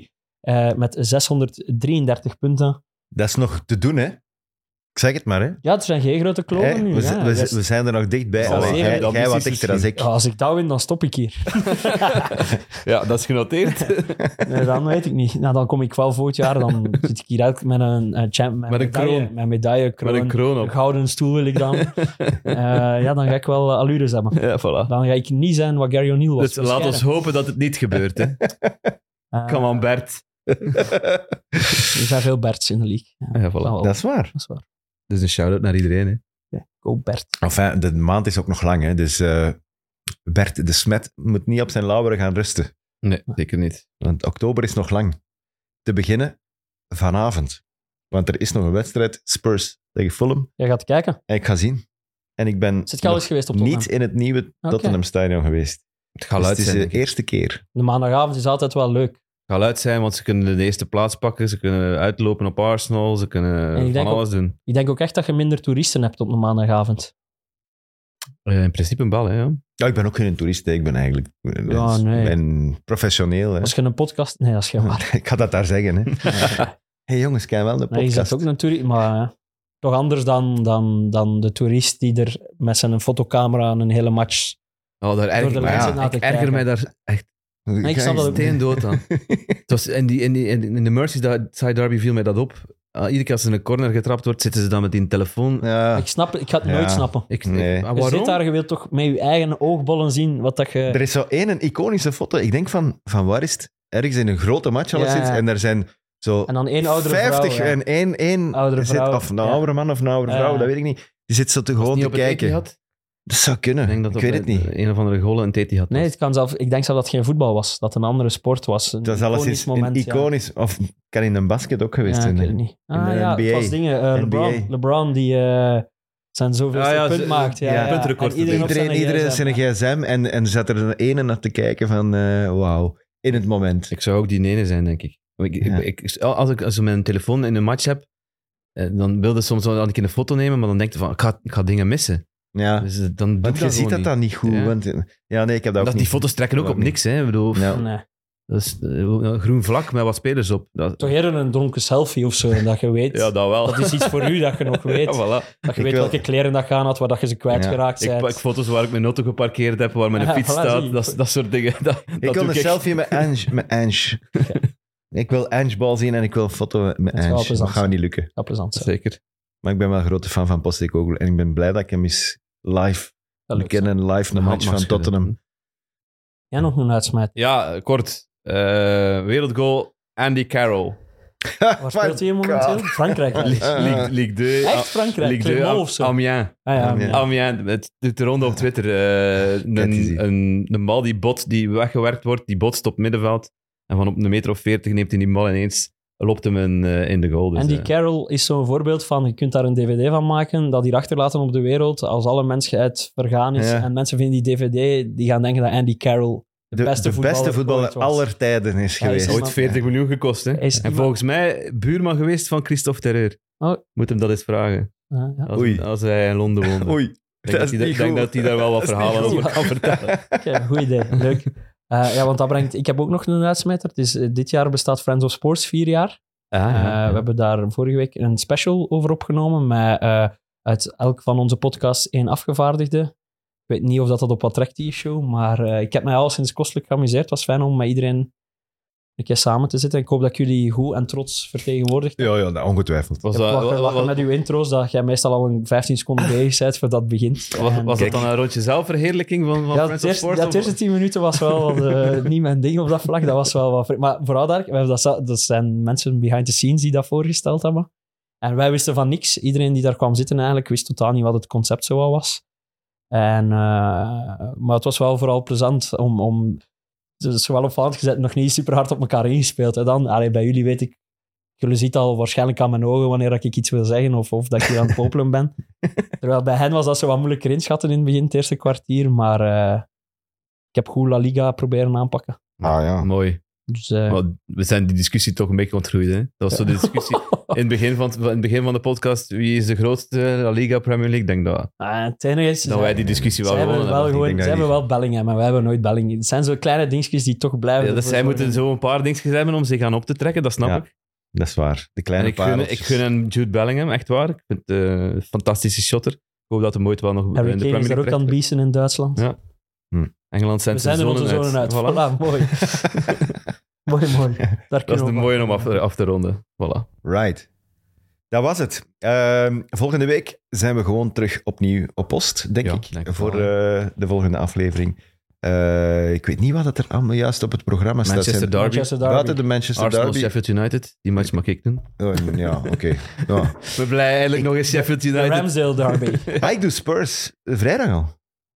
Speaker 2: 1-2-3 eh met 633 punten.
Speaker 1: Dat is nog te doen, hè? Ik zeg het maar, hè?
Speaker 2: Ja, er zijn geen grote kloven
Speaker 1: Hè?
Speaker 2: nu.
Speaker 1: we, z-
Speaker 2: ja,
Speaker 1: we z-
Speaker 2: Dat is-
Speaker 1: we zijn er nog dichtbij.
Speaker 2: Ja,
Speaker 1: Allee,
Speaker 2: zeven,
Speaker 1: jij
Speaker 3: dat
Speaker 1: jij
Speaker 3: is
Speaker 1: wat
Speaker 3: iets
Speaker 1: dichter dan ik.
Speaker 2: Ja, als ik dat win, dan stop ik hier.
Speaker 3: ja, dat is genoteerd.
Speaker 2: Nee, dan weet ik niet. Nou, dan kom ik wel volgend jaar, dan zit ik hier uit met een, eh, champ, met
Speaker 3: Met een
Speaker 2: medaille,
Speaker 3: kroon.
Speaker 2: Met een medaille, kroon,
Speaker 3: Met een kroon
Speaker 2: een
Speaker 3: op.
Speaker 2: gouden stoel wil ik dan. Eh, ja, dan ga ik wel eh, allures hebben.
Speaker 3: Ja, voilà.
Speaker 2: Dan ga ik niet zijn wat Gary O'Neill was.
Speaker 3: Dus laat ons hopen dat het niet gebeurt. Hè.
Speaker 2: Eh,
Speaker 3: Come on, Bert.
Speaker 2: Er zijn veel Berts in de league. Ja,
Speaker 3: Ja, voilà.
Speaker 2: wel.
Speaker 1: Dat is waar.
Speaker 2: dat is waar.
Speaker 3: Dus een shout-out naar iedereen. Hè.
Speaker 2: Go Bert.
Speaker 1: Enfin, de maand is ook nog lang, hè? Dus eh, Bert de Smet moet niet op zijn lauweren gaan rusten.
Speaker 3: Nee, zeker niet.
Speaker 1: Want oktober is nog lang. Te beginnen vanavond. Want er is nog een wedstrijd, Spurs tegen Fulham.
Speaker 2: Jij gaat kijken.
Speaker 1: En ik ga zien. En ik ben
Speaker 2: Zit je al eens
Speaker 1: nog
Speaker 2: geweest op Tottenham?
Speaker 1: niet in het nieuwe
Speaker 2: Oké.
Speaker 1: Tottenham Stadion geweest.
Speaker 3: Het
Speaker 1: Dus
Speaker 3: e- gaat luid
Speaker 1: het is
Speaker 3: zijn.
Speaker 1: de
Speaker 3: denk ik.
Speaker 1: eerste keer.
Speaker 2: De maandagavond is altijd wel leuk.
Speaker 3: Het gaat luid zijn, want ze kunnen de eerste plaats pakken. Ze kunnen uitlopen op Arsenal. Ze
Speaker 2: En ik
Speaker 3: kunnen van
Speaker 2: denk ook-
Speaker 3: alles doen.
Speaker 2: Ik denk ook echt dat je minder toeristen hebt op de maandagavond.
Speaker 3: Eh, in principe een bal, hè. Ja.
Speaker 1: Ja, ik ben ook geen toerist, hè. ik ben eigenlijk
Speaker 2: Ja, nee.
Speaker 1: ik ben professioneel. Hè.
Speaker 2: Als je een podcast... Nee, dat is geen waar.
Speaker 1: ik ga dat daar zeggen. Hè. hey jongens, ik ken wel de
Speaker 2: Nee, je
Speaker 1: podcast.
Speaker 2: zegt ook een toerist, maar eh, toch anders dan, dan, dan de toerist die er met zijn fotocamera een hele match...
Speaker 3: Oh, daar erger,
Speaker 2: Door de
Speaker 3: maar
Speaker 1: mensen
Speaker 3: ja,
Speaker 2: na te
Speaker 3: ik erger
Speaker 2: kijken.
Speaker 3: mij daar echt
Speaker 2: Nee, ik snap dat ook niet.
Speaker 3: steendood aan. Het was, in, die, in, die, in, die- in de Mercies, dat- Side Derby viel mij dat op. Ah, iedere keer als er een corner getrapt wordt, zitten ze dan met die telefoon.
Speaker 1: Ja,
Speaker 2: Ik, snap, het- ik ga het
Speaker 1: Ja.
Speaker 2: nooit snappen.
Speaker 3: Ik,
Speaker 1: Nee.
Speaker 3: ik, ah,
Speaker 2: Je
Speaker 3: waarom?
Speaker 2: zit daar, je wilt toch met je eigen oogbollen zien wat dat je...
Speaker 1: Er is zo één een iconische foto. Ik denk van, van waar is het? Ergens in een grote match al
Speaker 2: Ja,
Speaker 1: zit.
Speaker 2: ja.
Speaker 1: En daar zijn zo
Speaker 2: En dan één oudere
Speaker 1: 50
Speaker 2: vrouw. ja.
Speaker 1: en één, één
Speaker 2: Oudere
Speaker 1: zit,
Speaker 2: vrouw,
Speaker 1: of een
Speaker 2: ja.
Speaker 1: oudere man of een oudere vrouw,
Speaker 2: Ja.
Speaker 1: dat weet ik niet. Die zit zo te gewoon
Speaker 3: Niet
Speaker 1: te
Speaker 3: op het ET
Speaker 1: kijken.
Speaker 3: had?
Speaker 1: Dat zou kunnen.
Speaker 3: Ik
Speaker 1: Ik,
Speaker 3: denk dat
Speaker 1: weet
Speaker 3: op
Speaker 1: het niet.
Speaker 3: een- Een of andere goal een TT had.
Speaker 2: Nee, het kan zelf, ik denk zelf dat het geen voetbal was. Dat het een andere sport was. Een
Speaker 1: Dat is alles
Speaker 2: iconisch
Speaker 1: iets een
Speaker 2: moment, ja.
Speaker 1: iconisch. Of kan in een basket ook geweest
Speaker 2: ja,
Speaker 1: zijn.
Speaker 2: ik
Speaker 1: hè.
Speaker 2: weet het
Speaker 3: eh,
Speaker 2: niet. Ah,
Speaker 1: de
Speaker 2: ja,
Speaker 1: NBA.
Speaker 2: het was dingen. eh, LeBron,
Speaker 1: NBA.
Speaker 2: LeBron die eh, zijn zoveel
Speaker 3: Ah, ja,
Speaker 2: punt
Speaker 3: ze-
Speaker 2: maakt. Ja,
Speaker 1: ja,
Speaker 2: ja.
Speaker 3: puntrecord.
Speaker 2: En iedereen, op
Speaker 1: Iedereen, iedereen
Speaker 2: gsm.
Speaker 1: zijn een gsm en, en zat er een ene naar te kijken van eh, wauw, in het moment.
Speaker 3: Ik zou ook die nene zijn, denk ik. Want ik,
Speaker 1: Ja.
Speaker 3: ik, ik- als, ik als ik mijn telefoon in een match heb, eh, dan wilde soms wel dat ik een foto nemen, maar dan denk je van, ik ga, ik ga dingen missen.
Speaker 1: Ja,
Speaker 3: Dus eh, dan doe
Speaker 1: want
Speaker 3: ik
Speaker 1: je
Speaker 3: dat
Speaker 1: ziet dat
Speaker 3: gewoon
Speaker 1: dan niet goed.
Speaker 3: Ja.
Speaker 1: Want, ja, nee, ik heb dat,
Speaker 3: niet.
Speaker 1: ook
Speaker 3: Dat, die
Speaker 1: niet.
Speaker 3: foto's trekken ook
Speaker 1: Dat
Speaker 3: op
Speaker 1: ook
Speaker 3: niks, hè. Ik bedoel,
Speaker 1: Ja.
Speaker 2: Nee.
Speaker 3: dat is eh, een groen vlak met wat spelers op. Dat,
Speaker 2: Toch eerder een dronken selfie of zo, dat je weet.
Speaker 3: ja, dat wel.
Speaker 2: Dat is iets voor u dat je nog weet.
Speaker 3: Ja,
Speaker 2: Dat
Speaker 3: voilà.
Speaker 2: je
Speaker 1: Ik
Speaker 2: weet
Speaker 1: wil-
Speaker 2: welke kleren dat je aan had, waar dat je ze kwijtgeraakt
Speaker 3: Ik
Speaker 2: bent.
Speaker 3: pak foto's waar ik mijn auto geparkeerd heb, waar mijn
Speaker 2: Ja,
Speaker 3: fiets
Speaker 2: voilà, zie
Speaker 3: staat,
Speaker 2: je.
Speaker 3: dat, dat soort dingen. Dat,
Speaker 1: Ik
Speaker 3: dat
Speaker 1: wil
Speaker 3: doe
Speaker 1: een selfie met Ange. Met Ange. Ik wil Ange bal zien en ik wil een foto met
Speaker 2: is wel
Speaker 1: Ange. Dat
Speaker 2: plezant.
Speaker 1: gaat niet lukken.
Speaker 2: Dat plezant zijn.
Speaker 3: Zeker.
Speaker 1: Maar ik ben wel een grote fan van Postecoglou en ik ben blij dat ik hem eens live we
Speaker 2: Dat lukt.
Speaker 1: kennen. Live een match van Tottenham.
Speaker 2: Jij nog een uitsmijt.
Speaker 3: Ja, eh, kort. Eh, wereldgoal, Andy Carroll.
Speaker 2: Waar speelt hij momenteel? Frankrijk. Ah,
Speaker 1: Eh,
Speaker 3: League, League 2.
Speaker 2: Echt Frankrijk?
Speaker 3: Ligue 2,
Speaker 2: Clermont
Speaker 3: Am-
Speaker 2: of zo?
Speaker 3: Amiens.
Speaker 2: Ah, ja,
Speaker 1: Ja.
Speaker 2: ja.
Speaker 3: Amiens, het doet de ronde op Twitter. eh,
Speaker 1: het is
Speaker 3: een,
Speaker 1: hier.
Speaker 3: een, een bal die bot, die weggewerkt wordt, die botst op middenveld. En van op een meter of veertig neemt hij die bal ineens, loopt hem in, eh, in de goal. Dus,
Speaker 2: Andy
Speaker 3: eh,
Speaker 2: Carroll is zo'n voorbeeld van, je kunt daar een dvd van maken, dat hier achterlaten op de wereld, als alle mensheid vergaan is.
Speaker 1: Ja.
Speaker 2: En mensen vinden die dvd, die gaan denken dat Andy Carroll
Speaker 1: De, de beste voetballer,
Speaker 2: ooit was.
Speaker 1: aller tijden is
Speaker 2: Hij is
Speaker 1: geweest.
Speaker 3: ooit 40 miljoen gekost. Hè?
Speaker 2: Is
Speaker 3: en
Speaker 2: iemand-
Speaker 3: volgens mij buurman geweest van Christophe Terreur.
Speaker 2: Oh.
Speaker 3: Moet hem dat eens vragen.
Speaker 2: Ja, ja.
Speaker 3: Als,
Speaker 1: Oei.
Speaker 3: als hij in Londen woonde.
Speaker 1: Oei,
Speaker 3: Ik denk
Speaker 1: dat
Speaker 3: dat,
Speaker 1: is
Speaker 3: hij, daar-
Speaker 1: niet
Speaker 3: ik denk
Speaker 1: goed.
Speaker 3: dat hij daar wel wat
Speaker 1: Dat is niet
Speaker 3: verhalen
Speaker 1: goed.
Speaker 3: over kan vertellen.
Speaker 2: Oké, goed idee. Leuk. Eh, ja, want dat brengt... Ik heb ook nog een uitsmijter. Het is, eh, dit jaar bestaat Friends of Sports vier jaar. Eh, We hebben daar vorige week een special over opgenomen met eh, uit elk van onze podcasts één afgevaardigde. Ik weet niet of dat, dat op wat trekt, die show, maar eh, ik heb mij al sinds kostelijk geamuseerd. Het was fijn om met iedereen een keer samen te zitten. Ik hoop dat ik jullie goed en trots vertegenwoordig.
Speaker 1: Ja, ja nou, ongetwijfeld.
Speaker 3: Was
Speaker 2: Ik
Speaker 3: dat,
Speaker 2: lach-
Speaker 3: wa- wa-
Speaker 2: lach
Speaker 3: wa-
Speaker 2: met uw intro's dat jij meestal al een 15 seconden bezig bent voordat het begint.
Speaker 3: was,
Speaker 2: En-
Speaker 3: was dat dan een rondje zelfverheerlijking van, van
Speaker 2: ja, het
Speaker 3: Friends of
Speaker 2: eerste,
Speaker 3: Sport?
Speaker 2: ja,
Speaker 3: of-
Speaker 2: het eerste 10 minuten was wel eh, niet mijn ding op dat vlak. Dat was wel wat. vreemd. Maar vooral daar, we hebben dat, za- dat zijn mensen behind the scenes die dat voorgesteld hebben. En wij wisten van niks. Iedereen die daar kwam zitten eigenlijk wist totaal niet wat het concept zo wel was. En, eh, maar het was wel vooral plezant om. om het is wel opvallend gezet, nog niet super hard op elkaar ingespeeld. En dan, allee, bij jullie weet ik, jullie zien het al waarschijnlijk aan mijn ogen wanneer dat ik iets wil zeggen of, of dat ik hier aan het popelen ben. Terwijl bij hen was dat zo wat moeilijker inschatten in het begin, het eerste kwartier. Maar eh, ik heb goed La Liga proberen aanpakken.
Speaker 1: Ah ja.
Speaker 3: Mooi.
Speaker 2: Dus, eh,
Speaker 3: Maar we zijn die discussie toch een beetje ontgroeid. Hè? Dat was zo de discussie in het, begin van, van- in het begin van de podcast. Wie is de grootste La Liga Premier League? Ik denk dat,
Speaker 2: eh, het enige is...
Speaker 3: dat wij die discussie wel
Speaker 2: Ze hebben,
Speaker 3: gewonnen
Speaker 2: wel
Speaker 3: hebben.
Speaker 2: gewoon,
Speaker 1: denk
Speaker 2: ze
Speaker 1: dat
Speaker 2: hebben
Speaker 1: die-
Speaker 2: wel Bellingham, maar wij hebben nooit Bellingham. Het zijn zo kleine dingetjes die toch blijven.
Speaker 3: Ja, dus
Speaker 2: ervoor
Speaker 3: zij
Speaker 2: zorgen.
Speaker 3: moeten zo een paar dingetjes hebben om zich aan op te trekken, dat snap
Speaker 1: Ja,
Speaker 3: ik.
Speaker 1: Dat is waar. De
Speaker 3: En
Speaker 1: kleine
Speaker 3: ik gun, ik
Speaker 1: pareltjes.
Speaker 3: gun een Jude Bellingham, echt waar. Ik vind het eh, een fantastische shotter. Ik hoop dat hem ooit wel nog in de
Speaker 2: Harry
Speaker 3: Premier
Speaker 2: Kane is er
Speaker 3: League
Speaker 2: ook aan het
Speaker 3: terechtkomt.
Speaker 2: biezen in Duitsland.
Speaker 3: Ja, Engeland
Speaker 2: We
Speaker 3: zijn
Speaker 2: zijn er onze zonen uit.
Speaker 3: Voilà.
Speaker 2: Voilà, mooi. mooi, mooi. Daar
Speaker 3: Dat
Speaker 2: kunnen
Speaker 3: is
Speaker 2: we
Speaker 3: de
Speaker 2: op
Speaker 3: mooie om
Speaker 2: af.
Speaker 3: af, af te ronden. Voilà.
Speaker 1: Right. Dat was het. Ehm, volgende week zijn we gewoon terug opnieuw op post, denk
Speaker 3: Ja,
Speaker 1: ik.
Speaker 3: denk ik
Speaker 1: voor
Speaker 3: wel,
Speaker 1: eh, de volgende aflevering. Eh, ik weet niet wat het er allemaal juist op het programma staat.
Speaker 3: Manchester
Speaker 1: Zijn-
Speaker 3: Derby,
Speaker 2: Manchester Derby.
Speaker 1: Buiten de Manchester
Speaker 3: Arsenal,
Speaker 1: Derby.
Speaker 3: Sheffield United. Die match mag ik doen.
Speaker 1: Oh, ja, oké. Ja.
Speaker 3: We blij eigenlijk nog eens Sheffield
Speaker 2: De
Speaker 3: United.
Speaker 2: Ramsdale Derby.
Speaker 1: Ah, ik doe Spurs eh, vrijdag al.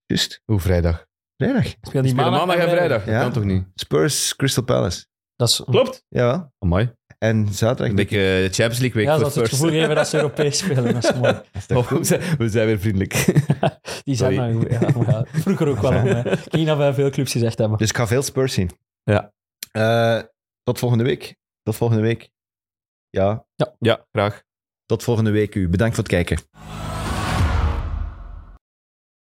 Speaker 1: Juist,
Speaker 3: Hoe vrijdag?
Speaker 1: vrijdag.
Speaker 2: Speel
Speaker 3: Die maandag, en vrijdag.
Speaker 1: Ja.
Speaker 3: Dat kan toch niet?
Speaker 1: Spurs, Crystal Palace.
Speaker 2: Dat is,
Speaker 3: Klopt.
Speaker 1: Jawel.
Speaker 3: Amai.
Speaker 1: En zaterdag.
Speaker 3: Een beetje eh, Champions League week
Speaker 2: ja,
Speaker 3: voor
Speaker 2: dat ze het
Speaker 3: Spurs.
Speaker 2: gevoel geven dat ze Europees spelen. Dat is mooi.
Speaker 1: Is dat
Speaker 3: Oh,
Speaker 1: goed?
Speaker 3: we, zijn, we zijn weer vriendelijk.
Speaker 2: Die zijn
Speaker 3: Sorry.
Speaker 2: nou goed. Ja, maar ja, vroeger ook wel. om, eh, Ik denk dat wij veel clubs gezegd hebben.
Speaker 1: Dus ik ga veel Spurs zien.
Speaker 3: Ja.
Speaker 1: Eh, tot volgende week. Tot volgende week. Ja,
Speaker 3: ja, graag.
Speaker 1: tot volgende week u. Bedankt voor het kijken.